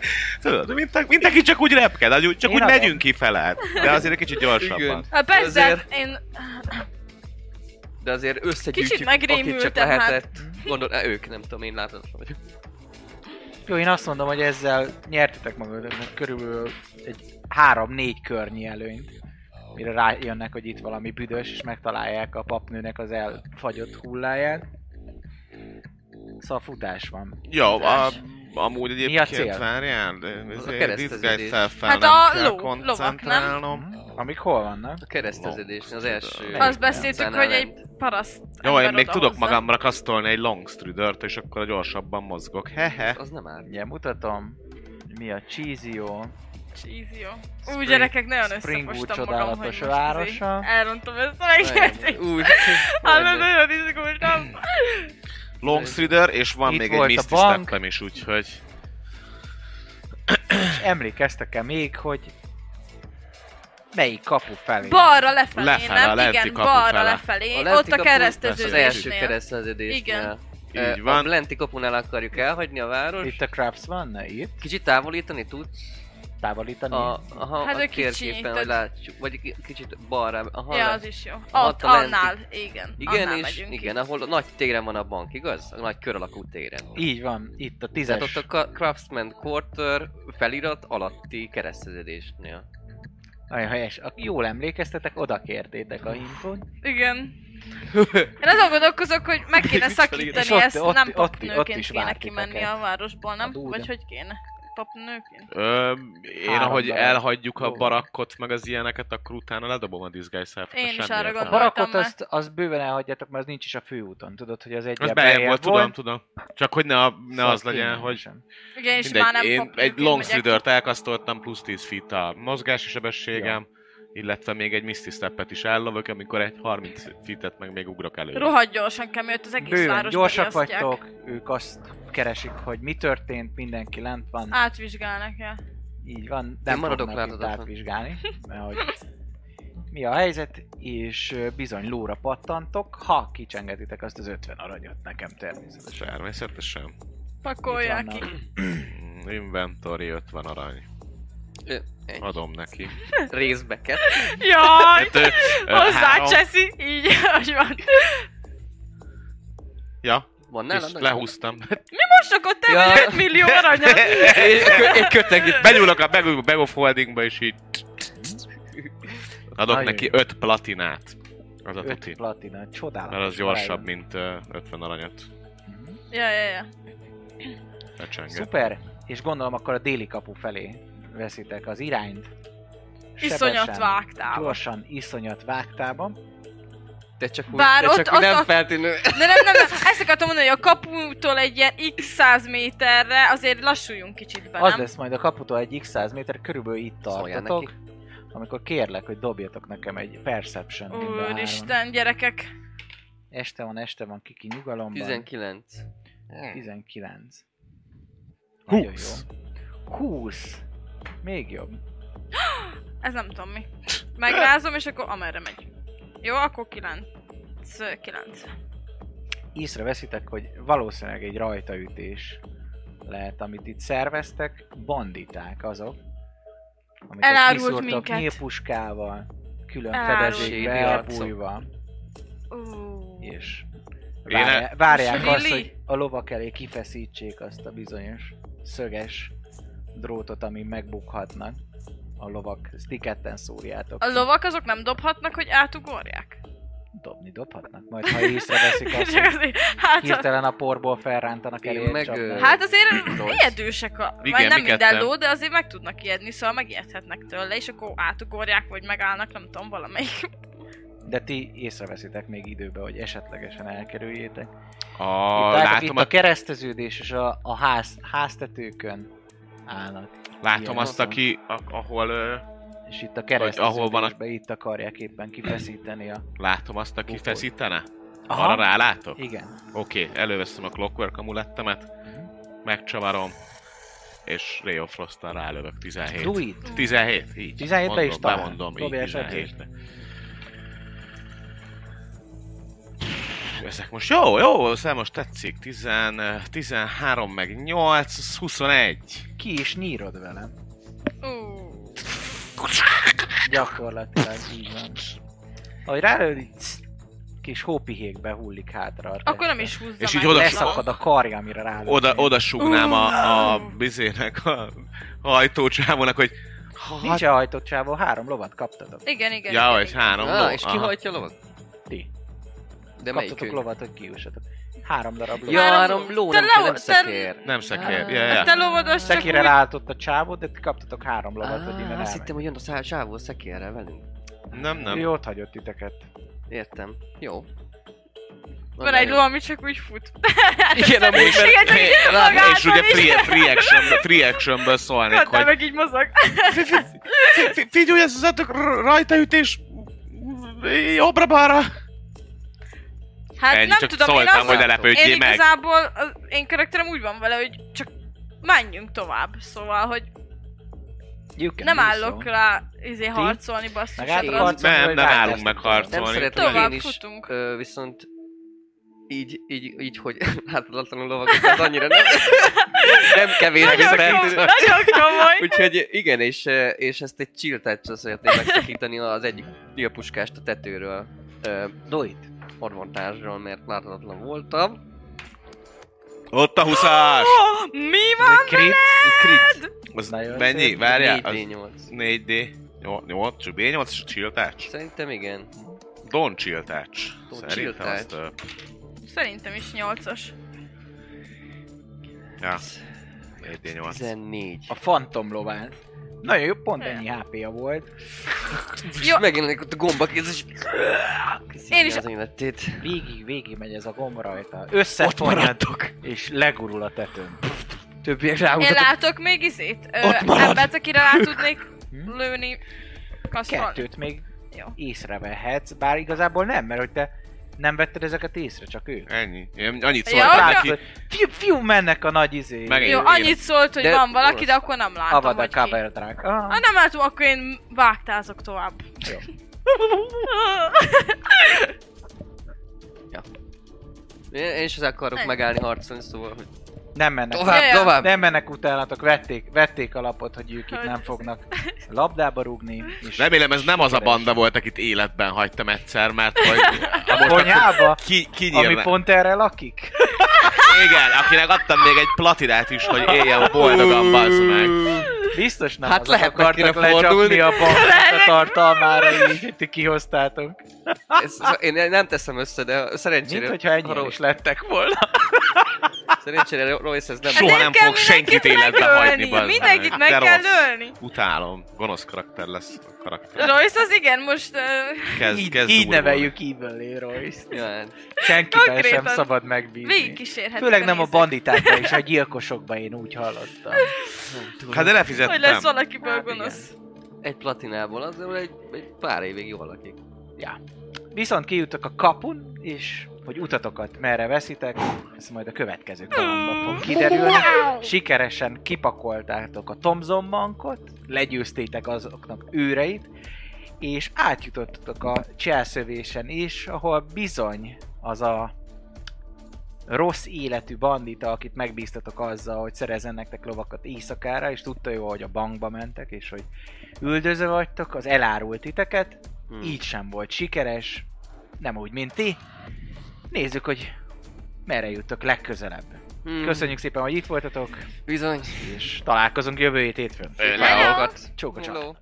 [SPEAKER 4] Tudod, mint- mindenki csak úgy repked, az úgy- csak
[SPEAKER 1] Én
[SPEAKER 4] úgy
[SPEAKER 1] adom.
[SPEAKER 4] megyünk kifele. De azért egy kicsit gyorsabban.
[SPEAKER 3] Igen.
[SPEAKER 2] Hát persze,
[SPEAKER 3] Azért-
[SPEAKER 2] én
[SPEAKER 3] De azért összegyűjtjük,
[SPEAKER 2] Kicsit
[SPEAKER 3] akit csak
[SPEAKER 2] megrémültem, hát.
[SPEAKER 3] lehetett. Gondol, e, ők nem tudom, én láthatatlan vagyok.
[SPEAKER 1] Jó, én azt mondom, hogy ezzel nyertetek magatoknak körülbelül egy 3-4 környi előnyt. Mire rájönnek, hogy itt valami büdös, és megtalálják a papnőnek az elfagyott hulláját. Szóval futás van.
[SPEAKER 4] Jó, a, amúgy egyébként
[SPEAKER 1] cél?
[SPEAKER 4] várjál,
[SPEAKER 3] A
[SPEAKER 4] de
[SPEAKER 3] kereszteződés.
[SPEAKER 4] diszgájszel fel
[SPEAKER 2] Hát
[SPEAKER 4] nem
[SPEAKER 2] a
[SPEAKER 4] kell
[SPEAKER 2] ló- lovak, nem?
[SPEAKER 4] koncentrálnom.
[SPEAKER 1] Mhm. Amik hol vannak?
[SPEAKER 3] A kereszteződésnél az első.
[SPEAKER 1] Long
[SPEAKER 2] azt beszéltük, hogy egy paraszt
[SPEAKER 4] Jó, én
[SPEAKER 2] ember
[SPEAKER 4] még
[SPEAKER 2] oda
[SPEAKER 4] tudok
[SPEAKER 2] hozza.
[SPEAKER 4] magamra kasztolni egy longstrudert, és akkor gyorsabban mozgok. Hehe.
[SPEAKER 3] Az nem áll.
[SPEAKER 1] Ugye mutatom, mi a Cheezio.
[SPEAKER 2] Cheesy, jó. Ú,
[SPEAKER 1] Spring-
[SPEAKER 2] gyerekek, nagyon
[SPEAKER 1] Springwood
[SPEAKER 2] összefostam magam, hogy
[SPEAKER 1] csodálatos
[SPEAKER 2] most izé
[SPEAKER 1] városa.
[SPEAKER 2] elrontom ezt a megértést.
[SPEAKER 3] Úgy.
[SPEAKER 2] Hallod, nagyon izgultam.
[SPEAKER 4] Longstrider, és van
[SPEAKER 1] Itt
[SPEAKER 4] még egy
[SPEAKER 1] volt a
[SPEAKER 4] Misty
[SPEAKER 1] bank.
[SPEAKER 4] Step-em is, úgyhogy...
[SPEAKER 1] És emlékeztek-e még, hogy melyik kapu felé?
[SPEAKER 2] Balra lefelé,
[SPEAKER 4] Lefelé, a
[SPEAKER 2] nem?
[SPEAKER 4] lenti
[SPEAKER 2] Igen,
[SPEAKER 4] kapu
[SPEAKER 2] balra
[SPEAKER 4] fele.
[SPEAKER 2] lefelé.
[SPEAKER 3] lenti
[SPEAKER 2] ott a
[SPEAKER 3] kapu- Az első
[SPEAKER 2] kereszteződésnél.
[SPEAKER 3] kereszteződésnél.
[SPEAKER 2] Igen.
[SPEAKER 3] Ö,
[SPEAKER 4] Így van.
[SPEAKER 3] A lenti kapunál akarjuk elhagyni a város.
[SPEAKER 1] Itt a Krabs van, na itt,
[SPEAKER 3] Kicsit távolítani tudsz
[SPEAKER 1] távolítani.
[SPEAKER 3] a, aha,
[SPEAKER 2] Hát
[SPEAKER 3] a
[SPEAKER 2] ő
[SPEAKER 3] térképen,
[SPEAKER 2] kicsinyített.
[SPEAKER 3] hogy látjuk, vagy ki- kicsit balra. Aha,
[SPEAKER 2] Ja,
[SPEAKER 3] le-
[SPEAKER 2] az is jó.
[SPEAKER 3] a
[SPEAKER 2] Ott,
[SPEAKER 3] lenti.
[SPEAKER 2] annál, igen.
[SPEAKER 3] igen,
[SPEAKER 2] annál
[SPEAKER 3] és
[SPEAKER 2] megyünk
[SPEAKER 3] igen,
[SPEAKER 2] ki.
[SPEAKER 3] ahol a nagy téren van a bank, igaz? A nagy kör alakú téren.
[SPEAKER 1] Így van, itt a
[SPEAKER 3] Tehát ott
[SPEAKER 1] tízes.
[SPEAKER 3] a Ka- Craftsman Quarter felirat alatti kereszteződésnél.
[SPEAKER 1] Nagyon helyes. A, jól emlékeztetek, oda kértétek a hintot.
[SPEAKER 2] Igen. Én azon gondolkozok, hogy meg kéne
[SPEAKER 3] Mit
[SPEAKER 1] És
[SPEAKER 2] szakítani
[SPEAKER 1] ott-
[SPEAKER 2] ezt,
[SPEAKER 1] ott-
[SPEAKER 2] nem
[SPEAKER 1] ott- ott
[SPEAKER 2] papnőként
[SPEAKER 1] is
[SPEAKER 2] kéne
[SPEAKER 1] vártuk
[SPEAKER 2] kimenni
[SPEAKER 1] őket.
[SPEAKER 2] a városból, nem?
[SPEAKER 1] A dúda.
[SPEAKER 2] Vagy hogy kéne? Papnőként?
[SPEAKER 4] Ö, én
[SPEAKER 1] Három
[SPEAKER 4] ahogy
[SPEAKER 1] darab.
[SPEAKER 4] elhagyjuk a
[SPEAKER 1] Jó.
[SPEAKER 4] barakkot, meg az ilyenet, akkor utána ledobom a disguise self
[SPEAKER 2] Én is arra
[SPEAKER 1] A
[SPEAKER 2] gondoltam.
[SPEAKER 1] barakot
[SPEAKER 2] már.
[SPEAKER 1] azt, azt bőven elhagyjátok, mert az nincs is a főúton. Tudod, hogy az egy
[SPEAKER 4] Az beljebb volt, tudom, tudom. Csak hogy ne, a, ne
[SPEAKER 1] Szóval
[SPEAKER 4] az legyen,
[SPEAKER 1] kényelmesen.
[SPEAKER 4] hogy...
[SPEAKER 2] Igen, és
[SPEAKER 4] Mindegy,
[SPEAKER 2] már nem
[SPEAKER 4] én
[SPEAKER 2] papnőként
[SPEAKER 4] egy long
[SPEAKER 2] megyek.
[SPEAKER 4] stridert elkasztoltam, plusz 10 feet a mozgási sebességem, illetve még egy Misty Step-et is ellövök, amikor egy 30 feet-et meg még ugrok elő.
[SPEAKER 2] Rohadt gyorsan kell, mielőtt az egész
[SPEAKER 1] Bőven,
[SPEAKER 2] város
[SPEAKER 1] gyorsak vagytok, ők azt keresik, hogy mi történt, mindenki lent van.
[SPEAKER 2] Átvizsgálnak, ja.
[SPEAKER 1] Így van, nem
[SPEAKER 3] maradok
[SPEAKER 1] fognak itt
[SPEAKER 3] láthatatlan.
[SPEAKER 1] átvizsgálni, mert hogy mi a helyzet, és ö, bizony lóra pattantok, ha kicsengetitek azt az 50 aranyot nekem természetesen.
[SPEAKER 4] Természetesen.
[SPEAKER 2] Pakolják
[SPEAKER 1] Itt
[SPEAKER 2] ki.
[SPEAKER 1] vannak.
[SPEAKER 4] Mm, Inventory 50 arany.
[SPEAKER 3] Ö, egy
[SPEAKER 4] Adom neki.
[SPEAKER 3] Részbeket.
[SPEAKER 2] Jaj!
[SPEAKER 4] Hát, ö, ö,
[SPEAKER 2] Hozzá
[SPEAKER 4] három-
[SPEAKER 2] cseszi, így, hogy van.
[SPEAKER 4] Ja,
[SPEAKER 3] Van
[SPEAKER 4] és
[SPEAKER 3] nálad? nagy-
[SPEAKER 4] lehúztam.
[SPEAKER 2] Most akkor te
[SPEAKER 3] Ja.
[SPEAKER 2] 5 millió aranyat.
[SPEAKER 3] Egy kö- Egy köteg itt.
[SPEAKER 4] Begyúlok a bag, bag of holdingba, és így adok
[SPEAKER 1] Na,
[SPEAKER 4] neki
[SPEAKER 1] jöjjön.
[SPEAKER 4] 5 platinát. Az a
[SPEAKER 1] 5
[SPEAKER 4] tuti.
[SPEAKER 1] platina, csodálatos.
[SPEAKER 4] Mert az gyorsabb,
[SPEAKER 1] barátom.
[SPEAKER 4] mint ö, 50 aranyat.
[SPEAKER 1] Mhm.
[SPEAKER 2] Ja, ja, ja.
[SPEAKER 4] Becsenget.
[SPEAKER 1] Szuper, és gondolom akkor a déli kapu felé veszitek az irányt.
[SPEAKER 2] Iszonyat
[SPEAKER 1] Sebesen,
[SPEAKER 2] vágtál.
[SPEAKER 1] Gyorsan, iszonyat vágtában.
[SPEAKER 3] De csak úgy,
[SPEAKER 2] Bár
[SPEAKER 3] de
[SPEAKER 2] ott-
[SPEAKER 3] csak úgy
[SPEAKER 2] ott
[SPEAKER 3] nem
[SPEAKER 2] a-
[SPEAKER 3] feltűnő.
[SPEAKER 2] De nem, nem, nem, ezt akartam mondani, hogy a kaputól egy ilyen x száz méterre azért lassuljunk kicsit be,
[SPEAKER 1] Az
[SPEAKER 2] nem?
[SPEAKER 1] lesz majd a kaputól egy x100 méter, körülbelül itt
[SPEAKER 3] Szóljál
[SPEAKER 1] tartotok. Amikor kérlek, hogy dobjatok nekem egy perception mindhárom.
[SPEAKER 2] Úristen, gyerekek.
[SPEAKER 1] Este van, este van, kiki nyugalomban.
[SPEAKER 3] 19.
[SPEAKER 1] 19.
[SPEAKER 4] 20.
[SPEAKER 1] 20. Még jobb.
[SPEAKER 2] Ez nem tudom mi. Megrázom, és akkor amerre megy. Jó, akkor 9. 9.
[SPEAKER 1] észre veszitek, hogy valószínűleg egy rajtaütés lehet, amit itt szerveztek, banditák azok, amiket
[SPEAKER 2] Elárult
[SPEAKER 1] kiszúrtak
[SPEAKER 2] minket.
[SPEAKER 1] nyílpuskával, külön
[SPEAKER 2] Elárult.
[SPEAKER 1] fedezékbe,
[SPEAKER 3] Séri arcok.
[SPEAKER 1] elbújva,
[SPEAKER 2] Uh.
[SPEAKER 1] és
[SPEAKER 4] Én-
[SPEAKER 3] e-
[SPEAKER 1] várják, várják
[SPEAKER 2] Really?
[SPEAKER 1] azt, hogy a lovak elé kifeszítsék azt a bizonyos szöges drótot, ami megbukhatnak. A lovak, ezt ti ketten szúrjátok.
[SPEAKER 2] A lovak azok nem dobhatnak, hogy átugorják?
[SPEAKER 1] Dobni dobhatnak, majd ha észreveszik azt,
[SPEAKER 2] Csak
[SPEAKER 1] hogy
[SPEAKER 2] azért, hát,
[SPEAKER 1] hirtelen a porból felrántanak
[SPEAKER 3] Én
[SPEAKER 1] elé,
[SPEAKER 3] meg, ö,
[SPEAKER 1] csapnak.
[SPEAKER 2] hát azért
[SPEAKER 3] Rossz.
[SPEAKER 2] ijedősek a...
[SPEAKER 4] Igen,
[SPEAKER 2] Igen, nem
[SPEAKER 4] mi
[SPEAKER 2] minden
[SPEAKER 4] ketten.
[SPEAKER 2] ló, de azért meg tudnak ijedni, szóval megijedhetnek tőle, és akkor átugorják, vagy megállnak, nem tudom, valamelyik.
[SPEAKER 1] De ti észreveszitek még időbe, hogy esetlegesen elkerüljétek.
[SPEAKER 4] A,
[SPEAKER 1] Itt, álltok, itt
[SPEAKER 4] látom,
[SPEAKER 1] a
[SPEAKER 4] a,
[SPEAKER 1] kereszteződés és a, a ház, háztetőkön állnak.
[SPEAKER 4] látom
[SPEAKER 1] ilyen
[SPEAKER 4] azt,
[SPEAKER 1] azon.
[SPEAKER 4] aki, a, ahol ö,
[SPEAKER 1] És itt a
[SPEAKER 4] ahol van a-
[SPEAKER 1] kereszteződésben itt akarják éppen kifeszíteni a...
[SPEAKER 4] látom azt, aki
[SPEAKER 1] Bukolt.
[SPEAKER 4] feszítene. Arra rálátok?
[SPEAKER 1] Igen.
[SPEAKER 4] Oké, okay, előveszem a Clockwork amulettemet,
[SPEAKER 1] Mhm.
[SPEAKER 4] megcsavarom, és Ray of Frost-tal rálövök 17.
[SPEAKER 1] Druid.
[SPEAKER 4] 17, így.
[SPEAKER 1] 17-be
[SPEAKER 4] mondom,
[SPEAKER 1] is talál.
[SPEAKER 4] Bemondom, így
[SPEAKER 1] Dobjál sebzést.
[SPEAKER 4] 17 Ezek most jó, jó, szóval most tetszik. 10, 13 meg 8, az 21.
[SPEAKER 1] Ki is nyírod velem.
[SPEAKER 2] Uh.
[SPEAKER 1] Gyakorlatilag így van. Ahogy rálőd, így cs, kis hópihékbe hullik hátra. a
[SPEAKER 2] Akkor nem
[SPEAKER 1] teste.
[SPEAKER 2] is húzza
[SPEAKER 4] És
[SPEAKER 2] meg.
[SPEAKER 4] így oda-
[SPEAKER 1] Leszakad a karja, amire rálőd.
[SPEAKER 4] Oda, oda súgnám a, a
[SPEAKER 2] Uh.
[SPEAKER 4] bizének, a hajtócsávónak, hogy
[SPEAKER 1] Nincs a hajtottsából, három lovat kaptatok.
[SPEAKER 2] Igen, igen.
[SPEAKER 4] ja, hát,
[SPEAKER 2] igen,
[SPEAKER 4] vagy
[SPEAKER 2] igen.
[SPEAKER 4] három ló.
[SPEAKER 3] Ah, és
[SPEAKER 4] aha.
[SPEAKER 3] kihajtja lovat?
[SPEAKER 1] Ti.
[SPEAKER 3] De melyik
[SPEAKER 1] Kaptatok
[SPEAKER 3] ő?
[SPEAKER 1] lovat, hogy kiussatok. Három darab lovat.
[SPEAKER 3] Ja,
[SPEAKER 2] Három
[SPEAKER 3] három ló,
[SPEAKER 2] ló. Te
[SPEAKER 3] nem kell,
[SPEAKER 2] ló-
[SPEAKER 3] nem
[SPEAKER 2] te-
[SPEAKER 3] szekér.
[SPEAKER 4] Nem szekér,
[SPEAKER 3] Ah.
[SPEAKER 4] ja, ja.
[SPEAKER 1] Hát
[SPEAKER 2] A te lovados csak
[SPEAKER 1] Szekire
[SPEAKER 2] úgy-
[SPEAKER 1] ráálltott a csávót, de ti kaptatok három lovat, hogy innen
[SPEAKER 3] Ah, azt
[SPEAKER 1] elmegy.
[SPEAKER 3] hittem, hogy jön a szá- sávó a szekérrel velünk.
[SPEAKER 4] Nem,
[SPEAKER 1] Ő
[SPEAKER 4] nem.
[SPEAKER 1] ott hagyott titeket.
[SPEAKER 3] Értem. Jó.
[SPEAKER 2] Van egy ló, ami csak úgy fut.
[SPEAKER 3] Igen, amúgy, mert-
[SPEAKER 2] Igen, csak így magától
[SPEAKER 4] és ugye
[SPEAKER 2] is.
[SPEAKER 4] free, free, action, free actionből szólnék,
[SPEAKER 2] Kattal
[SPEAKER 4] hogy
[SPEAKER 2] meg így mozog.
[SPEAKER 4] Fi- fi- Figyelj, ez az ötök r- rajtaütés jobbra-balra.
[SPEAKER 2] Hát
[SPEAKER 4] Ennyi,
[SPEAKER 2] nem
[SPEAKER 4] csak
[SPEAKER 2] tudom, én
[SPEAKER 4] szóltam,
[SPEAKER 2] azt
[SPEAKER 4] hogy ne
[SPEAKER 2] Én
[SPEAKER 4] lepődjél meg.
[SPEAKER 2] igazából, az én karakterem úgy van vele, hogy csak menjünk tovább, szóval, hogy
[SPEAKER 1] You can
[SPEAKER 2] nem
[SPEAKER 1] do
[SPEAKER 2] állok
[SPEAKER 1] so.
[SPEAKER 2] rá izé harcolni,
[SPEAKER 1] Meg
[SPEAKER 2] basszus.
[SPEAKER 3] Én-
[SPEAKER 1] átharcolni,
[SPEAKER 4] Nem,
[SPEAKER 1] vagy
[SPEAKER 4] nem állunk
[SPEAKER 1] rátesztek
[SPEAKER 4] meg
[SPEAKER 1] tőle.
[SPEAKER 4] harcolni.
[SPEAKER 3] Nem
[SPEAKER 4] Szóval
[SPEAKER 3] szeretem
[SPEAKER 2] Tovább
[SPEAKER 3] én is,
[SPEAKER 2] futunk.
[SPEAKER 3] ö, viszont így, így, így, hogy hátatlanul lovagok, az annyira nem, nem kevés
[SPEAKER 2] Nagyon
[SPEAKER 3] viszont.
[SPEAKER 2] komoly, nagyon komoly.
[SPEAKER 3] Úgyhogy igen, és, eh, és ezt egy chill touch-ra szeretném megszakítani az egyik nyílpuskást a tetőről. Ö,
[SPEAKER 1] Do it.
[SPEAKER 3] advantage mert láthatatlan voltam.
[SPEAKER 4] Ott a huszás!
[SPEAKER 2] Ó, Mi
[SPEAKER 1] Ez
[SPEAKER 2] van?
[SPEAKER 1] egy crit.
[SPEAKER 3] Crit!
[SPEAKER 4] Az
[SPEAKER 1] Nagyon
[SPEAKER 4] mennyi?
[SPEAKER 1] szép.
[SPEAKER 4] Várjál, az
[SPEAKER 3] 4D8.
[SPEAKER 4] 4D. 8, csak D8 és chill touch.
[SPEAKER 3] Szerintem igen.
[SPEAKER 4] Don chill touch.
[SPEAKER 3] Don
[SPEAKER 4] Szerintem
[SPEAKER 3] chill
[SPEAKER 4] azt... ö,
[SPEAKER 2] Szerintem is nyolcas.
[SPEAKER 4] Ja, 4D8.
[SPEAKER 3] 14.
[SPEAKER 1] A fantom lován. Nagyon jó, pont
[SPEAKER 2] Nem.
[SPEAKER 1] ennyi HP-ja volt.
[SPEAKER 2] Jó.
[SPEAKER 3] Jó. Megjelenik ott a gomba kéz, és...
[SPEAKER 2] Én is-
[SPEAKER 3] Az életét.
[SPEAKER 1] Végig, végig megy ez a gomb rajta. Összefonjad, és legurul a tetőn.
[SPEAKER 3] Többiek
[SPEAKER 2] Én
[SPEAKER 3] rámutatok.
[SPEAKER 2] látok még izét? Ö,
[SPEAKER 3] Ott marad.
[SPEAKER 2] Embert, akire rá tudnék
[SPEAKER 1] Hm?
[SPEAKER 2] lőni. Kasztal.
[SPEAKER 1] Kettőt még
[SPEAKER 2] Jó.
[SPEAKER 1] észrevehetsz, bár igazából nem, mert hogy te Nem vetted ezeket észre, csak ő?
[SPEAKER 4] Ennyi. Én annyit
[SPEAKER 2] Ja,
[SPEAKER 4] szóltam
[SPEAKER 2] akkor-
[SPEAKER 4] neki.
[SPEAKER 1] Látod, fiú, fiú, mennek a nagy izé.
[SPEAKER 4] Meg
[SPEAKER 2] Jó,
[SPEAKER 4] Én-
[SPEAKER 2] annyit szólt, hogy
[SPEAKER 3] De-
[SPEAKER 2] van valaki, de akkor nem látom,
[SPEAKER 1] Avada
[SPEAKER 2] hogy ki.
[SPEAKER 1] cover drag. Ah,
[SPEAKER 2] Ha nem látom, akkor én vágtázok tovább.
[SPEAKER 1] Jó.
[SPEAKER 3] Én én is az akarok
[SPEAKER 2] Nem.
[SPEAKER 3] megállni harcolni, szóval, hogy
[SPEAKER 1] nem mennek.
[SPEAKER 3] tovább,
[SPEAKER 2] Ja, ja.
[SPEAKER 3] tovább.
[SPEAKER 1] Nem mennek utánatok, vették, vették a lapot, hogy ők itt
[SPEAKER 2] Hogy
[SPEAKER 1] nem
[SPEAKER 2] ez-
[SPEAKER 1] fognak labdába rúgni. És
[SPEAKER 4] Remélem ez nem az a banda volt, akit életben hagytam egyszer, mert hogy...
[SPEAKER 1] a konyhába,
[SPEAKER 4] Ki, kinyírnak.
[SPEAKER 1] ami pont erre lakik.
[SPEAKER 4] Igen, akinek adtam még egy platinát is, hogy éljen boldogan, bazd meg.
[SPEAKER 1] Biztos nem
[SPEAKER 3] Hát
[SPEAKER 1] azok
[SPEAKER 3] lehet
[SPEAKER 1] akartak
[SPEAKER 3] neki
[SPEAKER 1] lecsapni
[SPEAKER 3] fordulni.
[SPEAKER 1] a banknak a tartalmára, így hogy ti kihoztátok.
[SPEAKER 3] Ez, én nem teszem össze, de szerencsére...
[SPEAKER 1] Mint hogyha ennyien
[SPEAKER 3] Ro-
[SPEAKER 1] is lettek volna.
[SPEAKER 3] Szerencsére Royce ez nem...
[SPEAKER 4] Soha nem
[SPEAKER 2] kell
[SPEAKER 4] fog senkit
[SPEAKER 2] mindenkit
[SPEAKER 4] életbe
[SPEAKER 2] megölni,
[SPEAKER 4] hagyni, bazd meg.
[SPEAKER 2] Mindenkit meg
[SPEAKER 4] De
[SPEAKER 2] kell
[SPEAKER 4] rossz.
[SPEAKER 2] ölni.
[SPEAKER 4] Utálom. Gonosz karakter lesz a karakter.
[SPEAKER 2] Royce az igen, most... ö,
[SPEAKER 4] Kezd,
[SPEAKER 1] Így,
[SPEAKER 4] kezd
[SPEAKER 1] így
[SPEAKER 4] durvulni.
[SPEAKER 1] neveljük Evil Royce.
[SPEAKER 3] Ja, hát.
[SPEAKER 1] Senkiben sem
[SPEAKER 2] Konkrétan.
[SPEAKER 1] szabad megbízni.
[SPEAKER 2] Végigkísérhetik
[SPEAKER 1] Főleg nem a
[SPEAKER 2] nézők.
[SPEAKER 1] banditákba és a gyilkosokba én úgy hallottam.
[SPEAKER 4] Hát de lefizettem.
[SPEAKER 2] Hogy lesz valakiből
[SPEAKER 1] Hát igen.
[SPEAKER 2] gonosz.
[SPEAKER 3] Egy platinából, az egy, egy pár évig jól lakik.
[SPEAKER 1] Viszont kijutok a kapun, és hogy utatokat merre veszitek, ez majd a következő kalandban fog kiderülni. Sikeresen kipakoltátok a Thomson bankot, legyőztétek azoknak őreit, és átjutottatok a cselszövésen is, ahol bizony az a rossz életű bandita, akit megbíztatok azzal, hogy szerezzen nektek lovakat éjszakára, és tudta jó, hogy a bankba mentek, és hogy üldöző vagytok, az elárult titeket,
[SPEAKER 3] Hmm.
[SPEAKER 1] így sem volt sikeres, nem úgy, mint ti. Nézzük, hogy merre jutok legközelebb.
[SPEAKER 3] Hmm.
[SPEAKER 1] Köszönjük szépen, hogy itt voltatok,
[SPEAKER 3] Bizony.
[SPEAKER 1] és találkozunk jövő hét hétfőn.
[SPEAKER 4] Hello.
[SPEAKER 1] Csóka csóka.
[SPEAKER 3] Hello.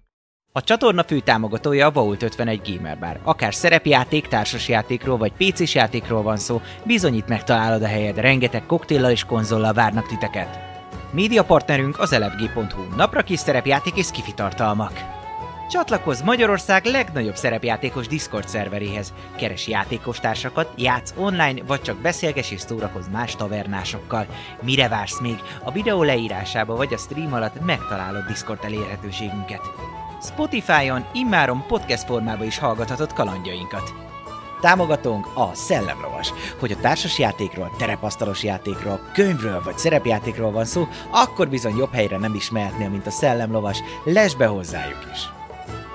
[SPEAKER 1] A csatorna fő támogatója a Vault 51 Gamer Bar. Akár szerepjáték, társasjátékról vagy pc játékról van szó, bizonyít megtalálod a helyed, rengeteg koktéllal és konzollal várnak titeket. Média partnerünk az elefg.hu, napra kis szerepjáték és skifi tartalmak. Csatlakozz Magyarország legnagyobb szerepjátékos Discord szerveréhez. Keres játékostársakat, játsz online, vagy csak beszélges és szórakozz más tavernásokkal. Mire vársz még? A videó leírásába vagy a stream alatt megtalálod Discord elérhetőségünket. Spotify-on immáron podcast formában is hallgathatod kalandjainkat. Támogatónk a Szellemlovas. Hogy a társas játékról, terepasztalos játékról, könyvről vagy szerepjátékról van szó, akkor bizony jobb helyre nem is mehetnél, mint a Szellemlovas. Lesz be hozzájuk is!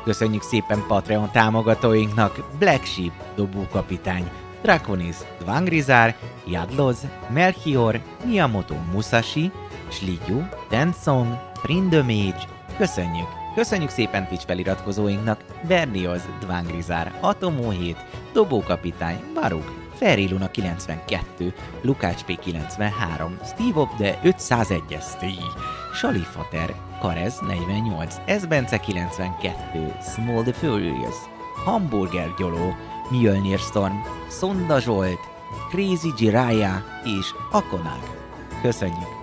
[SPEAKER 1] Köszönjük szépen Patreon támogatóinknak Black Sheep, Dobókapitány, Draconis, Dvangrizár, Jadloz, Melchior, Miyamoto Musashi, Slidyu, Densong, Prindomage, Köszönjük! Köszönjük szépen Twitch feliratkozóinknak Bernioz, Dvangrizár, Atomó 7, Dobókapitány, Baruk, Feriluna 92, Lukács P93, Steve Obde 501-es Steve, Salifater, Karez 48, Ezbence 92, Small the Furious, Hamburger Gyoló, Mjölnir Storm, Szonda Zsolt, Crazy Jiraya és Akonák. Köszönjük!